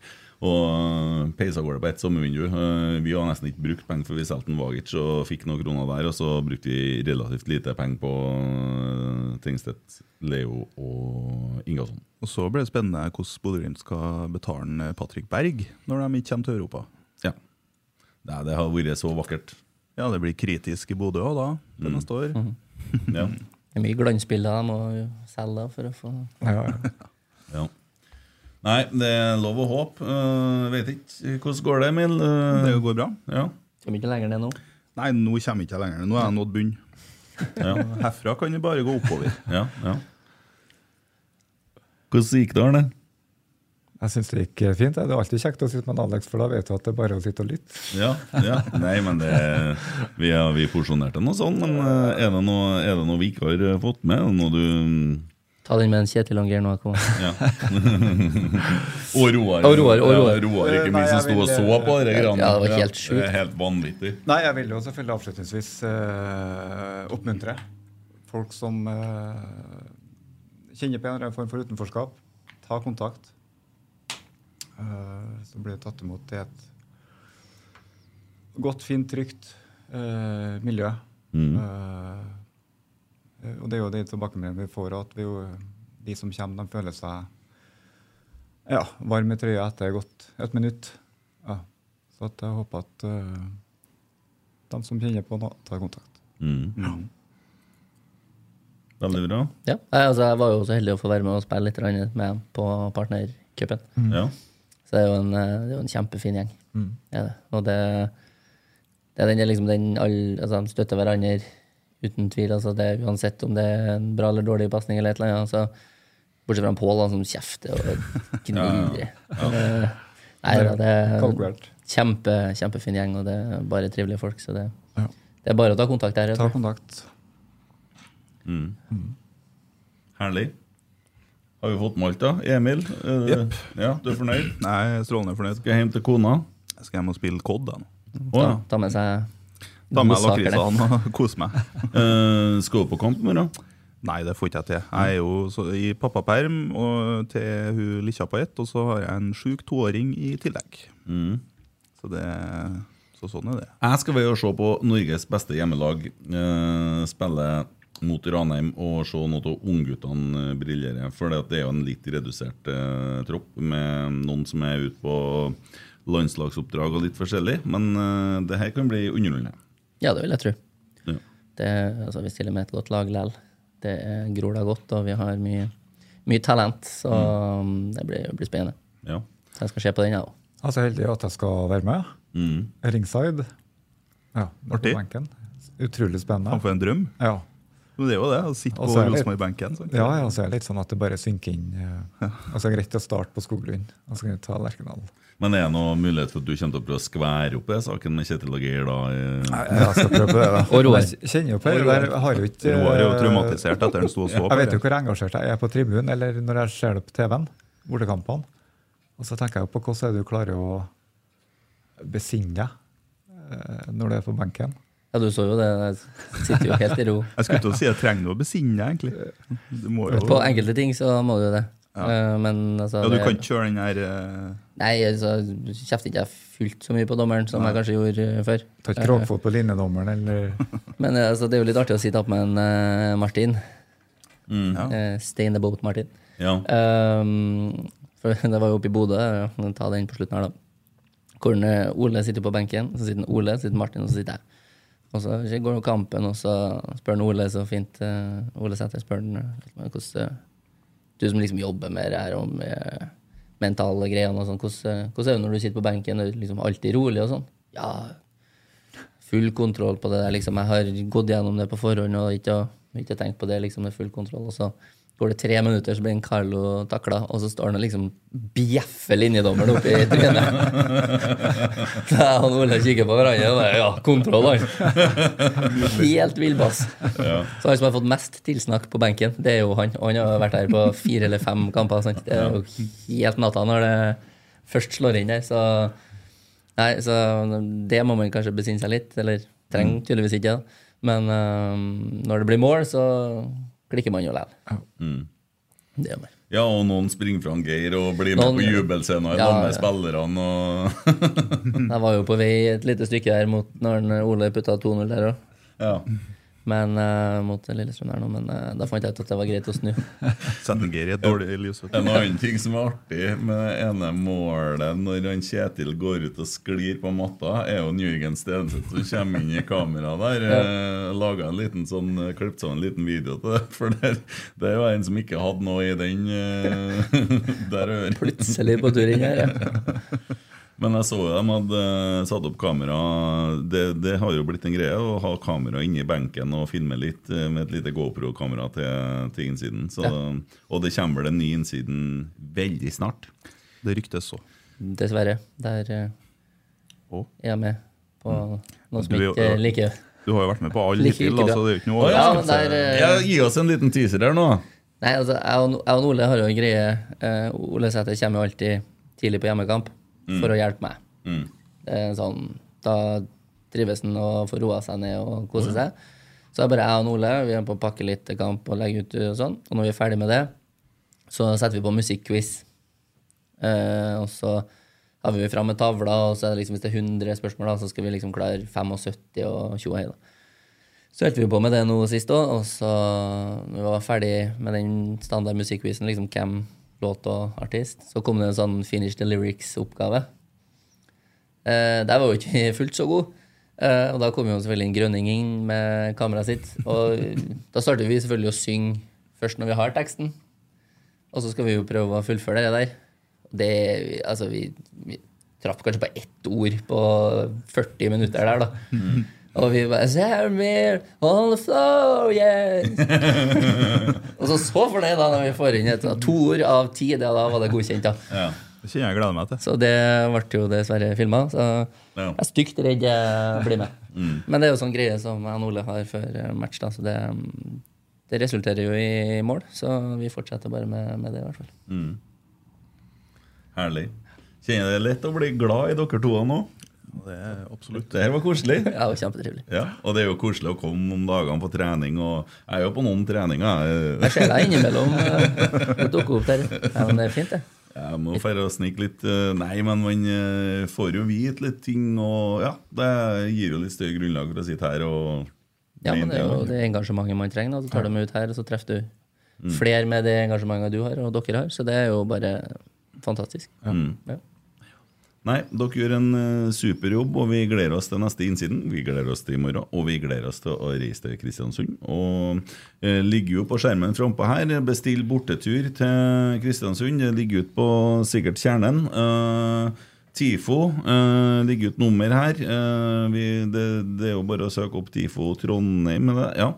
C: Og eh, peiser av gårde på ett sommervindu. Eh, Vi har nesten ikke brukt penger, for vi solgte en Vagic og fikk noen kroner der. Og så brukte vi relativt lite penger på eh, Tingstedt, Leo og Ingasson.
D: Og så blir det spennende hvordan Bodø-Glimt skal betale en eh, Patrick Berg når de ikke kommer til Europa.
C: Ja. Nei, det har vært så vakkert.
D: Ja, det blir kritisk i Bodø òg, da,
C: Mm.
D: det neste år.
E: Mhm.
C: Ja.
E: Det er mye glansbilder de må jo selge da, for å få
F: Ja, ja.
C: ja. Nei, det er lov å håpe. Eh, vet ikke hvordan går det, Emil? Eh,
D: Det går bra.
C: ja.
E: Kommer ikke lenger ned nå.
D: Nei, nå kommer jeg ikke lenger. Nå har jeg nådd bunnen.
C: Ja.
D: Herfra kan det bare gå oppover.
C: Ja, ja. Hvordan gikk det, Arne?
F: Jeg syns det gikk fint. jeg. Det er alltid kjekt å sitte med en Alex, for da vet du at det er bare å sitte og lytte.
C: Ja, ja. Nei, men det, vi, har- vi porsjonerte noe sånn, men eh, er det noe, er det noe vi ikke har eh, fått med? Er det Noe du
E: Ta den med en Kjetil Anger nå. kom.
C: ja. og Roar.
E: Og Roar, og Roar.
C: Ja, Roar
D: Eh,
C: ikke minst, som
F: Nei, jeg
C: sto og
F: vil,
C: så på de greiene.
E: Ja, det var helt
C: Det er helt vanvittig.
F: Nei, jeg vil jo selvfølgelig avslutningsvis eh, oppmuntre folk som eh, kjenner på en eller annen form for utenforskap. Ta kontakt. Eh, så blir du tatt imot i et godt, fint, trygt eh, miljø. Eh, og det er jo de tilbakemeldingene vi får, at vi jo, de som kommer, de føler seg ja, varme i trøya etter godt et minutt. Ja. Så at jeg håper at eh, de som kjenner på noe, tar kontakt.
C: Veldig bra.
E: Ja, Nei, altså, jeg var jo så heldig å få være med og spille litt grann med dem på partnercupen.
C: Ja.
E: Så det er jo en, eh, det er jo en kjempefin gjeng.
F: Mm.
E: Er det. Og det, det er den, det er liksom den all, altså, De støtter hverandre uten tvil. Altså, det, er uansett om det er en bra eller dårlig pasning eller et eller annet. Altså, bortsett fra Pål, han som kjefter og gnir. Eh, Nei, da, det er en
F: Kalkulert.
E: kjempe, kjempefin gjeng, og det er bare trivelige folk. Så det,
F: Ja.
E: det er bare å ta kontakt der.
F: Ta
E: Altså.
F: kontakt.
C: Herlig. Har vi fått med alt, da? Emil, eh,
D: Jepp.
C: ja, du er fornøyd?
D: Nei, jeg er strålende fornøyd.
C: Skal jeg hjem til kona?
D: Jeg skal hjem og spille COD. da nå.
C: Å
E: Ta,
C: ja.
E: ta med seg
D: Ta med
E: godsaker der.
D: lakrisene og kose meg.
C: Eh, skal du på kamp i morgen?
D: Nei, det får ikke jeg til. Jeg er jo så, i pappaperm og til hun likkja på ett, og så har jeg en sjuk toåring i tillegg. Så, det, så sånn er det.
C: Jeg skal være og se på Norges beste hjemmelag eh, spille mot Ranheim og se noe av ungguttene eh, briljere. For det at det er jo en litt redusert eh, tropp med noen som er ute på landslagsoppdrag og litt forskjellig. Men eh, det her kan bli underholdende.
E: Ja, det vil jeg tro.
C: Ja.
E: Det, altså, vi stiller med et godt lag lell. Det er- gror da godt, og vi har mye, mye talent. Så
D: Mm.
E: um, det blir, blir spennende.
C: Ja.
E: Så jeg skal se på den, jeg òg.
F: Jeg er så heldig at jeg skal være med.
C: Mm.
F: Ringside. Ja, på
D: Artig.
F: benken. Utrolig
D: Han
F: spennende.
D: får en drøm.
F: Ja.
D: Men det er jo det, å sitte
F: Og så
D: på
F: er det-
D: Rosenborg-benken. sant?
F: ja, ja, så er det litt sånn at det bare synker inn. eh, Og så er det greit å starte på Skoglund, og så kan vi ta Lerkendal.
C: Men er det noen mulighet for at du kommer til å prøve å skvære opp i saken med Kjetil og Geir da? eh?
F: Jeg skal prøve på det, da.
E: Og Roar.
F: Jeg kjenner jo på det. Der har jeg jo ikke eh,
D: Roar er jo traumatisert etter han sto og så på.
F: Jeg vet jo hvor engasjert jeg er på tribunen, eller når jeg ser det på TV-en, bortekampene. Og så tenker jeg jo på hvordan er det du klarer å besinne deg eh, når du er på benken.
E: Ja, du så jo det. Jeg sitter jo helt i ro.
D: Jeg skulle til å si jeg trenger noe å besinne deg, egentlig. Du må jo
E: På enkelte ting så må du jo det. Eh, Men altså
D: Ja, du
E: det-
D: kan ikke kjøre den her eh,
E: Nei, altså, kjefter ikke jeg fullt så mye på dommeren som jeg kanskje gjorde eh, før.
F: Ta ikke krogfot på linjedommeren, eller
E: Men eh, altså, det er jo litt artig å sitte opp med en eh, Martin.
D: ja.
E: Eh, Stay in the boat, Martin.
C: Ja.
E: Ehm, for det var jo oppe i Bodø. ja, men Ta den på slutten her, da. Hvor eh, Ole sitter på benken, så sitter Ole, så sitter Martin, og så sitter jeg. Og så går jo kampen, og så spør han Ole så fint eh, Ole Sæther spør han eh, hvordan eh, Du som liksom jobber med det her og med eh, mentale greiene og sånn, hvordan, eh, hvordan er det når du sitter på benken? Er du liksom alltid rolig og sånn? Ja, full kontroll på det der. Liksom. Jeg har gått gjennom det på forhånd og ikke, ikke tenkt på det. Liksom, med full kontroll. Og så går det tre minutter, så blir en Carlo takla, og så står han og liksom bjeffer linjedommeren opp i trynet. Så jeg og Ole kikker på hverandre og bare Ja, kontroll, han! Helt villbass. Så han som har fått mest tilsnakk på benken, det er jo han. Og han har vært her på fire eller fem kamper. Sant? Det er jo helt natta når det først slår inn der. så... Nei, så det må man kanskje besinne seg litt, eller trenger tydeligvis ikke. da. Men øhm, når det blir mål, så klikker man jo likevel. Det gjør man.
C: ja, og noen springer fra han Geir og blir med
E: Noen-
C: på jubelscenen
E: Ja,
C: sammen med
E: ja.
C: spillerne og
E: Jeg var jo på vei et lite stykke her mot når han eh, Ole putta 2-0 der òg.
C: ja.
E: Men øh, mot Lillestrøm der nå, men øh, da fant jeg ut at det var greit å snu.
D: Sette en Geir i et dårlig lys. vet du.
C: En annen ting som er artig med det ene målet når han Kjetil går ut og sklir på matta, er jo en Jørgen Stenseth som kommer inn i kameraet der. Ja. Laga Eh, en liten sånn eh, Klippet sammen en liten video til det. For der, det er jo en som ikke hadde noe i den eh, der øret.
E: Plutselig på tur inn her. Ja.
C: Men jeg så jo de hadde eh, satt opp kamera det, det har jo blitt en greie å ha kamera inni benken og filme litt eh, med et lite GoPro-kamera til, til innsiden. Så, Og det kommer vel en ny innsiden veldig snart.
D: Det ryktes så.
E: Dessverre. Der eh,
D: Å? Mm.
E: er jeg med på noe som
D: Du er jo-
E: ikke eh, liker
D: Du har jo vært med på alle
E: Like
D: hittil,
E: ikke
D: da,
E: bra.
D: så det er jo ikke noe
C: Å,
E: ja,
D: overraskelse.
E: men der, eh,
C: Ja, gi oss en liten teaser her nå.
E: Nei, altså, jeg og, jeg og Ole har jo en greie. Eh, Ole Sæther kommer jo alltid tidlig på hjemmekamp for å hjelpe meg. Det er sånn, da trives han og får roa seg ned og kose seg. Så er bare jeg og Ole vi er på å pakke litt til kamp og legge ut og sånn. Og når vi er ferdig med det, så setter vi på musikkquiz. Eh, og så har vi fram med tavla, og så er det liksom, hvis det er 100 spørsmål, da, så skal vi liksom klare 75 og 20 hei, da. Så holdt vi på med det nå sist òg, og så når vi var ferdig med den standard musikkvisen, liksom hvem låt og artist, så kom det en sånn finish the lyrics-oppgave. Eh, der var jo ikke vi fullt så god. Eh, og da kom jo selvfølgelig en grønning inn med kameraet sitt. Og da starter vi selvfølgelig å synge først når vi har teksten. Og så skal vi jo prøve å fullføre det der. Det, altså, vi, vi traff kanskje på ett ord på 40 minutter der, da. Og vi bare Samir, on the floor, yeah! og så så for det, da, når vi får inn et, to ord av ti. Da, da var det godkjent, da.
D: Det kjenner jeg gleder meg til.
E: Så det ble jo dessverre filma. Så
C: Ja.
E: jeg er stygt redd jeg blir med. Men det er jo sånn greie som jeg og Ole har før match, da, så det, det resulterer jo i mål. Så vi fortsetter bare med, med det, i hvert fall.
C: Herlig. Kjenner det lett å bli glad i dere to nå?
D: Det er absolutt.
C: Det her var koselig.
E: Ja, det var kjempetrivelig.
C: Ja, og det er jo koselig å komme om dagene på trening. Og jeg er jo på noen treninger.
E: Jeg ser deg innimellom eh, dukke opp der. Ja, men det er fint, det.
C: Jeg må færre og snike litt eh, Nei, men man eh, får jo vite litt ting, og ja, det gir jo litt større grunnlag for å sitte her og
E: Ja, Mm. men det er jo det engasjementet man trenger. Da. Så tar du med ut her, og så treffer du flere med det engasjementet du har, og dere har. Så det er jo bare fantastisk. Mm. Ja.
C: Nei, dere gjør en eh, super jobb, og vi gleder oss til neste innsiden. Vi gleder oss til i morgen, og vi gleder oss til å reise til Kristiansund. Og eh, ligger jo på skjermen frampå her. Bestill bortetur til Kristiansund. Det ligger ut på sikkert kjernen. Eh, TIFO eh, ligger ut nummer her. Eh, vi, det, det er jo bare å søke opp TIFO Trondheim. eller- Ja.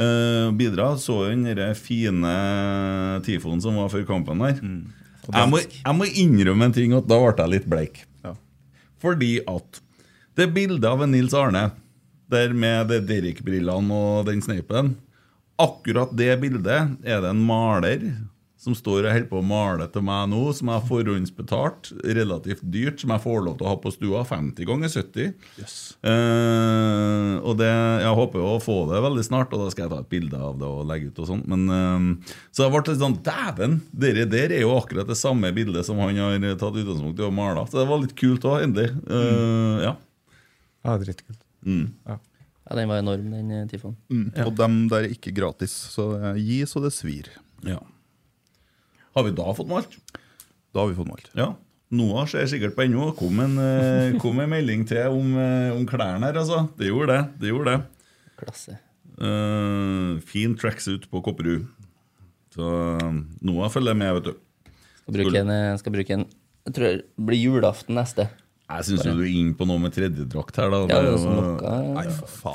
C: Eh, bidra. Så jo den der fine TIFO-en som var før kampen her. Jeg må, jeg må innrømme en ting, at da ble jeg litt bleik.
D: Ja.
C: Fordi at det bildet av en Nils Arne, der med det Derek-brillene og den sneipen Akkurat det bildet er det en maler som står og holder på å male til meg nå, som jeg har forhåndsbetalt, relativt dyrt, som jeg får lov til å ha på stua 50 ganger 70.
D: Yes.
C: Eh, og det, jeg håper jo å få det veldig snart, og da skal jeg ta et bilde av det og legge ut. og sånt. Men, eh, Så jeg ble litt sånn Dæven! Dere der er jo akkurat det samme bildet som han har tatt utgangspunkt i og mala. Så det var litt kult òg, endelig. Eh, ja.
F: Ja, dritkult.
E: ja, den var enorm, den eh, tifoen.
D: Mm. Og dem der er ikke gratis, så det er gi så det svir.
C: ja. Har vi da fått malt?
D: Da har vi fått malt.
C: Ja. Noah ser sikkert på NO. Kom en, eh, kom en melding til om, eh, om klærne her, altså. Det gjorde det. det, gjorde det.
E: Klasse.
C: Eh, fin tracksuit på Kopperud. Så eh, Noah følger med, vet du.
E: Skal bruke en, eh, skal bruke en Jeg tror det blir julaften neste.
C: Jeg syns jo du er inne på noe med tredjedrakt her, da.
E: Ja, det er
C: jo-
E: som noe eh,
D: Nei, for faen.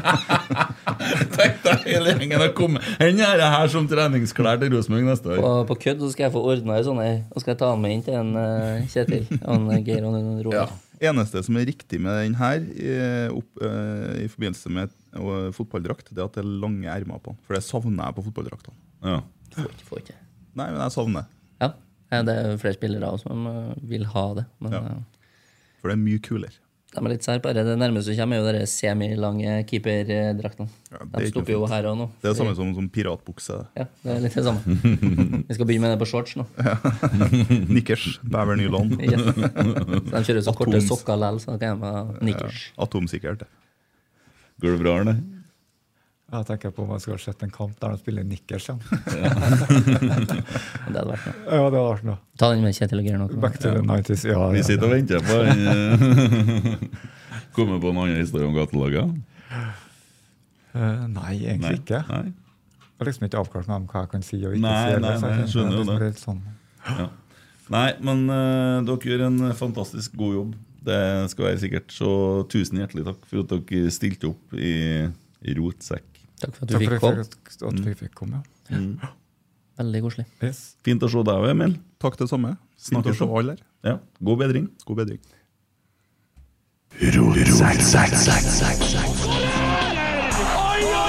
C: Tre- Tenk deg hele gjengen har kommet Hen er det her som treningsklær til Rosenborg neste år.
E: På, på kødd så skal jeg få ordna ei sånn ei, og skal jeg ta den med inn til en eh, Kjetil. Han eh, Geir og en
D: Ja.
E: Roar.
D: Eneste som er riktig med den her i, opp, eh, i forbindelse med eh, fotballdrakt, det er at det er lange ermer på den. For det savner jeg på fotballdraktene.
C: Ja.
E: Får ikke, får ikke.
D: Nei, men jeg savner
E: Ja. ja, det er jo flere spillere også som eh, vil ha det. Men
D: Ja.
E: eh,
D: For det er mye kulere.
E: de er litt sær bare. Det nærmeste som kommer, er jo de semilange keeperdraktene.
D: Ja, det er
E: de
D: ikke noe
E: stopper jo
D: fint.
E: her og nå.
D: Det er det samme som, som piratbukse.
E: Ja, det er litt det samme. Vi skal begynne med det på shorts nå.
D: Nikkers, bæver nylon.
E: Yes. Så de kjører så korte
D: Atoms.
E: sokker likevel, så da kan jeg ha nikkers.
D: Atomsikkert.
C: Går det bra, Arne?
F: Jeg tenker på om jeg skulle ha sett en kamp der de spiller nikkers igjen.
E: Det hadde vært noe.
F: Ja, det hadde vært noe.
E: Ta den med Kjetil og Geir nå.
F: Back to the 90s. Ja,
C: Vi
F: ja,
C: sitter og venter på han, eh, Kommer på en annen historie om gatelaget?
F: Eh, nei, egentlig ikke. Jeg
C: Nei.
F: har liksom ikke avklart meg om hva jeg kan si og ikke
C: Nei, nei,
F: si. så jeg
C: nei, jeg
F: tenker
C: skjønner jo
F: liksom
C: det.
F: litt Sånn.
C: Nei, men eh, dere gjør en fantastisk god jobb. Det skal være sikkert. Så tusen hjertelig takk for at dere stilte opp i Rotsekk.
E: Takk for at du fikk
F: Takk for at
E: komme.
F: jeg fikk- at vi fikk komme. ja.
E: Veldig koselig.
F: Yes.
C: Fint å se deg, Emil.
D: Takk, det samme.
C: Snakkes.
D: Snakkes om alle her.
C: Ja, God bedring.
D: God bedring.
A: Oi, oi,